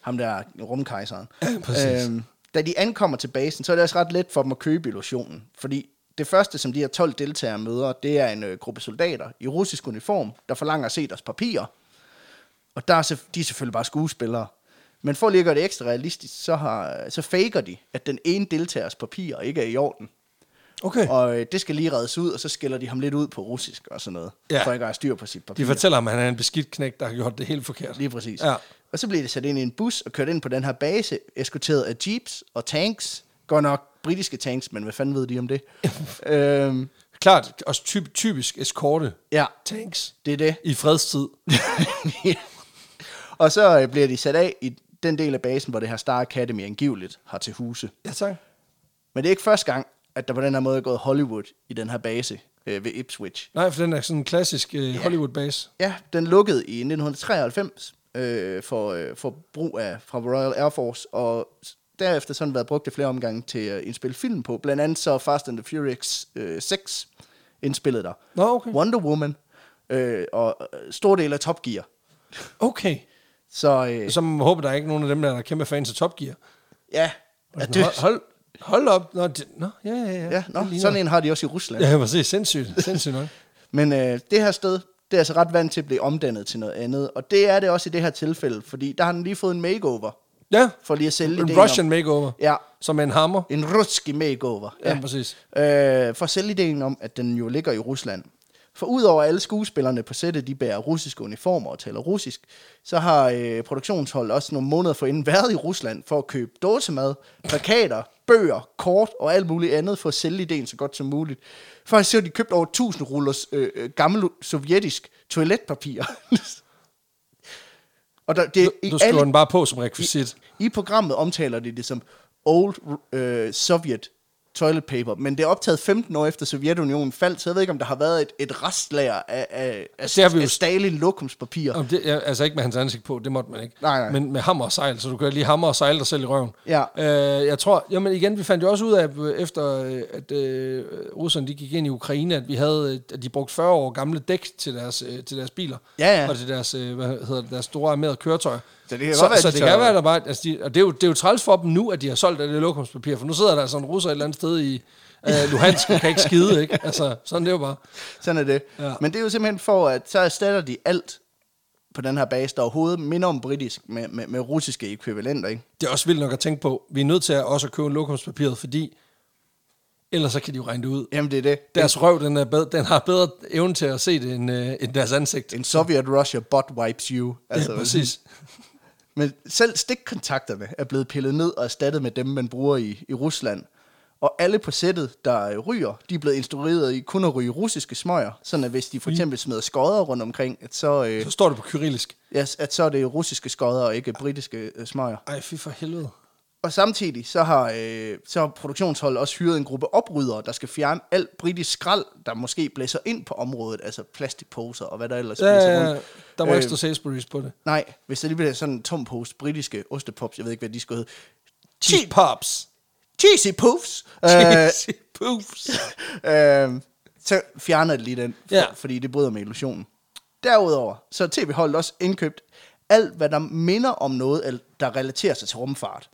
[SPEAKER 2] ham der rumkejseren. Øhm,
[SPEAKER 1] Ja, *clears throat* præcis.
[SPEAKER 2] da de ankommer til basen, så er det også ret let for dem at købe illusionen, fordi det første, som de her 12 deltagere møder, det er en øh, gruppe soldater i russisk uniform, der forlanger at se deres papirer. Og der er, selvf- de er selvfølgelig bare skuespillere. Men for lige at gøre det ekstra realistisk, så, har, så faker de, at den ene deltagers papirer ikke er i orden.
[SPEAKER 1] Okay. Og
[SPEAKER 2] Og øh, det skal lige reddes ud, og så skiller de ham lidt ud på russisk og sådan noget.
[SPEAKER 1] Ja.
[SPEAKER 2] For ikke at have styr på sit papir.
[SPEAKER 1] de fortæller ham, at han er en beskidt knæk, der har gjort det helt forkert.
[SPEAKER 2] Lige præcis.
[SPEAKER 1] Ja.
[SPEAKER 2] Ja. Og så bliver det sat ind i en bus og kørt ind på den her base, eskorteret af jeeps og tanks. Godt nok britiske tanks, men hvad fanden ved de om det? øhm,
[SPEAKER 1] Klart, også typ, typisk eskorte.
[SPEAKER 2] ja,
[SPEAKER 1] Tanks.
[SPEAKER 2] det er
[SPEAKER 1] *laughs*
[SPEAKER 2] det.
[SPEAKER 1] I fredstid.
[SPEAKER 2] Ja. og så øh, bliver de sat af i den del af basen, hvor det her Star Academy angiveligt har til huse.
[SPEAKER 1] Ja, tak.
[SPEAKER 2] Men det er ikke første gang, at der på den her måde er gået Hollywood i den her base øh, ved Ipswich.
[SPEAKER 1] Nej, for den er sådan en klassisk øh, Hollywood-base.
[SPEAKER 2] Ja, den lukkede i 1993 øh, for, øh, for brug af fra Royal Air Force, og s- derefter sådan været brugt i flere omgange til at indspille film på. Blandt andet så Fast and the Furious øh, 6 indspillet der.
[SPEAKER 1] Nå, okay.
[SPEAKER 2] Wonder Woman øh, og øh, stor del af Top Gear.
[SPEAKER 1] Okay.
[SPEAKER 2] Så øh,
[SPEAKER 1] Så må man håbe, der er ikke nogen af dem, der er kæmpe fans af Top Gear.
[SPEAKER 2] ja, er
[SPEAKER 1] altså, Hold,
[SPEAKER 2] dødt.
[SPEAKER 1] hold, hold op. Nå, det, nå, ja, ja, ja.
[SPEAKER 2] Ja, nå,
[SPEAKER 1] Det ligner-
[SPEAKER 2] sådan en har de også i Rusland.
[SPEAKER 1] Ja, præcis. Sindssygt. Sindssygt nok.
[SPEAKER 2] Men øh, det her sted, det er altså ret vant til at blive omdannet til noget andet. Og det er det også i det her tilfælde, fordi der har den lige fået en makeover,
[SPEAKER 1] Ja,
[SPEAKER 2] for lige at sælge
[SPEAKER 1] en
[SPEAKER 2] ideen om-
[SPEAKER 1] Russian makeover.
[SPEAKER 2] Ja,
[SPEAKER 1] Som en hammer.
[SPEAKER 2] En ruski makeover.
[SPEAKER 1] Ja, præcis.
[SPEAKER 2] Øh, for selv ideen om, at den jo ligger i Rusland. For udover at alle skuespillerne på sættet, de bærer russiske uniformer og taler russisk, så har øh, produktionsholdet også nogle måneder forinden været i Rusland for at købe dåsemad, plakater, bøger, kort og alt muligt andet for at sælge ideen så godt som muligt. Faktisk så har de købt over 1000 rullers øh, øh, gammel sovjetisk toiletpapir. *laughs* og der, det, er i
[SPEAKER 1] Du
[SPEAKER 2] alle
[SPEAKER 1] skriver den bare på som rekvisit.
[SPEAKER 2] i programmet omtaler de det som Old øh, Soviet Toilet Paper, men det er optaget 15 år efter Sovjetunionen faldt, så jeg ved ikke, om der har været et, et restlager af, af,
[SPEAKER 1] Det har
[SPEAKER 2] af,
[SPEAKER 1] vi jo-
[SPEAKER 2] af Stalin lokumspapir.
[SPEAKER 1] Om det, ja, altså ikke med hans ansigt på, det måtte man ikke.
[SPEAKER 2] Nej, nej.
[SPEAKER 1] Men med hammer og sejl, så du kan lige hammer og sejle dig selv i røven.
[SPEAKER 2] Ja.
[SPEAKER 1] Øh, jeg tror, jamen igen, vi fandt jo også ud af, øh, efter øh, at øh, russerne de gik ind i Ukraine, at vi havde, øh, at de brugte 40 år gamle dæk til deres, øh, til deres biler.
[SPEAKER 2] Ja, ja.
[SPEAKER 1] Og til deres, øh, hvad hedder det, deres store armerede køretøjer.
[SPEAKER 3] Så det kan
[SPEAKER 1] Så,
[SPEAKER 3] godt være,
[SPEAKER 1] være, så
[SPEAKER 3] de
[SPEAKER 1] det
[SPEAKER 3] tør-
[SPEAKER 1] kan være, der bare... Altså de, og det er, jo, det er jo træls for dem nu, at de har solgt af det lokumspapir, for nu sidder der sådan en russer et eller andet sted i øh, Luhansk, og kan ikke skide, ikke? Altså, sådan det er jo bare.
[SPEAKER 2] Sådan er det. Ja.
[SPEAKER 1] Ja.
[SPEAKER 2] Men det er jo simpelthen for, at så erstatter de alt på den her base, der overhovedet minder om britisk med, med, med russiske ekvivalenter, ikke?
[SPEAKER 1] Det er også vildt nok at tænke på. Vi er nødt til at også at købe lokumspapiret, fordi ellers så kan de jo regne det ud.
[SPEAKER 2] Jamen, det er det.
[SPEAKER 1] Deres røv, den, er bedre, den har bedre evne til at se det end, øh, end deres ansigt.
[SPEAKER 2] En Soviet-Russia bot wipes you.
[SPEAKER 1] Altså, ja, præcis.
[SPEAKER 2] Men selv stikkontakterne er blevet pillet ned og erstattet med dem, man bruger i, i Rusland. Og alle på sættet, der øh, ryger, de er blevet instrueret i kun at ryge russiske smøger, sådan at hvis de for eksempel smider skodder rundt omkring, at så, øh,
[SPEAKER 1] Så står det på kyrillisk.
[SPEAKER 2] ja, at så er det russiske skodder og ikke britiske øh, smøger.
[SPEAKER 1] Ej, fy for helvede.
[SPEAKER 2] Og samtidig så har, øh, så har produktionsholdet også hyret en gruppe oprydere, der skal fjerne alt britisk skrald, der måske blæser ind på området, altså plastikposer og hvad der ellers
[SPEAKER 1] Ja,
[SPEAKER 2] blæser
[SPEAKER 1] ja, ja.
[SPEAKER 2] rundt.
[SPEAKER 1] der må
[SPEAKER 2] Øh,
[SPEAKER 1] øh, ikke stå Sainsbury's på det.
[SPEAKER 2] Nej, hvis der lige bliver sådan en tom pose britiske ostepops, jeg ved ikke, hvad de skulle hedde.
[SPEAKER 1] Cheap pops.
[SPEAKER 2] Cheesy poofs! Øh,
[SPEAKER 1] Cheesy poofs.
[SPEAKER 2] *coughs* øh, så fjerner det lige den, for,
[SPEAKER 1] Ja.
[SPEAKER 2] fordi det bryder med illusionen. Derudover, så har tv-holdet også indkøbt alt, hvad der minder om noget, el- der relaterer sig til rumfart.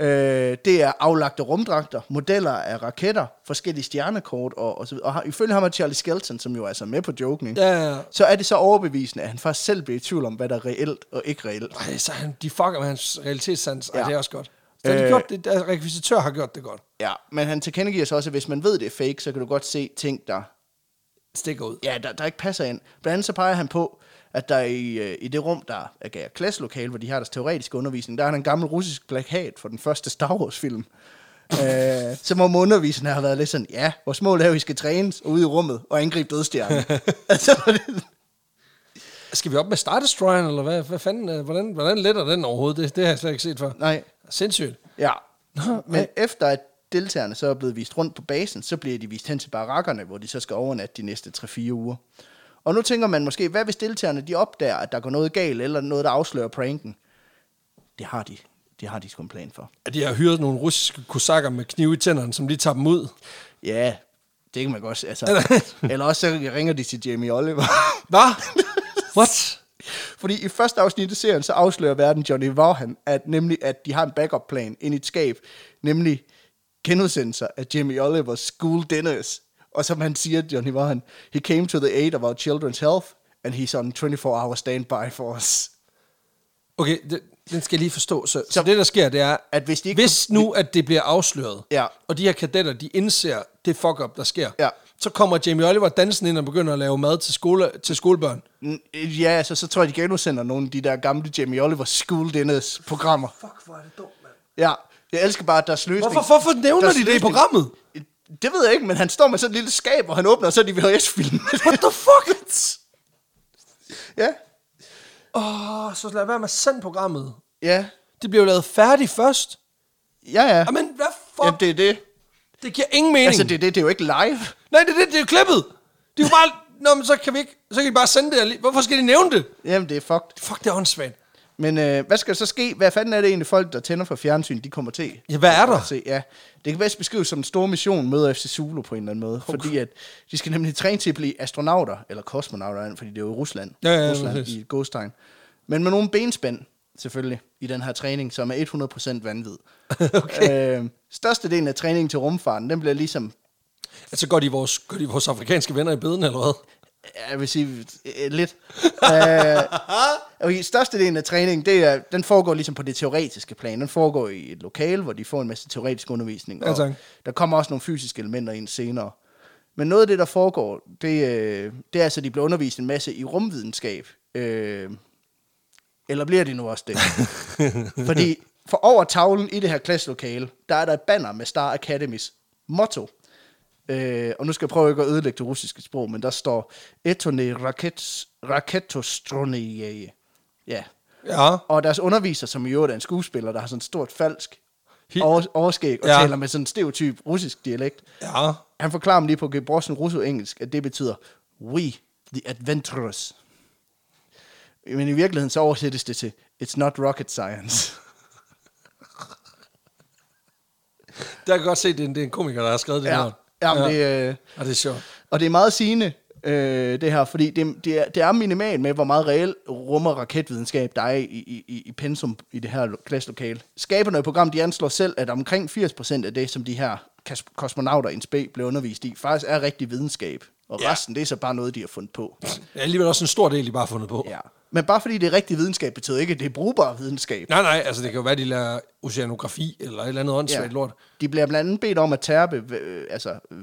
[SPEAKER 2] Øh, det er aflagte rumdragter, modeller af raketter, forskellige stjernekort og, og så videre. Og har, ifølge ham er Charlie Skelton, som jo er altså med på joken, ikke?
[SPEAKER 1] Ja, ja, ja.
[SPEAKER 2] så er det så overbevisende, at han faktisk selv bliver i tvivl om, hvad der er reelt og ikke reelt.
[SPEAKER 1] Ej, så han, de fucker med hans realitetssans. Ej,
[SPEAKER 2] Ja.
[SPEAKER 1] ja. det er også godt. Så har de
[SPEAKER 2] Øh.
[SPEAKER 1] gjort det, deres rekvisitør har gjort det godt.
[SPEAKER 2] Ja, men han tilkendegiver så også, at hvis man ved, det er fake, så kan du godt se ting, der
[SPEAKER 1] Stikker ud.
[SPEAKER 2] ja, der, der ikke passer ind. Blandt andet så peger han på, at der i, øh, i det rum, der er gav klasselokale, hvor de har deres teoretiske undervisning, der er der en gammel russisk plakat for den første Star Wars-film. øh, som om underviseren har været lidt sådan, ja, vores mål er, at vi skal trænes ude i rummet og angribe dødstjernen. *laughs* altså, det-
[SPEAKER 1] Skal vi op med Star Destroyeren, eller hvad, hvad fanden, øh, hvordan, hvordan letter den overhovedet? Det, det har jeg slet ikke set før.
[SPEAKER 2] nej,
[SPEAKER 1] Sindssygt.
[SPEAKER 2] ja.
[SPEAKER 1] Nå,
[SPEAKER 2] Men efter at deltagerne så er blevet vist rundt på basen, så bliver de vist hen til barakkerne, hvor de så skal overnatte de næste 3-4 uger. Og nu tænker man måske, hvad hvis deltagerne de opdager, at der går noget galt, eller noget, der afslører pranken? Det har de. Det har de sgu en plan for.
[SPEAKER 1] At de har hyret nogle russiske kosakker med knive i tænderne, som lige tager dem ud.
[SPEAKER 2] Ja, det kan man godt se. Altså, eller også så ringer de til Jamie Oliver.
[SPEAKER 1] Hvad? *laughs* What?
[SPEAKER 2] Fordi i første afsnit af serien, så afslører verden Johnny Vaughan, at, nemlig, at de har en backup plan ind i et skab, nemlig genudsendelser af Jamie Olivers school dinners. Og som han siger, Johnny Vaughan, he came to the aid of our children's health, and he's on 24-hour standby for us.
[SPEAKER 1] Okay, det, den skal jeg lige forstå. Så, så, så det, der sker, det er,
[SPEAKER 2] At hvis de ikke-
[SPEAKER 1] hvis nu, at det bliver afsløret,
[SPEAKER 2] Ja.
[SPEAKER 1] og de her kadetter, de indser det fuck-up, der sker,
[SPEAKER 2] Ja.
[SPEAKER 1] så kommer Jamie Oliver dansen ind og begynder at lave mad til, skole, til skolebørn.
[SPEAKER 2] Mm, Ja, altså, så tror jeg, de genudsender nogle af de der gamle Jamie Olivers school dinners programmer.
[SPEAKER 1] Fuck, hvor er det dumt, mand.
[SPEAKER 2] Ja, jeg elsker bare, at deres løsning...
[SPEAKER 1] Hvorfor- hvorfor nævner
[SPEAKER 2] deres
[SPEAKER 1] de det i
[SPEAKER 2] løsning-
[SPEAKER 1] programmet?
[SPEAKER 2] Det ved jeg ikke, men han står med sådan et lille skab, og han åbner, og så er de VHS-film.
[SPEAKER 1] What the fuck?
[SPEAKER 2] ja,
[SPEAKER 1] Åh, oh, så lad være med at sende programmet.
[SPEAKER 2] ja,
[SPEAKER 1] Det bliver jo lavet færdigt først.
[SPEAKER 2] ja, ja.
[SPEAKER 1] Jamen, hvad fuck?
[SPEAKER 2] Jamen,
[SPEAKER 1] Jamen, det...
[SPEAKER 2] det er det.
[SPEAKER 1] det giver ingen mening.
[SPEAKER 2] Altså, det er det, det er jo ikke live.
[SPEAKER 1] Nej, det er det, det er jo klippet. Det er jo bare... Nå, men så kan vi ikke... Så kan de bare sende det. alli- Hvorfor skal de nævne det?
[SPEAKER 2] Jamen, det er fucked.
[SPEAKER 1] Fuck, det er åndssvagt.
[SPEAKER 2] Men øh, hvad skal der så ske? Hvad fanden er det egentlig, folk, der tænder for fjernsyn, de kommer til?
[SPEAKER 1] Ja, hvad er der?
[SPEAKER 2] At Se, ja. Det kan bedst beskrives som en stor mission møder FC Zulu på en eller anden måde. Okay. Fordi at de skal nemlig træne til at blive astronauter, eller kosmonauter, fordi det er jo i Rusland.
[SPEAKER 1] Ja, ja, ja,
[SPEAKER 2] Rusland
[SPEAKER 1] præcis.
[SPEAKER 2] i et godstegn. Men med nogle benspænd, selvfølgelig, i den her træning, som er 100%
[SPEAKER 1] *laughs*
[SPEAKER 2] vanvid. okay. øh, størstedelen af træningen til rumfarten, den bliver ligesom
[SPEAKER 1] Altså, går de, vores, går de vores afrikanske venner i beden, eller hvad?
[SPEAKER 2] Jeg vil sige øh, lidt. *laughs* øh, okay, størstedelen af træningen, det er, den foregår ligesom på det teoretiske plan. Den foregår i et lokale, hvor de får en masse teoretisk undervisning.
[SPEAKER 1] Ja, tak.
[SPEAKER 2] der kommer også nogle fysiske elementer ind senere. Men noget af det, der foregår, det, øh, det er altså, at de bliver undervist en masse i rumvidenskab. Øh, eller bliver de nu også det? Fordi for over tavlen i det her klasselokale, der er der et banner med Star Academies motto. Øh, og nu skal jeg prøve ikke at ødelægge det russiske sprog, men der står Etone raket, raketostronie. Ja.
[SPEAKER 1] Ja.
[SPEAKER 2] Og deres underviser, som i øvrigt er en skuespiller, der har sådan et stort falsk
[SPEAKER 1] Hi-
[SPEAKER 2] over, overskæg og ja.
[SPEAKER 1] Ja.
[SPEAKER 2] taler med sådan en stereotyp russisk dialekt.
[SPEAKER 1] Ja.
[SPEAKER 2] Han forklarer mig lige på gebrossen russo-engelsk, at det betyder We, the adventurers. Men i virkeligheden så oversættes det til It's not rocket science.
[SPEAKER 1] Der kan jeg godt se, at det er en, det er en komiker, der har skrevet det
[SPEAKER 2] Ja,
[SPEAKER 1] her.
[SPEAKER 2] ja, ja. Det, øh,
[SPEAKER 1] Og det er sjovt.
[SPEAKER 2] og det er meget sigende, øh, det her, fordi det, det, er, det er minimal med, hvor meget reelt rummer raketvidenskab, der er i, i, i- i pensum i det her lo- klasselokale. Skaberne af programmet, de anslår selv, at omkring 80% af det, som de her kas- kosmonauter in spe blev undervist i, faktisk er rigtig videnskab. Og
[SPEAKER 1] Ja.
[SPEAKER 2] ja. resten, det er så bare noget, de har fundet på.
[SPEAKER 1] Det er alligevel også en stor del, de bare har fundet på.
[SPEAKER 2] Ja. Men bare fordi det er rigtig videnskab, betyder ikke, at det er brugbar videnskab.
[SPEAKER 1] Nej, nej, altså det kan jo være, de lærer oceanografi eller et eller andet åndssvagt ja. lort.
[SPEAKER 2] De bliver blandt andet bedt om at tærpe, øh, altså, øh,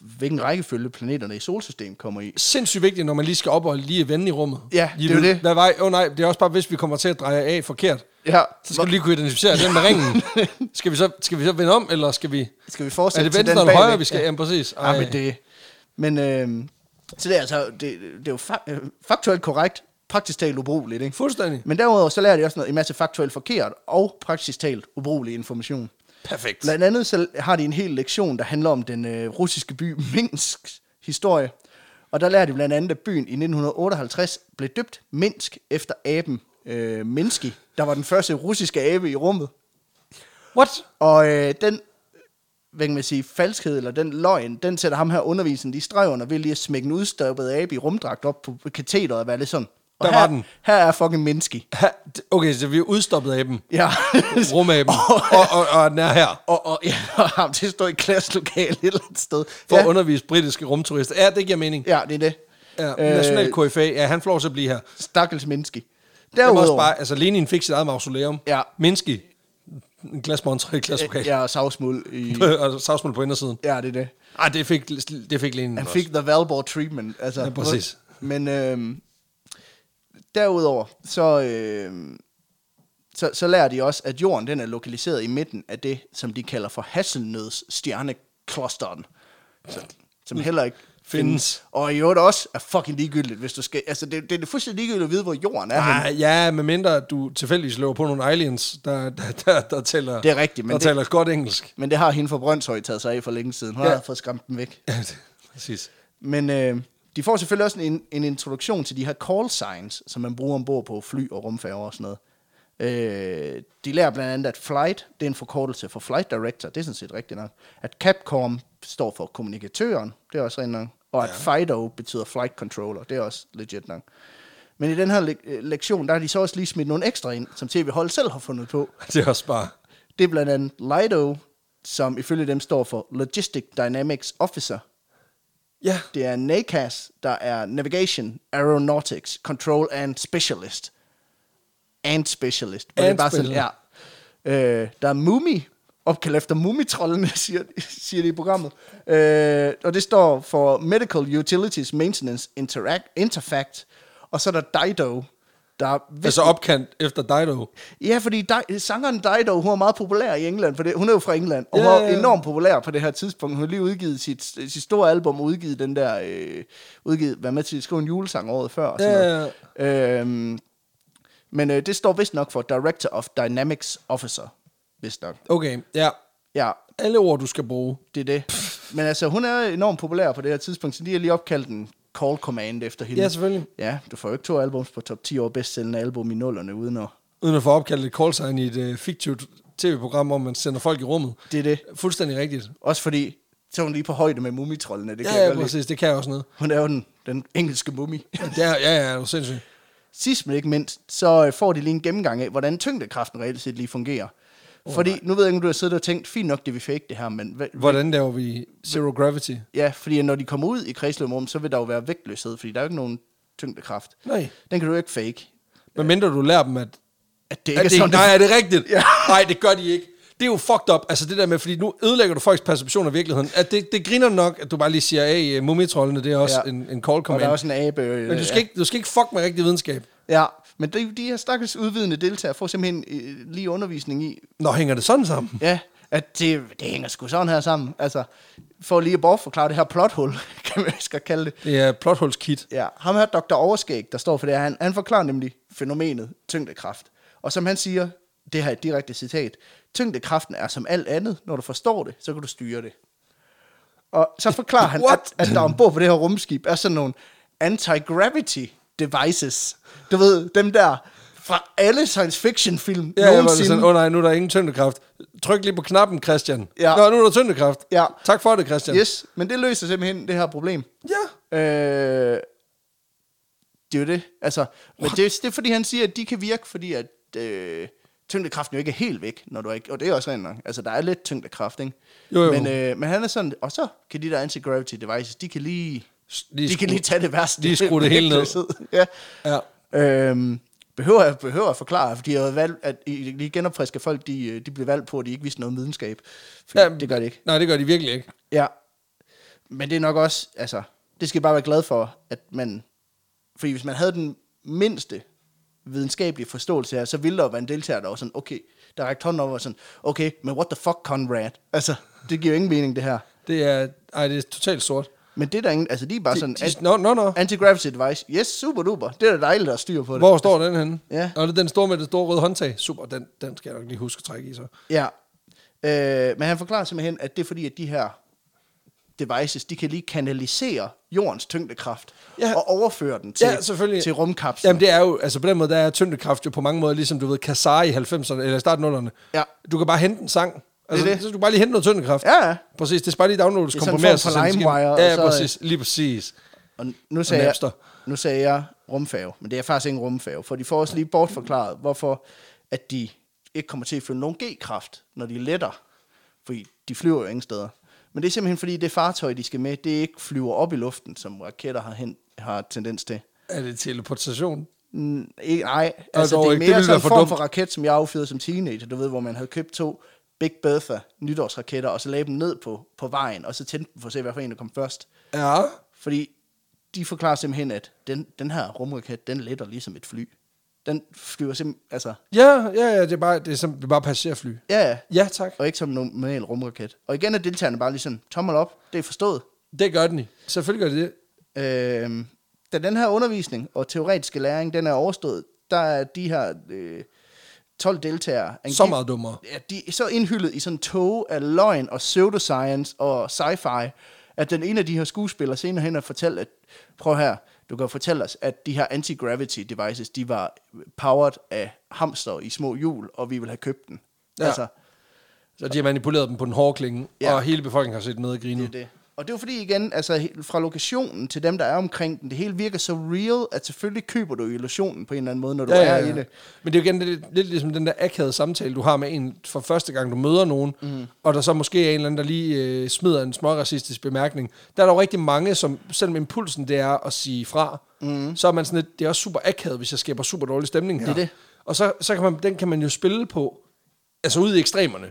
[SPEAKER 2] hvilken rækkefølge planeterne i solsystemet kommer i.
[SPEAKER 1] Sindssygt vigtigt, når man lige skal op og lige vende i rummet.
[SPEAKER 2] Ja,
[SPEAKER 1] lige
[SPEAKER 2] det er jo
[SPEAKER 1] ved,
[SPEAKER 2] det.
[SPEAKER 1] Hvad vej? Åh oh, nej, det er også bare, hvis vi kommer til at dreje af forkert.
[SPEAKER 2] Ja,
[SPEAKER 1] Så skal du lige kunne identificere den med
[SPEAKER 2] *laughs*
[SPEAKER 1] ringen. Skal vi, så, skal vi så vende om, eller skal vi...
[SPEAKER 2] Skal vi
[SPEAKER 1] Er
[SPEAKER 2] fortsætte
[SPEAKER 1] det
[SPEAKER 2] til
[SPEAKER 1] venstre
[SPEAKER 2] den
[SPEAKER 1] eller
[SPEAKER 2] bag-
[SPEAKER 1] højre, vi skal... Ja, præcis.
[SPEAKER 2] Ja, men det... Men, øh, så det er altså, det, det er jo fa- øh, faktuelt korrekt, praktisk talt ubrugeligt, ikke?
[SPEAKER 1] Fuldstændig.
[SPEAKER 2] Men derudover så lærer de også noget, en masse faktuelt forkert og praktisk talt ubrugelig information.
[SPEAKER 1] Perfekt.
[SPEAKER 2] Blandt andet så har de en hel lektion, der handler om den øh, russiske by Minsk historie. Og der lærer de blandt andet, at byen i 1958 blev døbt Minsk efter aben øh, Minsky, der var den første russiske abe i rummet.
[SPEAKER 1] What?
[SPEAKER 2] Og øh, den, hvad kan man sige, falskhed eller den løgn, den sætter ham her underviseren lige i streg under ved lige at smække en udstoppet abe i rumdragt op på katedret og være lidt sådan. Og
[SPEAKER 1] Der
[SPEAKER 2] her,
[SPEAKER 1] var den.
[SPEAKER 2] Her er fucking Minsky.
[SPEAKER 1] Ha, d- Okay, så vi er udstoppet af dem.
[SPEAKER 2] Ja.
[SPEAKER 1] Rumaben.
[SPEAKER 2] *laughs* Oh,
[SPEAKER 1] og, og, og den er her.
[SPEAKER 2] og, og, ja, og ham til at stå i klasselokale et eller andet sted.
[SPEAKER 1] For ja.
[SPEAKER 2] ja,
[SPEAKER 1] at undervise britiske rumturister. Ja, det giver mening.
[SPEAKER 2] ja, det er det.
[SPEAKER 1] Ja, national
[SPEAKER 2] Øh,
[SPEAKER 1] KFA. Ja, han får lov til at blive her.
[SPEAKER 2] Stakkels Minsky.
[SPEAKER 1] Jeg må også
[SPEAKER 2] Derudover,
[SPEAKER 1] bare, altså Lenin fik sit eget mausoleum.
[SPEAKER 2] Ja.
[SPEAKER 1] Minsky, en glas montre i glaskokal. Ja.
[SPEAKER 2] ja, savsmuld i...
[SPEAKER 1] *laughs* og savsmuld på indersiden.
[SPEAKER 2] Ja, det er det.
[SPEAKER 1] Ej, det fik, det fik Lenin
[SPEAKER 2] Han
[SPEAKER 1] også.
[SPEAKER 2] fik the Valborg treatment. Altså,
[SPEAKER 1] Ja, præcis.
[SPEAKER 2] Men øhm, derudover, så, øhm, så, så lærer de også, at jorden den er lokaliseret i midten af det, som de kalder for Hasselnøds stjerneklosteren. Så, som heller ikke
[SPEAKER 1] Findes.
[SPEAKER 2] Og i øvrigt også er fucking ligegyldigt, hvis du skal... Altså, det, det er fuldstændig ligegyldigt at vide, hvor jorden er henne.
[SPEAKER 1] Ah, ja, medmindre du tilfældigvis løber på nogle aliens, der, der, der, der tæller,
[SPEAKER 2] Det er rigtigt, men
[SPEAKER 1] der
[SPEAKER 2] det-
[SPEAKER 1] taler godt engelsk. *laughs*
[SPEAKER 2] Men det har hende fra Brøndshøj taget sig af for længe siden. Hun
[SPEAKER 1] Ja.
[SPEAKER 2] ja. har fået skræmt dem væk.
[SPEAKER 1] Ja, det, præcis.
[SPEAKER 2] Men øh, de får selvfølgelig også en, en introduktion til de her call signs, som man bruger ombord på fly og rumfærger og sådan noget. Øh, de lærer blandt andet, at flight, det er en forkortelse for flight director, det er sådan set rigtigt nok. At Capcom står for kommunikatøren, det er også rent nok. Og at FIDO betyder flight controller, det er også legit nok. Men i den her le- øh, lektion, der har de så også lige smidt nogle ekstra ind, som TV Hold selv har fundet på.
[SPEAKER 1] *laughs* Det er også bare...
[SPEAKER 2] Det er blandt andet LIDO, som ifølge dem står for Logistic Dynamics Officer,
[SPEAKER 1] Ja,
[SPEAKER 2] det er NACAS, der er Navigation, Aeronautics, Control and Specialist. And Specialist. hvor det
[SPEAKER 1] And
[SPEAKER 2] er bare sådan,
[SPEAKER 1] Specialist.
[SPEAKER 2] ja. øh, der er Mumi, opkaldt efter Mumitrollene, *laughs* siger, siger de i programmet. Øh, og det står for Medical Utilities Maintenance Interact, Interfact. Og så er der Dido, der er
[SPEAKER 1] altså opkant efter Dido.
[SPEAKER 2] Ja, fordi Di- sangeren Dido, hun er meget populær i England, for det, hun er jo fra England, og
[SPEAKER 1] Ja,
[SPEAKER 2] yeah. hun
[SPEAKER 1] ja, ja.
[SPEAKER 2] er enormt populær på det her tidspunkt. Hun har lige udgivet sit, sit store album, og udgivet den der, øh, udgivet, hvad med til at skrive en julesang året før, og sådan
[SPEAKER 1] Ja,
[SPEAKER 2] noget. Øhm, men øh, det står vist nok for Director of Dynamics Officer, vist nok.
[SPEAKER 1] Okay, ja.
[SPEAKER 2] Ja,
[SPEAKER 1] Alle ord, du skal bruge.
[SPEAKER 2] det er det. Men altså, hun er enormt populær på det her tidspunkt, så de har lige opkaldt en call command efter hende.
[SPEAKER 1] Ja, selvfølgelig.
[SPEAKER 2] Ja, du får jo ikke to albums på top 10 over bedst sælgende album i nullerne, uden at...
[SPEAKER 1] Uden at få opkaldt et call sign i et øh, fiktivt tv-program, hvor man sender folk i rummet.
[SPEAKER 2] Det er det.
[SPEAKER 1] Fuldstændig rigtigt.
[SPEAKER 2] Også fordi, så er hun lige på højde med mumitrollene, det
[SPEAKER 1] Ja,
[SPEAKER 2] kan jeg
[SPEAKER 1] ja,
[SPEAKER 2] godt lide.
[SPEAKER 1] præcis. Det kan jeg også noget.
[SPEAKER 2] Hun er jo den, den engelske mummi.
[SPEAKER 1] Det er, ja, ja, er du sindssygt.
[SPEAKER 2] Sidst men ikke mindst, så øh, får de lige en gennemgang af, hvordan tyngdekraften reelt set lige fungerer. Oh, fordi, nu ved jeg ikke, om du har siddet og tænkt, fint nok, det vi fik det her, men hvad,
[SPEAKER 1] Hvordan laver vi zero gravity?
[SPEAKER 2] ja, fordi når de kommer ud i kredsløbrum, så vil der jo være vægtløshed, fordi der er jo ikke nogen tyngdekraft.
[SPEAKER 1] Nej.
[SPEAKER 2] Den kan du jo ikke fake.
[SPEAKER 1] Men mindre du lærer dem, at
[SPEAKER 2] At det
[SPEAKER 1] Er
[SPEAKER 2] ikke er
[SPEAKER 1] det,
[SPEAKER 2] sådan,
[SPEAKER 1] nej,
[SPEAKER 2] det-
[SPEAKER 1] er det rigtigt?
[SPEAKER 2] Ja.
[SPEAKER 1] Nej, det gør de ikke. Det er jo fucked up, altså det der med, fordi nu ødelægger du folks perception af virkeligheden. At det, det griner nok, at du bare lige siger, hey, øh, mumitrollene, det er også ja.
[SPEAKER 2] Ja.
[SPEAKER 1] en, en call
[SPEAKER 2] og der
[SPEAKER 1] command.
[SPEAKER 2] er også en abe. øh,
[SPEAKER 1] Men du skal,
[SPEAKER 2] ja.
[SPEAKER 1] ikke, du skal ikke fuck med rigtig videnskab.
[SPEAKER 2] Ja, men de, de her stakkels udvidende deltagere får simpelthen øh, lige undervisning i,
[SPEAKER 1] Nå, hænger det sådan sammen?
[SPEAKER 2] Ja, at det, det hænger sgu sådan her sammen. Altså, for lige at bortforklare det her plothul, *laughs* kan man skal kalde det.
[SPEAKER 1] Det er plotholes-kit.
[SPEAKER 2] Ja, ham her, Dr. Overskæg, der står for det her, han, han forklarer nemlig fænomenet tyngdekraft. Og som han siger, det her er et direkte citat, tyngdekraften er som alt andet, når du forstår det, så kan du styre det. Og så forklarer han,
[SPEAKER 1] *laughs* What?
[SPEAKER 2] at, at der ombord på det her rumskib er sådan nogle anti-gravity devices. Du ved, dem der fra alle science fiction film
[SPEAKER 1] Ja, jeg var det sådan, åh oh, nej, nu er der ingen tyngdekraft. Tryk lige på knappen, Christian.
[SPEAKER 2] Ja.
[SPEAKER 1] Nå, nu er der tyngdekraft.
[SPEAKER 2] Ja.
[SPEAKER 1] Tak for det, Christian.
[SPEAKER 2] Yes, men det løser simpelthen det her problem.
[SPEAKER 1] Ja.
[SPEAKER 2] Øh, det er jo det. Altså, men det, det er fordi, han siger, at de kan virke, fordi at øh, tyngdekraften jo ikke er helt væk, når du er ikke, og det er også rent nok. Altså, der er lidt tyngdekraft, ikke?
[SPEAKER 1] Jo, jo.
[SPEAKER 2] Men, øh, men han er sådan, og så kan de der anti-gravity devices, de kan lige,
[SPEAKER 1] Lige
[SPEAKER 2] de kan
[SPEAKER 1] skrue-
[SPEAKER 2] lige tage det værste.
[SPEAKER 1] lige skrue det
[SPEAKER 2] *laughs*
[SPEAKER 1] hele ned.
[SPEAKER 2] ja.
[SPEAKER 1] Ja.
[SPEAKER 2] Øhm, behøver, jeg, behøver at forklare, fordi jeg har valgt, at I- lige genopfriske folk, de, øh, de blev valgt på, at de ikke vidste noget om videnskab. Fordi
[SPEAKER 1] Ja,
[SPEAKER 2] det gør det ikke.
[SPEAKER 1] Nej, det gør de virkelig ikke.
[SPEAKER 2] Ja. Men det er nok også, altså, det skal I bare være glad for, at man, fordi hvis man havde den mindste videnskabelige forståelse her, så ville der jo være en deltager, der var sådan, okay, der rækte hånden op og var sådan, okay, men what the fuck, Conrad? Altså, det giver jo ingen mening, det her.
[SPEAKER 1] Det er, ej, det er totalt sort.
[SPEAKER 2] Men det er der ingen, altså, de er bare
[SPEAKER 1] De,
[SPEAKER 2] sådan,
[SPEAKER 1] de, nå, nå, nå.
[SPEAKER 2] anti-gravity device, yes, super duper, det er da dejligt at styre på det.
[SPEAKER 1] Hvor står den henne?
[SPEAKER 2] Ja.
[SPEAKER 1] Og det er den store med det store røde håndtag. Super, den, den skal jeg nok lige huske at trække i så.
[SPEAKER 2] Ja. Øh, men han forklarer simpelthen, at det er fordi, at de her devices, de kan lige kanalisere jordens tyngdekraft
[SPEAKER 1] Ja.
[SPEAKER 2] ja. og overføre den til,
[SPEAKER 1] Ja, selvfølgelig.
[SPEAKER 2] til rumkapslen.
[SPEAKER 1] Jamen det er jo, altså på den måde, der er tyngdekraft jo på mange måder, ligesom du ved, Kassar i 90'erne, eller i starten af 00'erne.
[SPEAKER 2] Ja.
[SPEAKER 1] Du kan bare hente en sang. Altså, det
[SPEAKER 2] Det er
[SPEAKER 1] det.
[SPEAKER 2] det.
[SPEAKER 1] Så skal du bare lige hente noget tyngdekraft.
[SPEAKER 2] Ja, ja.
[SPEAKER 1] Præcis, det skal bare lige downloades,
[SPEAKER 2] Det er sådan en
[SPEAKER 1] komprimeres.
[SPEAKER 2] form for
[SPEAKER 1] og sendes igennem.
[SPEAKER 2] LimeWire, og
[SPEAKER 1] Ja,
[SPEAKER 2] så-
[SPEAKER 1] ja, præcis. Lige præcis.
[SPEAKER 2] Og nu sagde,
[SPEAKER 1] Napster.
[SPEAKER 2] jeg, nu sagde jeg rumfave, men det er faktisk ikke en rumfave, for de får også lige bortforklaret, hvorfor at de ikke kommer til at føle nogen G-kraft, når de letter, fordi de flyver jo ingen steder. Men det er simpelthen fordi, det fartøj, de skal med, det ikke flyver op i luften, som raketter har, hen, har tendens til.
[SPEAKER 1] Er det teleportation?
[SPEAKER 2] Mm, ikke, nej,
[SPEAKER 1] er
[SPEAKER 2] altså
[SPEAKER 1] dog
[SPEAKER 2] det er
[SPEAKER 1] ikke.
[SPEAKER 2] mere
[SPEAKER 1] Det ville
[SPEAKER 2] sådan
[SPEAKER 1] være
[SPEAKER 2] en
[SPEAKER 1] for
[SPEAKER 2] form
[SPEAKER 1] dumt.
[SPEAKER 2] for raket, som jeg affyrede som teenager, du ved, hvor man havde købt to Big Bertha nytårsraketter, og så lagde dem ned på, på vejen, og så tændte dem for at se, hvad for en der kom først.
[SPEAKER 1] Ja.
[SPEAKER 2] Fordi de forklarer simpelthen, at den, den her rumraket, den letter ligesom et fly. Den flyver simpelthen, altså,
[SPEAKER 1] Ja, ja, ja, det er bare, det er som, det er bare passagerfly.
[SPEAKER 2] ja, ja,
[SPEAKER 1] Ja, tak.
[SPEAKER 2] og ikke som en normal rumraket. Og igen er deltagerne bare ligesom, tommel op, det er forstået.
[SPEAKER 1] Det gør den i. Selvfølgelig gør det det.
[SPEAKER 2] Øh, da den her undervisning og teoretiske læring, den er overstået, der er de her øh, 12 deltagere
[SPEAKER 1] Så meget dummere.
[SPEAKER 2] Ja, de er så indhyllet i sådan en tog af løgn og pseudoscience og sci-fi, at den ene af de her skuespillere senere hen har fortalt, at prøv her, du kan fortælle os, at de her anti-gravity devices, de var powered af hamster i små hjul, og vi vil have købt den.
[SPEAKER 1] Ja.
[SPEAKER 2] Ja. Altså,
[SPEAKER 1] Så de har manipuleret dem på den hårde klinge, ja.
[SPEAKER 2] Ja.
[SPEAKER 1] og hele befolkningen har set med og grinet.
[SPEAKER 2] det er det. Og det er jo fordi igen, altså he- fra lokationen til dem, der er omkring den, det hele virker så real, at selvfølgelig køber du illusionen på en eller anden måde, når du ja, er ja, ja. i det.
[SPEAKER 1] Men det er jo igen lidt, lidt ligesom den der akavede samtale, du har med en for første gang, du møder nogen, mm. og der så måske er en eller anden, der lige øh, smider en små racistisk bemærkning. Der er der jo rigtig mange, som selvom impulsen det er at sige fra, mm. så er man sådan lidt, det er også super akavet, hvis jeg skaber super dårlig stemning her.
[SPEAKER 2] Det er det.
[SPEAKER 1] Og så, så kan man, den kan man jo spille på, altså ud i ekstremerne.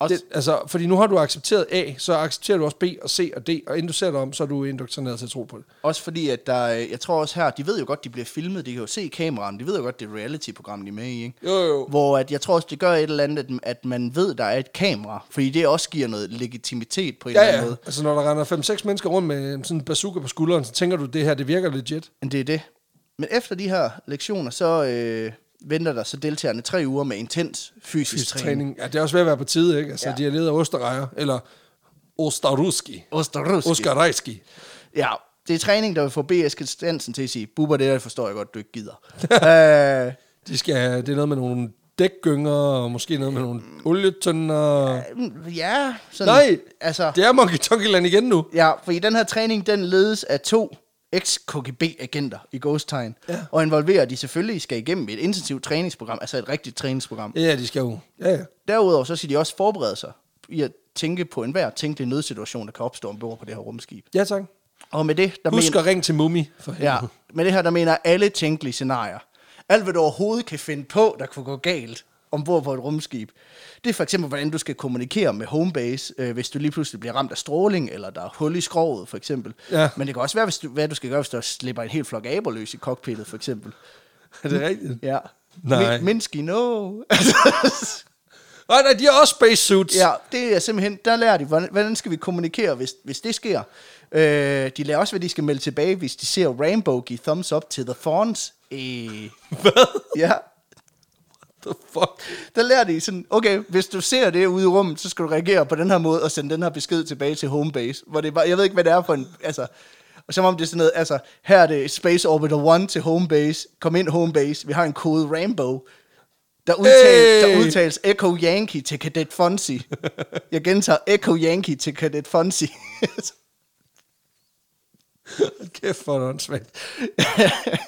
[SPEAKER 2] Også-
[SPEAKER 1] Det, altså, fordi nu har du accepteret A, så accepterer du også B og C og D, og inden du ser dig om, så er du indoktrineret til at tro på det.
[SPEAKER 2] Også fordi, at der, øh, jeg tror også her, de ved jo godt, de bliver filmet, de kan jo se kameraerne, de ved jo godt, det er reality-program, de er med i, ikke?
[SPEAKER 1] Jo, jo.
[SPEAKER 2] Hvor at jeg tror også, det gør et eller andet, at, at man ved, der er et kamera, fordi det også giver noget legitimitet på en eller
[SPEAKER 1] Ja,
[SPEAKER 2] anden
[SPEAKER 1] ja.
[SPEAKER 2] måde.
[SPEAKER 1] Altså, når der render 5-6 mennesker rundt med sådan en bazooka på skulderen, så tænker du, det her, det virker legit.
[SPEAKER 2] Men det er det. Men efter de her lektioner, så øh, venter der så deltagerne tre uger med intens fysisk,
[SPEAKER 1] Fysisk
[SPEAKER 2] fysisk træning.
[SPEAKER 1] træning. Ja, det er også ved at være på tide, ikke? Altså, ja.
[SPEAKER 2] Ja.
[SPEAKER 1] de er ledet af Osterrejer, eller Ostaruski.
[SPEAKER 2] Osterrusk.
[SPEAKER 1] Oskarejski.
[SPEAKER 2] Ja, det er træning, der vil få B.S. Christiansen til at sige, Bubber, det der forstår jeg godt, du ikke
[SPEAKER 1] *laughs*
[SPEAKER 2] gider. øh,
[SPEAKER 1] De skal, det er noget med nogle dækgynger, og måske noget med nogle olietønder. Ja,
[SPEAKER 2] ja, sådan,
[SPEAKER 1] Nej,
[SPEAKER 2] altså,
[SPEAKER 1] det er Monkey Tonky Land igen nu.
[SPEAKER 2] Ja, for i den her træning, den ledes af to eks-KGB-agenter i Ghosttegn, ja. og involverer, at de selvfølgelig skal igennem et intensivt træningsprogram, altså et rigtigt træningsprogram.
[SPEAKER 1] Ja, de skal jo. Ja, ja.
[SPEAKER 2] Derudover så skal de også forberede sig i at tænke på enhver tænkelig nødsituation, der kan opstå ombord på det her rumskib.
[SPEAKER 1] Ja, tak.
[SPEAKER 2] Og med det, der
[SPEAKER 1] Husk
[SPEAKER 2] mener,
[SPEAKER 1] at ringe til Mummi. For
[SPEAKER 2] ja,
[SPEAKER 1] helvede.
[SPEAKER 2] med det her, der mener jeg alle tænkelige scenarier. Alt, hvad du overhovedet kan finde på, der kunne gå galt ombord på et rumskib. Det er for eksempel, hvordan du skal kommunikere med homebase, øh, hvis du lige pludselig bliver ramt af stråling, eller der er hul i skroget, for eksempel.
[SPEAKER 1] Ja.
[SPEAKER 2] Men det kan også være, hvis du, hvad du skal gøre, hvis du slipper en hel flok aber løs i cockpittet, for eksempel.
[SPEAKER 1] Er det rigtigt?
[SPEAKER 2] Ja.
[SPEAKER 1] Nej.
[SPEAKER 2] Min, Minsky, no. *laughs* Altså,
[SPEAKER 1] Og nej, de har også spacesuits.
[SPEAKER 2] ja, det er simpelthen, der lærer de, hvordan, hvordan skal vi kommunikere, hvis, hvis det sker. Øh, de lærer også, hvad de skal melde tilbage, hvis de ser Rainbow give thumbs up til The Fawns. Øh,
[SPEAKER 1] Hvad?
[SPEAKER 2] ja,
[SPEAKER 1] The fuck?
[SPEAKER 2] der lærer de sådan, okay, hvis du ser det ude i rummet, så skal du reagere på den her måde og sende den her besked tilbage til homebase. Hvor det er bare, jeg ved ikke, hvad det er for en, altså, og som om det er sådan noget, altså, her er det Space Orbital 1 til homebase, kom ind homebase, vi har en kode Rainbow. Der udtales,
[SPEAKER 1] Hey!
[SPEAKER 2] der udtales Echo Yankee til Cadet Fonsi. Jeg gentager Echo Yankee til Cadet Fonsi.
[SPEAKER 1] Hold Kæft for noget svært.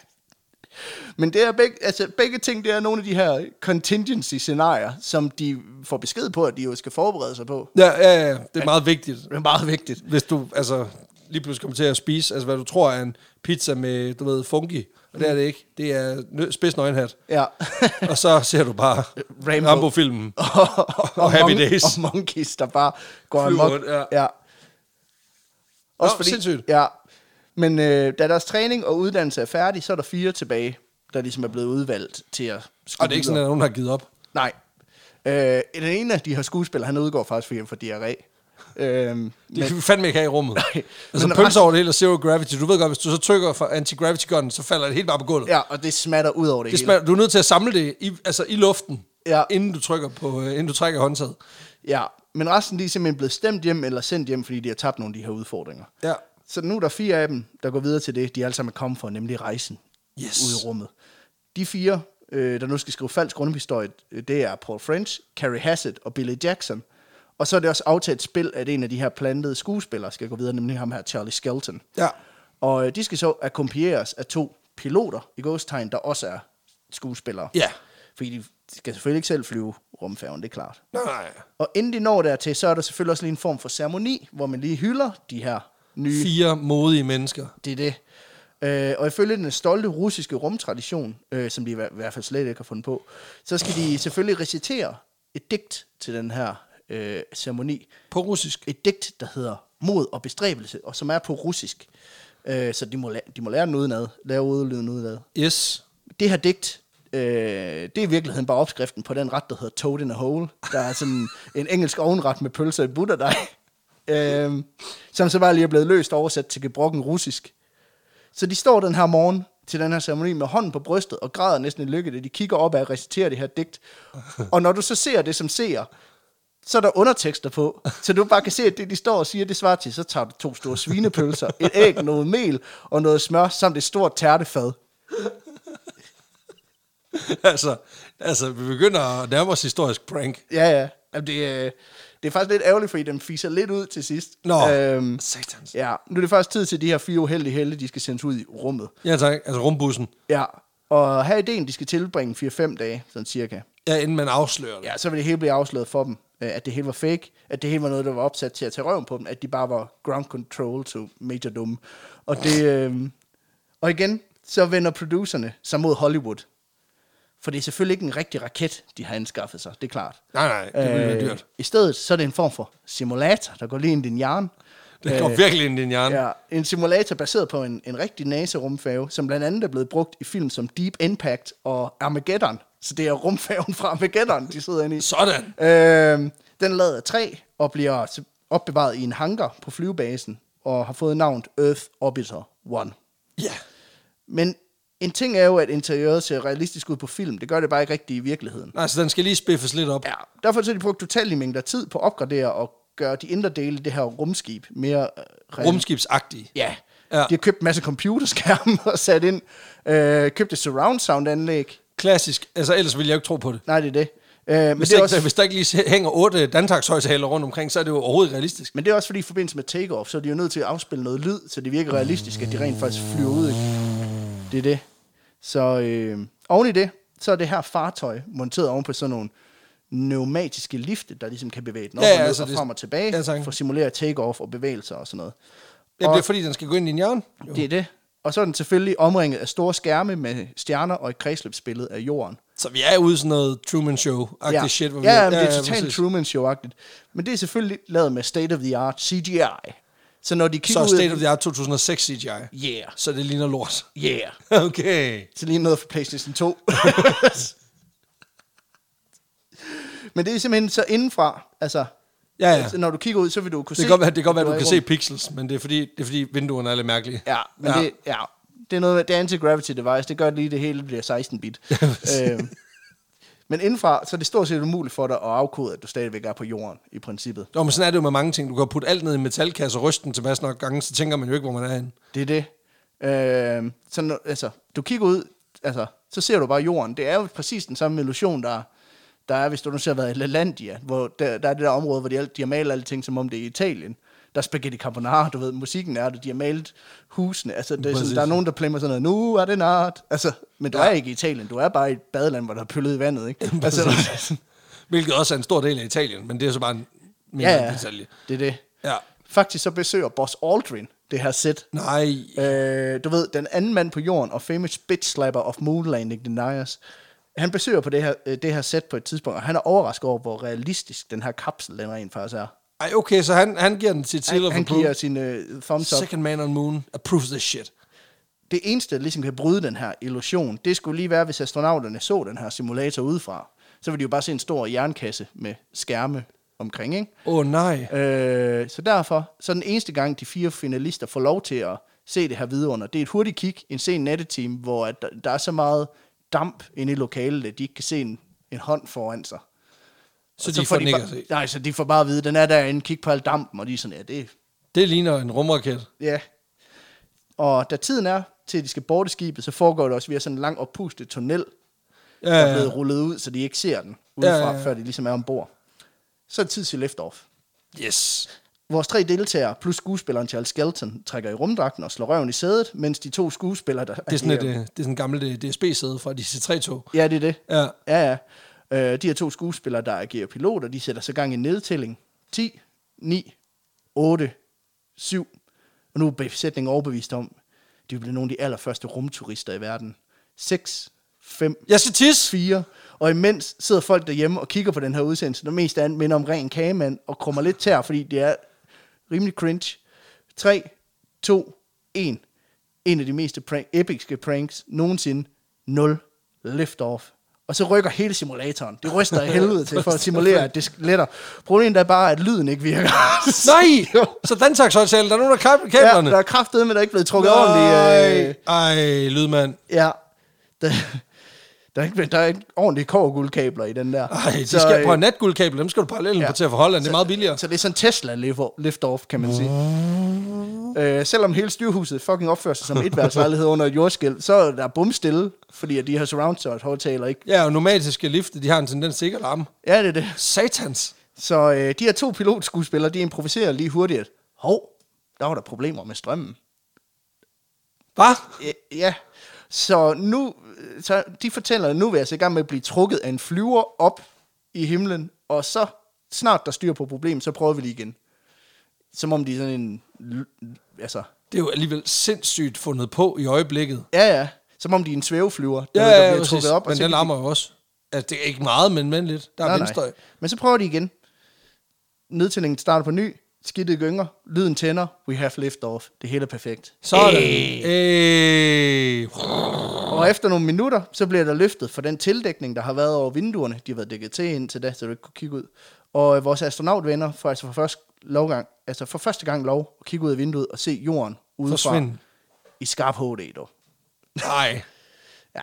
[SPEAKER 2] *laughs* Men det er begge, altså begge ting, det er nogle af de her contingency-scenarier, som de får besked på, at de jo skal forberede sig på.
[SPEAKER 1] Ja, ja, ja, det er meget vigtigt.
[SPEAKER 2] Det er meget vigtigt.
[SPEAKER 1] Hvis du altså, lige pludselig kommer til at spise, altså hvad du tror er en pizza med, du ved, fungi, og det er det ikke. Det er nø- spids
[SPEAKER 2] *laughs*
[SPEAKER 1] nøgenhat.
[SPEAKER 2] Ja.
[SPEAKER 1] og så ser du bare
[SPEAKER 2] Rambo.
[SPEAKER 1] Rambo-filmen.
[SPEAKER 2] og,
[SPEAKER 1] Og Happy
[SPEAKER 2] mon-
[SPEAKER 1] Days.
[SPEAKER 2] Og monkeys, der bare går
[SPEAKER 1] Flyver
[SPEAKER 2] amok.
[SPEAKER 1] rundt, ja.
[SPEAKER 2] ja. Også
[SPEAKER 1] Nå,
[SPEAKER 2] fordi,
[SPEAKER 1] sindssygt.
[SPEAKER 2] Ja. Men øh, da deres træning og uddannelse er færdig, så er der fire tilbage, der ligesom er blevet udvalgt til at skulle
[SPEAKER 1] Og det er ikke sådan, at
[SPEAKER 2] videre.
[SPEAKER 1] nogen har givet op.
[SPEAKER 2] Nej. Øh, den ene af de her skuespillere, han udgår faktisk for hjem for diarré. Øhm,
[SPEAKER 1] Det kan vi fandme ikke have i rummet.
[SPEAKER 2] *laughs* Nej.
[SPEAKER 1] altså
[SPEAKER 2] Men
[SPEAKER 1] pølser
[SPEAKER 2] resten-
[SPEAKER 1] over det hele og zero gravity. Du ved godt, hvis du så trykker for anti-gravity gunnen, så falder det helt bare på gulvet.
[SPEAKER 2] Ja, og det smatter ud over det,
[SPEAKER 1] Det
[SPEAKER 2] hele.
[SPEAKER 1] smager, du er nødt til at samle det i, altså i luften,
[SPEAKER 2] Ja.
[SPEAKER 1] inden du trykker på, øh, inden du trækker håndtaget.
[SPEAKER 2] Ja, men resten de er simpelthen blevet stemt hjem eller sendt hjem, fordi de har tabt nogle af de her udfordringer.
[SPEAKER 1] Ja.
[SPEAKER 2] Så nu er der fire af dem, der går videre til det, de alle sammen er kommet for, nemlig rejsen
[SPEAKER 1] Yes.
[SPEAKER 2] ud i rummet. De fire, øh, der nu skal skrive falsk grundhistorie, øh, det er Paul French, Carrie Hassett og Billy Jackson. Og så er det også aftalt spil, at en af de her plantede skuespillere skal gå videre, nemlig ham her, Charlie Skelton.
[SPEAKER 1] Ja.
[SPEAKER 2] Og øh, de skal så akkompagneres af to piloter i godstegn, der også er skuespillere.
[SPEAKER 1] Ja.
[SPEAKER 2] Fordi de skal selvfølgelig ikke selv flyve rumfærgen, det er klart.
[SPEAKER 1] Nej, nej.
[SPEAKER 2] Og inden de når dertil, så er der selvfølgelig også lige en form for ceremoni, hvor man lige hylder de her nye.
[SPEAKER 1] Fire modige mennesker.
[SPEAKER 2] Det er det. Øh, og ifølge den stolte russiske rumtradition, øh, som de i hver- hvert fald slet ikke har fundet på, så skal de selvfølgelig recitere et digt til den her øh, ceremoni.
[SPEAKER 1] På russisk.
[SPEAKER 2] Et digt, der hedder Mod og bestræbelse, og som er på russisk. Øh, så de må, lære, de må lære den udenad, lære udlyden udenad.
[SPEAKER 1] Yes.
[SPEAKER 2] Det her digt, øh, det er i virkeligheden bare opskriften på den ret, der hedder Toad in a Hole. Der er sådan en engelsk ovenret med pølser i butterdej, øh, som så bare lige er blevet løst og oversat til gebrokken russisk. Så de står den her morgen til den her ceremoni med hånden på brystet og græder næsten i lykke, da de kigger op og reciterer det her digt. Og når du så ser det som seer, så er der undertekster på, så du bare kan se, at det, de står og siger, det svarer til, så tager du to store svinepølser, et æg, noget mel og noget smør, samt et stort tærtefad.
[SPEAKER 1] *laughs* altså, altså, vi begynder at nærme os historisk prank.
[SPEAKER 2] Ja, ja. Jamen, det, øh, det er faktisk lidt ærgerligt, fordi den fiser lidt ud til sidst.
[SPEAKER 1] Nå,
[SPEAKER 2] Øhm,
[SPEAKER 1] satans.
[SPEAKER 2] ja, nu er det faktisk tid til de her fire uheldige helte, de skal sendes ud i rummet.
[SPEAKER 1] Ja tak, altså rumbussen.
[SPEAKER 2] Ja, og her er ideen, de skal tilbringe 4-5 dage, sådan cirka.
[SPEAKER 1] Ja, inden man afslører det.
[SPEAKER 2] Ja, så vil det hele blive afsløret for dem, øh, at det hele var fake, at det hele var noget, der var opsat til at tage røven på dem, at de bare var ground control to Major Doom. Og, det, øh, og igen, så vender producerne sig mod Hollywood. For det er selvfølgelig ikke en rigtig raket, de har anskaffet sig, det er klart.
[SPEAKER 1] Nej, nej, det ville være
[SPEAKER 2] Øh,
[SPEAKER 1] dyrt.
[SPEAKER 2] I stedet så er det en form for simulator, der går lige ind i din hjerne.
[SPEAKER 1] *laughs* Det går virkelig ind i din hjerne.
[SPEAKER 2] øh, Ja, en simulator baseret på en, en rigtig NASA-rumfærge, som blandt andet er blevet brugt i film som Deep Impact og Armageddon. Så det er rumfærgen fra Armageddon, de sidder inde i.
[SPEAKER 1] Sådan.
[SPEAKER 2] Øhm, den er lavet af træ og bliver s- opbevaret i en hangar på flyvebasen og har fået navnet Earth Orbiter 1.
[SPEAKER 1] Ja.
[SPEAKER 2] Men en ting er jo, at interiøret ser realistisk ud på film. Det gør det bare ikke rigtigt i virkeligheden.
[SPEAKER 1] Nej, så den skal lige spiffes lidt op.
[SPEAKER 2] Ja, derfor så har de brugt utallige mængder tid på at opgradere og gøre de indre dele i det her rumskib mere... øh, real-
[SPEAKER 1] Rumskibsagtig.
[SPEAKER 2] Ja.
[SPEAKER 1] Ja.
[SPEAKER 2] ja. De har købt en masse computerskærme *laughs* og sat ind. Øh, købt et surround sound anlæg.
[SPEAKER 1] Klassisk. Altså, ellers ville jeg jo ikke tro på det.
[SPEAKER 2] Nej, det er det. Øh, men,
[SPEAKER 1] Hvis,
[SPEAKER 2] det er
[SPEAKER 1] ikke,
[SPEAKER 2] også,
[SPEAKER 1] hvis der ikke lige hænger otte Dantax-højtaler rundt omkring, så er det jo overhovedet ikke realistisk.
[SPEAKER 2] men det er også fordi, i forbindelse med takeoff, så er de jo nødt til at afspille noget lyd, så det virker realistisk, at de rent faktisk flyver ud. Det er det. Så øh, oven i det, så er det her fartøj monteret oven på sådan nogle pneumatiske lifte, der ligesom kan bevæge den op
[SPEAKER 1] Ja,
[SPEAKER 2] ja,
[SPEAKER 1] ja,
[SPEAKER 2] ja, og ned
[SPEAKER 1] altså
[SPEAKER 2] og
[SPEAKER 1] det-
[SPEAKER 2] frem og tilbage,
[SPEAKER 1] Ja,
[SPEAKER 2] ja,
[SPEAKER 1] tak.
[SPEAKER 2] for at simulere takeoff og bevægelser og sådan noget.
[SPEAKER 1] Ja, det er fordi, den skal gå ind i din hjerne. Jo.
[SPEAKER 2] Det er det. Og så er den selvfølgelig omringet af store skærme med stjerner og et kredsløbsbillede af jorden.
[SPEAKER 1] Så vi er ude i sådan noget Truman Show-agtig
[SPEAKER 2] ja.
[SPEAKER 1] shit. Hvor vi
[SPEAKER 2] ja, men det er totalt
[SPEAKER 1] præcis.
[SPEAKER 2] Truman Show-agtigt. Men det er selvfølgelig lavet med state-of-the-art CGI. Så når de kigger
[SPEAKER 1] Så
[SPEAKER 2] ud... af-
[SPEAKER 1] State of the Art 2006 CGI.
[SPEAKER 2] Yeah,
[SPEAKER 1] Så det ligner lort. *laughs*
[SPEAKER 2] yeah.
[SPEAKER 1] Okay.
[SPEAKER 2] Så lige noget for PlayStation
[SPEAKER 1] *laughs*
[SPEAKER 2] 2. Men det er simpelthen så indenfra, altså...
[SPEAKER 1] Ja, ja.
[SPEAKER 2] altså, Når du kigger ud, så vil du kunne
[SPEAKER 1] Det
[SPEAKER 2] se...
[SPEAKER 1] kan godt være, det kan godt være du
[SPEAKER 2] er i
[SPEAKER 1] kan se
[SPEAKER 2] rummet.
[SPEAKER 1] pixels, men det er fordi, det er fordi vinduerne er lidt mærkelige.
[SPEAKER 2] Ja, men ja. Det, ja, det er noget med, det er anti-gravity device, det gør lige det hele bliver
[SPEAKER 1] *laughs*
[SPEAKER 2] 16-bit. øhm, men indenfra, så er det stort set umuligt for dig at afkode, at du stadigvæk er på jorden, i princippet.
[SPEAKER 1] Jo, men sådan er det jo med mange ting. Du kan putte alt ned i en metalkasse og ryste den tilpas nok gange, så tænker man jo ikke, hvor man er henne. *laughs*
[SPEAKER 2] Det er det. Øhm, så når, altså, du kigger ud, altså, så ser du bare jorden. Det er jo præcis den samme illusion, der, der er, hvis du nu ser været i LaLandia, hvor der, der er det der område, hvor de, al- de har malet alting, som om det er Italien. Der er spaghetti carbonara, du ved, musikken er det, de har malet husene. Altså, det er sådan,
[SPEAKER 1] Præcis.
[SPEAKER 2] der er nogen, der plæmmer sådan noget, nu er det nart. Altså, men du ja. er ikke i Italien, du er bare i et badeland, hvor der er pøllet i
[SPEAKER 1] *laughs*
[SPEAKER 2] vandet, ikke? altså,
[SPEAKER 1] Hvilket også er en stor del af Italien, men det er så bare en mindre
[SPEAKER 2] ja,
[SPEAKER 1] ja,
[SPEAKER 2] ja,
[SPEAKER 1] detalje.
[SPEAKER 2] det er det.
[SPEAKER 1] Ja.
[SPEAKER 2] Faktisk så besøger Boss Aldrin det her sæt.
[SPEAKER 1] Nej,
[SPEAKER 2] Øh, du ved, den anden mand på jorden og famous bitch slapper of Moonlanding Deniers. Han besøger på det her, øh, det her sæt på et tidspunkt, og han er overrasket over, hvor realistisk den her kapsel, den rent faktisk er.
[SPEAKER 1] ej, okay, så han, han giver den til Seal
[SPEAKER 2] Han,
[SPEAKER 1] of
[SPEAKER 2] han
[SPEAKER 1] Approval.
[SPEAKER 2] giver sin øh, thumbs up.
[SPEAKER 1] Second man on moon approves this shit.
[SPEAKER 2] Det eneste, der ligesom kan bryde den her illusion, det skulle lige være, hvis astronauterne så den her simulator udefra. Så ville de jo bare se en stor jernkasse med skærme omkring, ikke?
[SPEAKER 1] Åh oh, nej.
[SPEAKER 2] Øh, så derfor, så den eneste gang, de fire finalister får lov til at se det her vidunder, det er et hurtigt kig, en sen nattetime, hvor at der, der er så meget damp inde i lokalet, at de ikke kan se en, en hånd foran sig.
[SPEAKER 1] Så
[SPEAKER 2] Og
[SPEAKER 1] de får den ikke
[SPEAKER 2] bare-
[SPEAKER 1] at se.
[SPEAKER 2] Nej, så de får bare at vide, den er derinde, kig på al dampen, og de er sådan, ja, det
[SPEAKER 1] Det ligner en rumraket.
[SPEAKER 2] ja. Og da tiden er til, at de skal borte skibet, så foregår det også via sådan en lang oppustet tunnel,
[SPEAKER 1] Ja,
[SPEAKER 2] der er
[SPEAKER 1] ja.
[SPEAKER 2] blevet rullet ud, så de ikke ser den
[SPEAKER 1] Ja,
[SPEAKER 2] udefra,
[SPEAKER 1] ja,
[SPEAKER 2] ja,
[SPEAKER 1] ja.
[SPEAKER 2] før de ligesom er ombord. Så er det tid til liftoff.
[SPEAKER 1] Yes.
[SPEAKER 2] Vores tre deltagere plus skuespilleren Charles Skelton trækker i rumdragten og slår røven i sædet, mens de to skuespillere... Der
[SPEAKER 1] Det er sådan øh, et, øh, det er sådan et gammelt øh, DSB-sæde fra de C3-tog.
[SPEAKER 2] Ja, det er det.
[SPEAKER 1] Ja.
[SPEAKER 2] Ja, ja. Øh, de her to skuespillere, der agerer piloter, de sætter så gang i en nedtælling. 10, 9, 8, 7. Og nu er besætningen overbevist om, de bliver nogle af de allerførste rumturister i verden. 6, 5,
[SPEAKER 1] Jeg siger tis!
[SPEAKER 2] fire. Og imens sidder folk derhjemme og kigger på den her udsendelse, der mest af alt minder om ren kagemand, og krummer lidt tær, fordi det er rimelig cringe. 3, 2, 1. En af de mest prank, episke pranks nogensinde. 0. Liftoff. Og så rykker hele simulatoren. Det ryster af helvede til for at simulere, at det letter. Problemet er bare, at lyden ikke virker.
[SPEAKER 1] Nej!
[SPEAKER 2] Jo.
[SPEAKER 1] Så dansaksholdtalen, der er nogen, der kapper
[SPEAKER 2] ja,
[SPEAKER 1] kablerne.
[SPEAKER 2] der er kraftedeme, der er ikke blevet trukket ordentligt. Øh,
[SPEAKER 1] Nej. Ej, lydmand.
[SPEAKER 2] Ja. Der, *laughs* der, er ikke, der er ikke ordentligt kårguldkabler i den der.
[SPEAKER 1] Ej, de skal på natguldkabler, dem skal du parallelt ja.
[SPEAKER 2] øh, Ja.
[SPEAKER 1] på til at forholde, det er meget billigere.
[SPEAKER 2] Så det er sådan Tesla lift- liftoff, kan man sige. Øh, selvom hele styrhuset fucking opfører
[SPEAKER 1] *laughs*
[SPEAKER 2] sig som et værelseslejlighed under et jordskæld, så er der bumstille, fordi at de her surround sound højtaler ikke.
[SPEAKER 1] Ja, og nomadiske lifte, de har en tendens til ikke at larme.
[SPEAKER 2] Ja, det er det.
[SPEAKER 1] Satans!
[SPEAKER 2] Så øh, de her to pilotskuespillere, de improviserer lige hurtigt. Hov, der var der problemer med strømmen.
[SPEAKER 1] Hvad?
[SPEAKER 2] Øh, ja. Så nu, øh, så de fortæller, at nu er vi altså i gang med at blive trukket af en flyver op i himlen, og så snart der styr på problemet, så prøver vi lige igen. Som om de er sådan en, l- altså,
[SPEAKER 1] Det er jo alligevel sindssygt fundet på i øjeblikket.
[SPEAKER 2] ja ja, som om de er en svæveflyver,
[SPEAKER 1] Ja,
[SPEAKER 2] der, der
[SPEAKER 1] ja,
[SPEAKER 2] bliver
[SPEAKER 1] ja
[SPEAKER 2] trukket
[SPEAKER 1] præcis.
[SPEAKER 2] op.
[SPEAKER 1] men
[SPEAKER 2] så
[SPEAKER 1] den
[SPEAKER 2] kan de-
[SPEAKER 1] larmer jo også. Altså, det er ikke meget, men, men lidt. Der er
[SPEAKER 2] Nej,
[SPEAKER 1] vindstøj.
[SPEAKER 2] nej. Men så prøver de igen. Nedtællingen starter på ny, skidtet gynger, lyden tænder, we have liftoff, det hele er perfekt.
[SPEAKER 1] Sådan. Øh.
[SPEAKER 2] Og efter nogle minutter, så bliver der løftet for den tildækning, der har været over vinduerne. De har været dækket til indtil da, så du ikke kunne kigge ud. Og øh, vores astronautvenner får altså for første, lovgang, altså for første gang lov at kigge ud af vinduet og se jorden udefra
[SPEAKER 1] Forsvinde.
[SPEAKER 2] i skarp HD dog.
[SPEAKER 1] Nej.
[SPEAKER 2] Ja,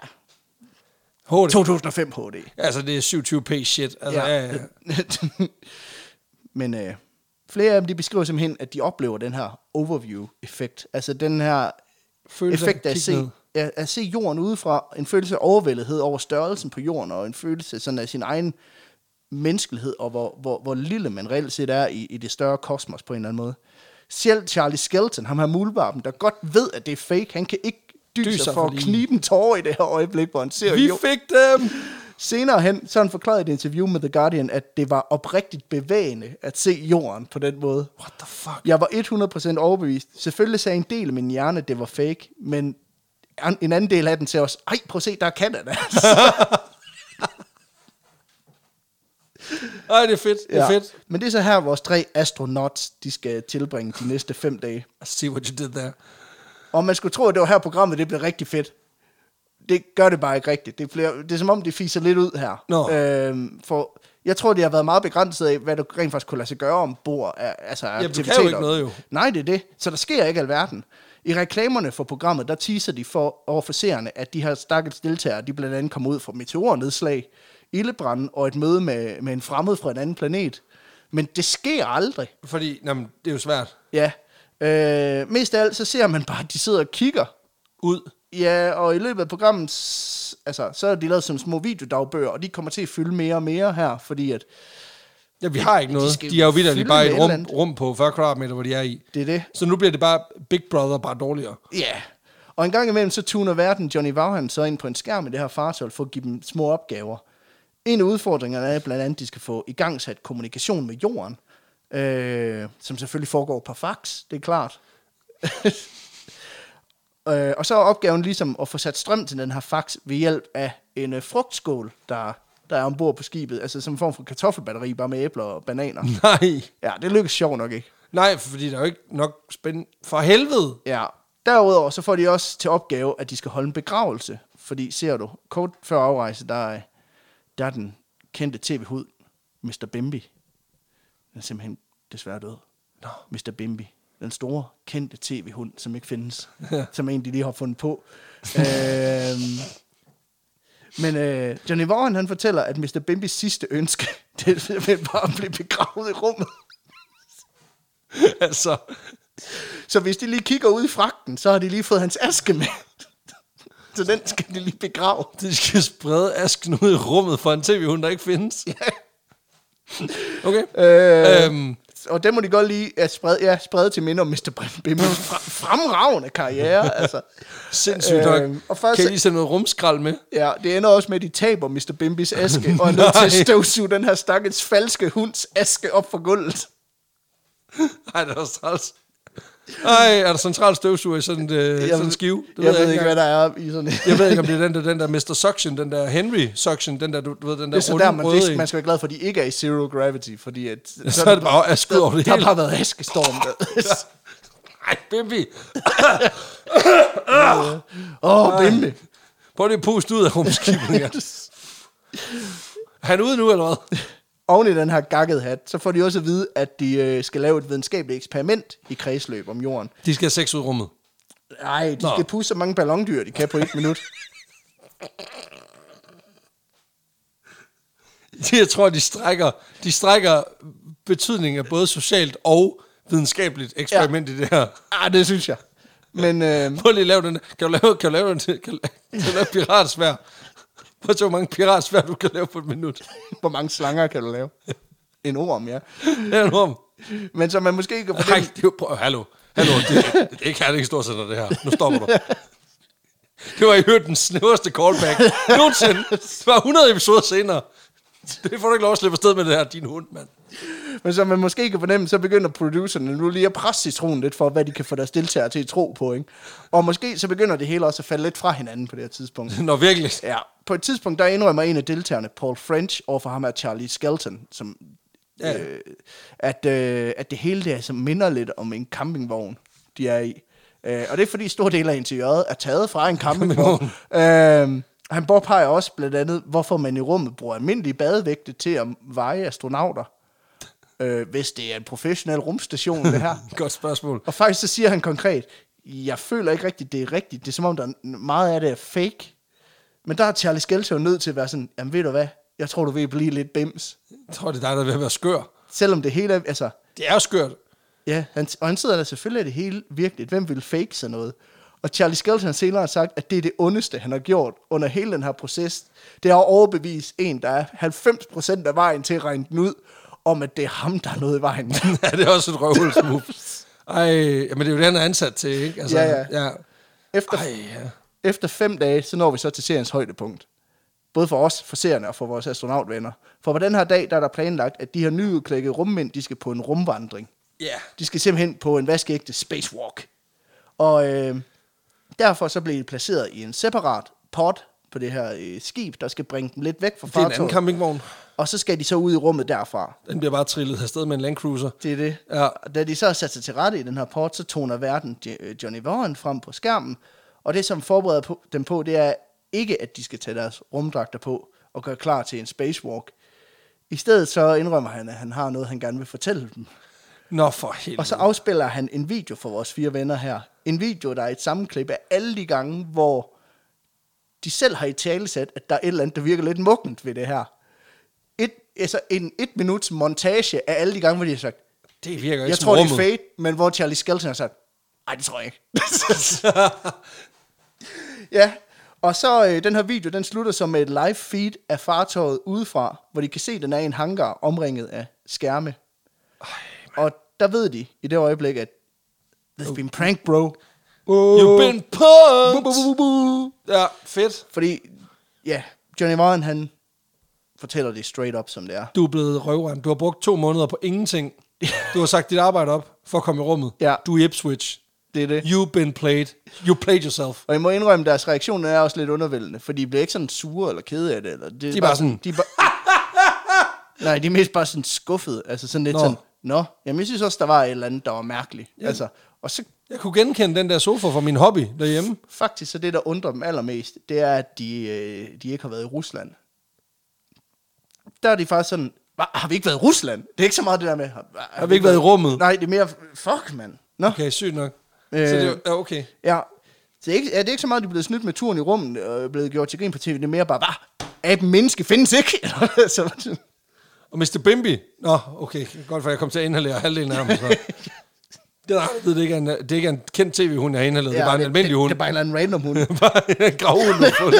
[SPEAKER 1] HD.
[SPEAKER 2] 2005 HD.
[SPEAKER 1] Altså, det er 27p shit. Altså, ja. Ja, ja.
[SPEAKER 2] *laughs* Men øh, flere af dem, de beskriver simpelthen, at de oplever den her overview-effekt. Altså den her
[SPEAKER 1] Følelse af
[SPEAKER 2] effekt af
[SPEAKER 1] at
[SPEAKER 2] at
[SPEAKER 1] kigge
[SPEAKER 2] se, af, at se jorden udefra. En følelse af overvældighed over størrelsen på jorden, og en følelse sådan af sin egen menneskelighed, og hvor, hvor, hvor lille man reelt set er i, i det større kosmos på en eller anden måde. Selv Charlie Skelton, ham her mulvarpen, der godt ved, at det er fake, han kan ikke dyse
[SPEAKER 1] Dyser,
[SPEAKER 2] sig for
[SPEAKER 1] fordi-
[SPEAKER 2] at knibe en tårer i det her øjeblik, hvor han ser
[SPEAKER 1] Vi
[SPEAKER 2] jorden.
[SPEAKER 1] fik dem!
[SPEAKER 2] Senere hen, så han forklarede i et interview med The Guardian, at det var oprigtigt bevægende at se jorden på den måde.
[SPEAKER 1] What the fuck?
[SPEAKER 2] Jeg var 100% overbevist. Selvfølgelig sagde en del af min hjerne, at det var fake, men an- en anden del af den sagde også, ej, prøv at se, der er Canada.
[SPEAKER 1] Ej, det er fedt. Det er ja. fedt.
[SPEAKER 2] Men det er så her, vores tre astronauts, de skal tilbringe de næste fem dage.
[SPEAKER 1] I see what you did there.
[SPEAKER 2] Og man skulle tro, at det var her programmet, det blev rigtig fedt. Det gør det bare ikke rigtigt. Det, bliver, det er som om, det fiser lidt ud her.
[SPEAKER 1] Nå.
[SPEAKER 2] Øhm, for jeg tror, det har været meget begrænset af, hvad du rent faktisk kunne lade sig gøre ombord. Af, altså af
[SPEAKER 1] Jamen, du kan jo
[SPEAKER 2] aktiviteter.
[SPEAKER 1] ikke noget, jo.
[SPEAKER 2] Nej, det er det. Så der sker ikke alverden. I reklamerne for programmet, der teaser de for, over for seerne, at de her stakkels deltagere, de blandt andet kommer ud fra meteornedslag, ildebrand og et møde med, med en fremmed fra en anden planet. Men det sker aldrig.
[SPEAKER 1] Fordi, jamen, det er jo svært.
[SPEAKER 2] Ja. Øh, mest af alt, så ser man bare, at de sidder og kigger
[SPEAKER 1] Ud.
[SPEAKER 2] Ja, og i løbet af programmet, s- altså, så er de lavet som små videodagbøger, og de kommer til at fylde mere og mere her, fordi at
[SPEAKER 1] Ja, vi har ikke
[SPEAKER 2] De
[SPEAKER 1] noget.
[SPEAKER 2] skal
[SPEAKER 1] De, de er jo vidderligt
[SPEAKER 2] fylde
[SPEAKER 1] bare i et
[SPEAKER 2] med et
[SPEAKER 1] rum,
[SPEAKER 2] eller andet.
[SPEAKER 1] rum på 40 kvadratmeter, hvor de er i.
[SPEAKER 2] Det er det.
[SPEAKER 1] Så nu bliver det bare Big Brother, bare dårligere. *laughs*
[SPEAKER 2] Ja. Yeah. Og en gang imellem, så tuner verden Johnny Vaughan så ind på en skærm i det her fartøj for at give dem små opgaver. En af udfordringerne er blandt andet, at de skal få igangsat kommunikation med jorden, øh, som selvfølgelig foregår på fax, det er klart. *laughs* øh, og så er opgaven ligesom at få sat strøm til den her fax ved hjælp af en øh, frugtskål, der, der er ombord på skibet, altså som en form for kartoffelbatteri, bare med æbler og bananer.
[SPEAKER 1] Nej.
[SPEAKER 2] Ja, det lykkes sjovt nok ikke.
[SPEAKER 1] Nej, fordi der er jo ikke nok spændende. For helvede! *laughs*
[SPEAKER 2] Ja. Derudover så får de også til opgave, at de skal holde en begravelse. Fordi ser du, kort før afrejse, der er, der er den kendte tv-hud, Mr. Bimbi. Den er simpelthen desværre død.
[SPEAKER 1] Nå.
[SPEAKER 2] Mr. Bimbi. Den store, kendte tv-hund, som ikke findes. som en, de lige har fundet på. øhm, men øh, Johnny Vaughan, han fortæller, at Mr. Bimbis sidste ønske, *laughs* det er simpelthen bare at blive begravet i rummet.
[SPEAKER 1] altså,
[SPEAKER 2] Så hvis de lige kigger ud i fragten, så har de lige fået hans aske med. Så den skal de lige begrave.
[SPEAKER 1] de skal sprede asken ud i rummet for en tv-hund, der ikke findes. Okay.
[SPEAKER 2] Øh,
[SPEAKER 1] Øhm,
[SPEAKER 2] og den må de godt lige at sprede, ja, sprede til minde om Mr.
[SPEAKER 1] Mm.
[SPEAKER 2] Bimbos fremragende karriere. Altså.
[SPEAKER 1] sindssygt
[SPEAKER 2] øhm,
[SPEAKER 1] nok.
[SPEAKER 2] og først-
[SPEAKER 1] kan I lige sende noget rumskrald med?
[SPEAKER 2] Ja, det ender også med, at de taber Mr. Bimbis aske, og er nødt til at
[SPEAKER 1] Nej.
[SPEAKER 2] støvsuge den her stakkels falske hunds aske op for gulvet.
[SPEAKER 1] Ej, det er også træls. Ej, er der central støvsuger i sådan, øh, sådan en skive?
[SPEAKER 2] Det jeg, jeg ved ikke,
[SPEAKER 1] engang.
[SPEAKER 2] hvad der er i sådan *laughs*
[SPEAKER 1] Jeg ved ikke, om det er den der, den der Mr. Suction, den der Henry Suction, den der, du, du ved, den der
[SPEAKER 2] Det er så der, man,
[SPEAKER 1] røde
[SPEAKER 2] det,
[SPEAKER 1] en.
[SPEAKER 2] man skal være glad for, at de ikke er i zero gravity, fordi at,
[SPEAKER 1] Ja, *laughs* så er det bare aske ud over det
[SPEAKER 2] der, der
[SPEAKER 1] hele.
[SPEAKER 2] har bare været askestorm. Der.
[SPEAKER 1] Ej, Bimbi.
[SPEAKER 2] Åh, oh, Bimbi.
[SPEAKER 1] Prøv lige at puste ud af rumskibet. Ja. Er Han er ude nu, eller hvad?
[SPEAKER 2] Oven i den her gakkede hat, så får de også at vide, at de øh, skal lave et videnskabeligt eksperiment i kredsløb om jorden.
[SPEAKER 1] De skal have sex ud i rummet. *laughs*
[SPEAKER 2] Nej, de
[SPEAKER 1] Nå.
[SPEAKER 2] Nå. skal pusse så mange ballondyr, de kan på et minut.
[SPEAKER 1] Jeg tror, de strækker, de strækker betydningen af både socialt og videnskabeligt eksperiment ja. i det her.
[SPEAKER 2] *laughs* Ah, det synes jeg. Men øh,
[SPEAKER 1] Prøv lige at lave den der. Kan du lave, kan du lave den til- kan du lave, kan du lave piratsvær? Prøv at se, hvor mange piratsvær, du kan lave på et minut.
[SPEAKER 2] hvor mange slanger kan du lave? En orm, ja.
[SPEAKER 1] Det er en rum.
[SPEAKER 2] Men så man måske ikke kan
[SPEAKER 1] Nej,
[SPEAKER 2] fornemme...
[SPEAKER 1] det er jo... Prøv, hallo. Hallo, det, det er ikke Herning Storcenter, det her. Nu stopper du. Det var i øvrigt den snæverste callback nogensinde. Det var 100 episoder senere. Det får du ikke lov at slippe afsted med det her, din hund, mand.
[SPEAKER 2] Men som man måske kan fornemme, så begynder producerne nu lige at presse citronen lidt for, hvad de kan få deres deltagere til at tro på. Ikke? Og måske så begynder det hele også at falde lidt fra hinanden på det her tidspunkt.
[SPEAKER 1] Nå, virkelig.
[SPEAKER 2] Ja, på et tidspunkt, der indrømmer en af deltagerne, Paul French, overfor ham er Charlie Skelton, som,
[SPEAKER 1] Ja.
[SPEAKER 2] ja. øh, at, øh, at det hele der som minder lidt om en campingvogn, de er i. Øh, og det er fordi, stor del af interiøret er taget fra en campingvogn. øh, han påpeger også blandt andet, hvorfor man i rummet bruger almindelige badevægte til at veje astronauter, øh, hvis det er en professionel rumstation, det *laughs* her.
[SPEAKER 1] Godt spørgsmål.
[SPEAKER 2] Og faktisk så siger han konkret, jeg føler ikke rigtigt, det er rigtigt. Det er som om, der er n- meget af det er fake. Men der er Charlie Skelton nødt til at være sådan, jamen ved du hvad, jeg tror, du vil blive lidt bims.
[SPEAKER 1] Jeg tror, det er dig, der er ved at være skør.
[SPEAKER 2] Selvom det hele er, altså,
[SPEAKER 1] Det er jo skørt. *laughs*
[SPEAKER 2] ja, han, og han sidder der selvfølgelig, at det hele virkeligt. Hvem vil fake sådan noget? Og Charlie Skelton har senere sagt, at det er det ondeste, han har gjort under hele den her proces. Det er at overbevise en, der er 90% af vejen til at regne den ud, om at det er ham, der er noget i vejen. *laughs*
[SPEAKER 1] ja, det er også et røvhulsmove. Ej, men det er jo det, han er ansat til, ikke? Altså,
[SPEAKER 2] Ja, ja.
[SPEAKER 1] ja.
[SPEAKER 2] Efter,
[SPEAKER 1] Ej, ja.
[SPEAKER 2] Efter fem dage, så når vi så til seriens højdepunkt. Både for os, for seerne og for vores astronautvenner. For på den her dag, der er der planlagt, at de her nyudklækkede rummænd, de skal på en rumvandring.
[SPEAKER 1] Ja.
[SPEAKER 2] De skal simpelthen på en vaskeægte spacewalk. Og øh, derfor så blev de placeret i en separat pod på det her øh, skib, der skal bringe dem lidt væk fra
[SPEAKER 1] Det er en anden
[SPEAKER 2] fartøjet.
[SPEAKER 1] campingvogn.
[SPEAKER 2] Og så skal de så ud i rummet derfra.
[SPEAKER 1] Den bliver bare trillet afsted med en landcruiser.
[SPEAKER 2] Det er det.
[SPEAKER 1] Ja.
[SPEAKER 2] Og Da de så har sat sig til rette i den her port, så toner verden Jo- øh, Johnny Vaughan frem på skærmen. Og det, som forbereder på, dem på, det er ikke, at de skal tage deres rumdragter på og gøre klar til en spacewalk. I stedet så indrømmer han, at han har noget, han gerne vil fortælle dem.
[SPEAKER 1] Nå, for helvede.
[SPEAKER 2] Og så afspiller han en video for vores fire venner her. En video, der er et sammenklip af alle de gange, hvor de selv har i talesat, at der er et eller andet, der virker lidt muggent ved det her. Et, altså en et minuts montage af alle de gange, hvor de har sagt,
[SPEAKER 1] Det virker ikke
[SPEAKER 2] jeg
[SPEAKER 1] som
[SPEAKER 2] tror, det er
[SPEAKER 1] rummet.
[SPEAKER 2] fake, men hvor
[SPEAKER 1] *laughs*
[SPEAKER 2] *laughs* Charlie Skelton har sagt, nej, det tror jeg ikke. ja, Og så øh, den her video, den slutter som med et live feed af fartøjet udefra, hvor de kan se, at den er i en hangar omringet af skærme. Ej, og der ved de i det øjeblik, at there's been prank, bro.
[SPEAKER 1] Oh. You've been
[SPEAKER 2] Bu, bu,
[SPEAKER 1] punked!
[SPEAKER 2] bu, bu.
[SPEAKER 1] Ja, fedt.
[SPEAKER 2] Fordi, ja, Johnny Warren, han fortæller det straight up, som det er.
[SPEAKER 1] Du er blevet røveren. Du har brugt to måneder på
[SPEAKER 2] *laughs*
[SPEAKER 1] ingenting. Du har sagt dit arbejde op for at komme i rummet.
[SPEAKER 2] Ja.
[SPEAKER 1] Du er i Ipswich.
[SPEAKER 2] Det er det.
[SPEAKER 1] You've been played. You played yourself.
[SPEAKER 2] Og jeg må indrømme, at deres reaktion er også lidt undervældende, for de bliver ikke sådan sure eller kede af det. Eller det
[SPEAKER 1] De er bare sådan-
[SPEAKER 2] De er bare, *laughs* nej, de er mest bare sådan skuffede. Altså sådan lidt
[SPEAKER 1] Nå.
[SPEAKER 2] Nå. sådan, Nå, jamen, jeg synes også, der var et eller andet, der var mærkeligt. Ja. Altså, og så
[SPEAKER 1] Jeg kunne genkende den der sofa fra min hobby derhjemme.
[SPEAKER 2] faktisk, så det, der undrer dem allermest, det er, at de, øh, de ikke har været i Rusland. Der er de faktisk sådan, "Hva? har vi ikke været i Rusland? Det er ikke så meget det der med, har, har,
[SPEAKER 1] vi ikke været i rummet?
[SPEAKER 2] Nej, det er mere, fuck, mand. Nå,
[SPEAKER 1] Okay, sygt nok.
[SPEAKER 2] Øh.
[SPEAKER 1] Så det er- ja, okay.
[SPEAKER 2] Ja. Så det er ikke, ja, det er ikke så meget, at de er blevet snydt med turen i rummet og blevet gjort til grin på tv. Det er mere bare, hvad? Aben menneske findes ikke. *laughs* Eller så,
[SPEAKER 1] Og Mr. Bimby. Nå, okay. Godt, for jeg kom til at inhalere halvdelen af ham.
[SPEAKER 2] *laughs*
[SPEAKER 1] Så. Det er, det, er ikke en, det er ikke en kendt tv-hund, jeg har inhaleret. det er bare en almindelig
[SPEAKER 2] det,
[SPEAKER 1] hund.
[SPEAKER 2] Det er bare en eller anden random
[SPEAKER 1] *laughs*
[SPEAKER 2] hund.
[SPEAKER 1] bare en gravhund, du har
[SPEAKER 2] *laughs*
[SPEAKER 1] fået.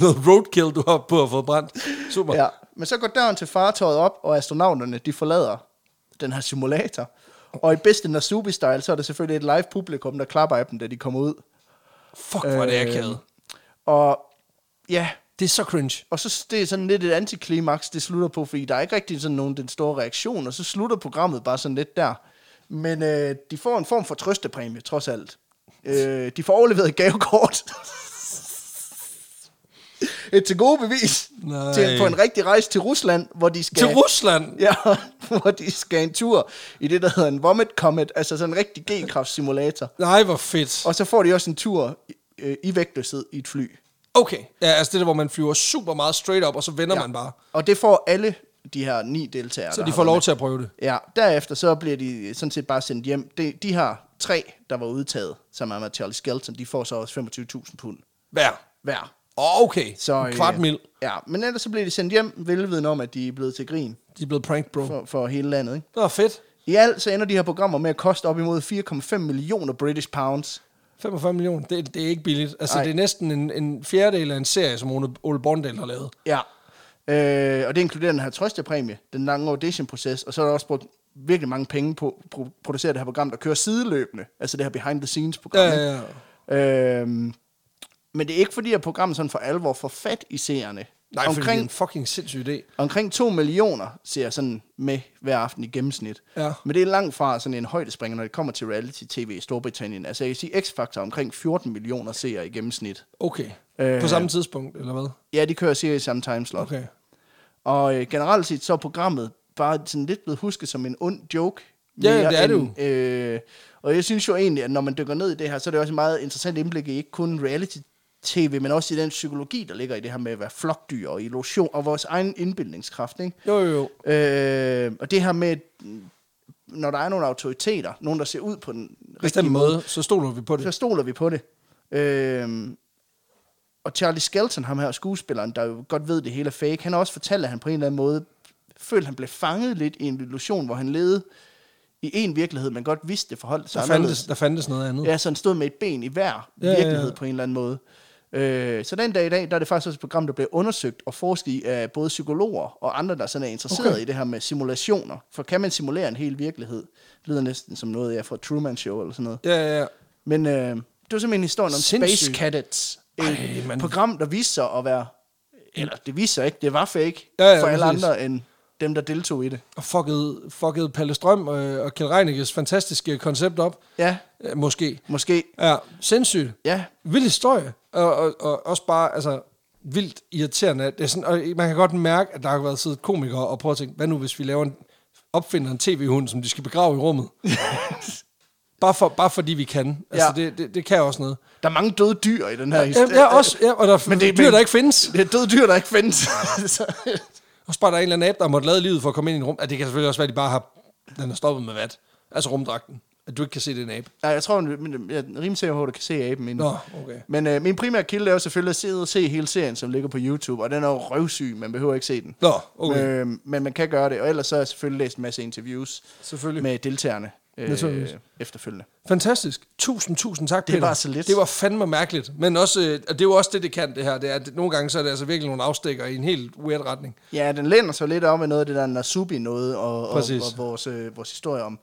[SPEAKER 1] Noget roadkill, du har på at få brændt. Super.
[SPEAKER 2] ja. Men så går døren til fartøjet op, og astronauterne de forlader den her simulator. Og i bedste Nasubi-style, så er der selvfølgelig et live publikum, der klapper af dem, da de kommer ud.
[SPEAKER 1] Fuck, hvor er det akavet.
[SPEAKER 2] Og ja,
[SPEAKER 1] Det er så cringe.
[SPEAKER 2] og Øhm, så det er sådan lidt et antiklimaks, det slutter på, fordi der er ikke rigtig sådan nogen den store reaktion, og så slutter programmet bare sådan lidt der. Men øh, de får en form for trøstepræmie, trods alt. Øh, de får overleveret et gavekort. et til gode bevis
[SPEAKER 1] Nej.
[SPEAKER 2] til, på en rigtig rejse til Rusland, hvor de skal...
[SPEAKER 1] Til Rusland?
[SPEAKER 2] Ja, *laughs* hvor de skal en tur i det, der hedder en vomit comet, altså sådan en rigtig G-kraft-simulator.
[SPEAKER 1] Nej, hvor fedt.
[SPEAKER 2] Og så får de også en tur i, øh, i vægtløshed i et fly.
[SPEAKER 1] Okay. Ja, altså det der, hvor man flyver super meget straight op, og så vender ja. man bare.
[SPEAKER 2] Og det får alle de her ni deltagere.
[SPEAKER 1] Så
[SPEAKER 2] der
[SPEAKER 1] de
[SPEAKER 2] har
[SPEAKER 1] får
[SPEAKER 2] været
[SPEAKER 1] lov
[SPEAKER 2] med.
[SPEAKER 1] til at prøve det.
[SPEAKER 2] Ja, derefter så bliver de sådan set bare sendt hjem. De, de har tre, der var udtaget, som er med Charlie Skelton, de får så også 25.000 pund
[SPEAKER 1] Hver.
[SPEAKER 2] hver.
[SPEAKER 1] Åh, okay.
[SPEAKER 2] Så, øh,
[SPEAKER 1] Så, en kvart mil.
[SPEAKER 2] Ja, men ellers så bliver de sendt hjem, velviden om, at de er blevet til grin
[SPEAKER 1] De er blevet prank, bro.
[SPEAKER 2] for, for hele landet. Ikke?
[SPEAKER 1] Nå, fedt.
[SPEAKER 2] I alt så ender de her programmer med at koste op imod 4,5 millioner British pounds.
[SPEAKER 1] 45 millioner, det, det er ikke billigt. Altså,
[SPEAKER 2] Nej.
[SPEAKER 1] Ej. det er næsten en, en fjerdedel af en serie, som Ole, Ole Borndal har lavet.
[SPEAKER 2] Ja. Øh, og det inkluderer den her trøstepræmie, den lange audition-proces, og så er der også brugt virkelig mange penge på at pro- producere det her program, der kører sideløbende, altså det her behind-the-scenes-program.
[SPEAKER 1] Ja, ja,
[SPEAKER 2] ja. Øhm, men det er ikke fordi, at programmet sådan for alvor får fat i seerne.
[SPEAKER 1] Nej, Omkring... fordi det er en
[SPEAKER 2] omkring,
[SPEAKER 1] fucking sindssyg idé.
[SPEAKER 2] omkring 2 millioner ser sådan med hver aften i gennemsnit.
[SPEAKER 1] Ja.
[SPEAKER 2] Men det er langt fra sådan en højdespringer, når det kommer til reality-tv i Storbritannien. Altså jeg kan sige, X-Factor er omkring 14 millioner seere i gennemsnit.
[SPEAKER 1] Okay.
[SPEAKER 2] Øh.
[SPEAKER 1] Øh... På samme tidspunkt, eller hvad?
[SPEAKER 2] Ja, de kører serier i samme timeslot.
[SPEAKER 1] Okay.
[SPEAKER 2] Og øh, generelt set så er programmet bare sådan lidt blevet husket som en ond joke.
[SPEAKER 1] Ja, ja, det er det
[SPEAKER 2] det jo. Øh, og jeg synes jo egentlig, at når man dykker ned i det her, så er det også et meget interessant indblik i ikke kun reality-tv, men også i den psykologi, der ligger i det her med at være flokdyr og illusion og vores egen indbildningskraft. Ikke?
[SPEAKER 1] Jo, jo, jo.
[SPEAKER 2] Øh, og det her med, mm, når der er nogle autoriteter, nogen, der ser ud på den rigtige
[SPEAKER 1] Bestemt
[SPEAKER 2] måde,
[SPEAKER 1] måde, så stoler vi på det.
[SPEAKER 2] så stoler vi på det. Øhm, og Charlie Skelton, ham her skuespilleren, der jo godt ved, det hele er fake, han har også fortalt, at han på en eller anden måde følte, han blev fanget lidt i en illusion, hvor han levede i en virkelighed, man godt vidste, det forholdt sig
[SPEAKER 1] Der
[SPEAKER 2] anderledes.
[SPEAKER 1] fandtes, der fandtes noget andet.
[SPEAKER 2] Ja, så han stod med et ben i hver
[SPEAKER 1] Ja, ja, ja.
[SPEAKER 2] virkelighed på en eller anden måde. Øh, så den dag i dag, der er det faktisk også et program, der bliver undersøgt og forsket i af både psykologer og andre, der sådan er interesseret okay.
[SPEAKER 1] Okay.
[SPEAKER 2] i det her med simulationer. For kan man simulere en hel virkelighed? Det lyder næsten som noget, jeg er fra Truman Show eller sådan noget.
[SPEAKER 1] Ja, ja, ja.
[SPEAKER 2] Men øh, det var simpelthen historien om Sindssygt.
[SPEAKER 1] Sindssygt.
[SPEAKER 2] Space Cadets. Et
[SPEAKER 1] Ej,
[SPEAKER 2] Ej,
[SPEAKER 1] man-
[SPEAKER 2] program, der viste sig at være... Eller det viste sig ikke, det var fake
[SPEAKER 1] Ja, ja,
[SPEAKER 2] for alle
[SPEAKER 1] præcis.
[SPEAKER 2] andre end dem, der deltog i det.
[SPEAKER 1] Og fuckede, fuckede Palle Strøm øh, og Kjell Reinicke's fantastiske koncept op.
[SPEAKER 2] Ja,
[SPEAKER 1] Øh, måske.
[SPEAKER 2] måske.
[SPEAKER 1] Ja, sindssygt.
[SPEAKER 2] Ja,
[SPEAKER 1] Vild historie. Og, og, og også bare, altså, vildt irriterende. Det er sådan, og man kan godt mærke, at der har været siddet komikere og prøvet at tænke, hvad nu hvis vi laver en, opfinder en tv-hund, som de skal begrave i
[SPEAKER 2] *laughs*
[SPEAKER 1] rummet? bare, for, bare fordi vi kan. Altså,
[SPEAKER 2] Ja.
[SPEAKER 1] ja. det, det, det kan også noget.
[SPEAKER 2] der er mange døde dyr i den her
[SPEAKER 1] Ja,
[SPEAKER 2] historie.
[SPEAKER 1] ja også. Ja, og der er
[SPEAKER 2] Men
[SPEAKER 1] men
[SPEAKER 2] det er-
[SPEAKER 1] det, dyr,
[SPEAKER 2] men-
[SPEAKER 1] der ikke findes.
[SPEAKER 2] *laughs* Det er døde dyr, der ikke findes. *laughs* Så-
[SPEAKER 1] Og bare der er en eller anden app, der måtte lade livet for at komme ind i en rum. Ja, det kan selvfølgelig også være, at de bare har, den er stoppet med vat. Altså rumdragten. At du ikke kan se den abe.
[SPEAKER 2] Nej, jeg tror, men jeg er rimelig sikker på, at du kan se aben endnu.
[SPEAKER 1] Nå, okay.
[SPEAKER 2] Men øh, min primære kilde er jo selvfølgelig at sidde og se hele serien, som ligger på YouTube, og den er jo røvsyg, man behøver ikke se den.
[SPEAKER 1] Nå, okay. Øh,
[SPEAKER 2] Øh, men man kan gøre det, og ellers så har jeg selvfølgelig læst en masse interviews
[SPEAKER 1] Selvfølgelig.
[SPEAKER 2] med deltagerne øh,
[SPEAKER 1] Naturligvis.
[SPEAKER 2] efterfølgende.
[SPEAKER 1] Fantastisk. Tusind, tusind tak,
[SPEAKER 2] Det
[SPEAKER 1] Peter.
[SPEAKER 2] var så lidt.
[SPEAKER 1] Det var fandme mærkeligt. Men også, øh, og det er jo også det, det kan, det her. Det er, at nogle gange så er det altså virkelig nogle afstikker i en helt weird retning.
[SPEAKER 2] Ja, den læner sig lidt op med noget af det der Nasubi noget, og, og,
[SPEAKER 1] Præcis.
[SPEAKER 2] og vores, øh, vores historie om,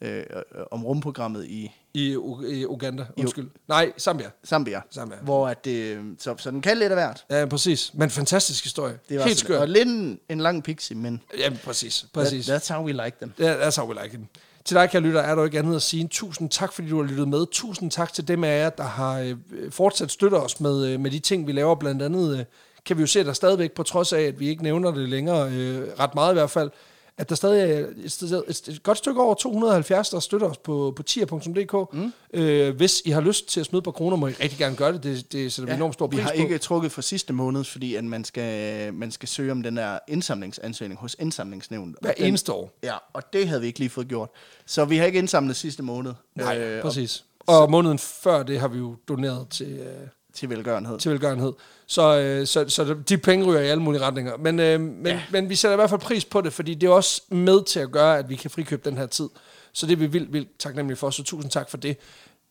[SPEAKER 2] øh, øh, om rumprogrammet i
[SPEAKER 1] I, U- i Uganda, undskyld. Nej, Zambia.
[SPEAKER 2] Zambia.
[SPEAKER 1] Zambia.
[SPEAKER 2] Hvor at det, så, så den kan lidt af hvert.
[SPEAKER 1] Ja, præcis. Men fantastisk historie.
[SPEAKER 2] Det
[SPEAKER 1] Det
[SPEAKER 2] var
[SPEAKER 1] var helt
[SPEAKER 2] sådan- Og
[SPEAKER 1] skørt.
[SPEAKER 2] lidt en, en lang pixie, men
[SPEAKER 1] Ja, præcis. præcis.
[SPEAKER 2] that, that's how we like them.
[SPEAKER 1] Ja, that's how we like it. Til dig, kære lytter, er der jo ikke andet at sige. Tusind tak, fordi du har lyttet med. Tusind tak til dem af jer, der har øh, fortsat støttet os med, øh, med de ting, vi laver. Blandt andet øh, kan vi jo se, at der stadigvæk, på trods af, at vi ikke nævner det længere, øh, ret meget i hvert fald, at der stadig er et, sted- et, et godt stykke over 270, der støtter os på, på tier.dk. Mm. Øh, hvis I har lyst til at smide på kroner, må I rigtig gerne gøre det. Det, det sætter vi enormt stor
[SPEAKER 2] vi
[SPEAKER 1] pris
[SPEAKER 2] har
[SPEAKER 1] på.
[SPEAKER 2] ikke trukket for sidste måned, fordi at man, skal, man skal søge om den der indsamlingsansøgning hos indsamlingsnævnet.
[SPEAKER 1] Hver
[SPEAKER 2] Og den,
[SPEAKER 1] eneste år.
[SPEAKER 2] Ja, og det havde vi ikke lige fået gjort. Så vi har ikke indsamlet sidste måned
[SPEAKER 1] Nej,
[SPEAKER 2] øh,
[SPEAKER 1] øh,
[SPEAKER 2] op
[SPEAKER 1] præcis. Og måneden før det har vi jo doneret til... Øh,
[SPEAKER 2] til velgørenhed.
[SPEAKER 1] til velgørenhed. Så, øh, så, så de penge ryger i alle mulige retninger. Men, øh, men, ja. men vi sætter i hvert fald pris på det, fordi det er også med til at gøre, at vi kan frikøbe den her tid. Så det er vi vildt, vildt taknemmelige for, så tusind tak for det.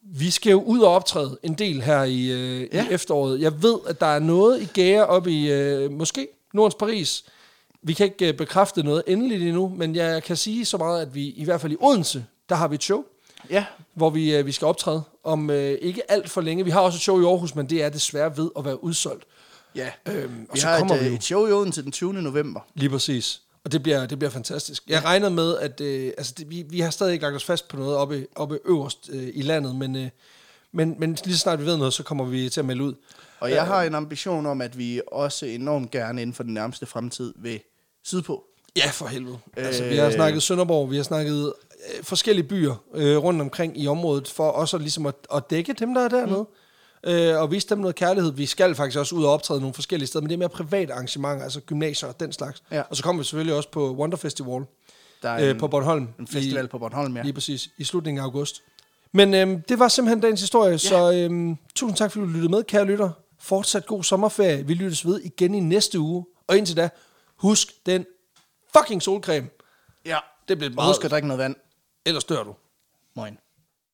[SPEAKER 1] Vi skal jo ud og optræde en del her i, øh, ja.
[SPEAKER 2] Ja.
[SPEAKER 1] i efteråret. Jeg ved, at der er noget i gære oppe i, øh, måske, Nordens Paris. Vi kan ikke øh, bekræfte noget endeligt endnu, men jeg kan sige så meget, at vi i hvert fald i Odense, der har vi et show
[SPEAKER 2] Ja,
[SPEAKER 1] hvor vi, øh, vi skal optræde om øh, ikke alt for længe. Vi har også et show i Aarhus, men det er desværre ved at være udsolgt.
[SPEAKER 2] ja.
[SPEAKER 1] Øhm, og
[SPEAKER 2] Vi
[SPEAKER 1] så
[SPEAKER 2] har
[SPEAKER 1] kommer
[SPEAKER 2] et,
[SPEAKER 1] vi
[SPEAKER 2] øh,
[SPEAKER 1] jo.
[SPEAKER 2] et show i Odense den 20. november.
[SPEAKER 1] Lige præcis. Og det bliver, det bliver fantastisk. Jeg regner med, at øh, altså, det, vi, vi har stadig ikke lagt os fast på noget oppe, oppe øverst øh, i landet, men, øh, men, men lige så snart vi ved noget, så kommer vi til at melde ud.
[SPEAKER 2] Og jeg har en ambition om, at vi også enormt gerne inden for den nærmeste fremtid vil sydpå.
[SPEAKER 1] Ja, for helvede. Altså, vi
[SPEAKER 2] Øh.
[SPEAKER 1] har snakket Sønderborg, vi har snakket øh, forskellige byer øh, rundt omkring i området, for også at, ligesom at, at dække dem, der er dernede, mm. øh, og vise dem noget kærlighed. Vi skal faktisk også ud og optræde nogle forskellige steder, men det er mere private arrangementer, altså gymnasier og den slags.
[SPEAKER 2] Ja.
[SPEAKER 1] Og så kommer vi selvfølgelig også på Wonder Festival
[SPEAKER 2] Der er
[SPEAKER 1] øh,
[SPEAKER 2] en-
[SPEAKER 1] på Bornholm.
[SPEAKER 2] En festival
[SPEAKER 1] i,
[SPEAKER 2] på Bornholm, ja.
[SPEAKER 1] Lige præcis, i slutningen af august. Men øhm, det var simpelthen dagens historie, ja. så øhm, tusind tak, fordi du lyttede med, kære lytter. Fortsat god sommerferie. Vi lyttes ved igen i næste uge. Og indtil da, husk den fucking solcreme.
[SPEAKER 2] Ja.
[SPEAKER 1] Det blev
[SPEAKER 2] Og
[SPEAKER 1] meget...
[SPEAKER 2] husk at drikke noget vand.
[SPEAKER 1] Ellers dør du.
[SPEAKER 2] Moin.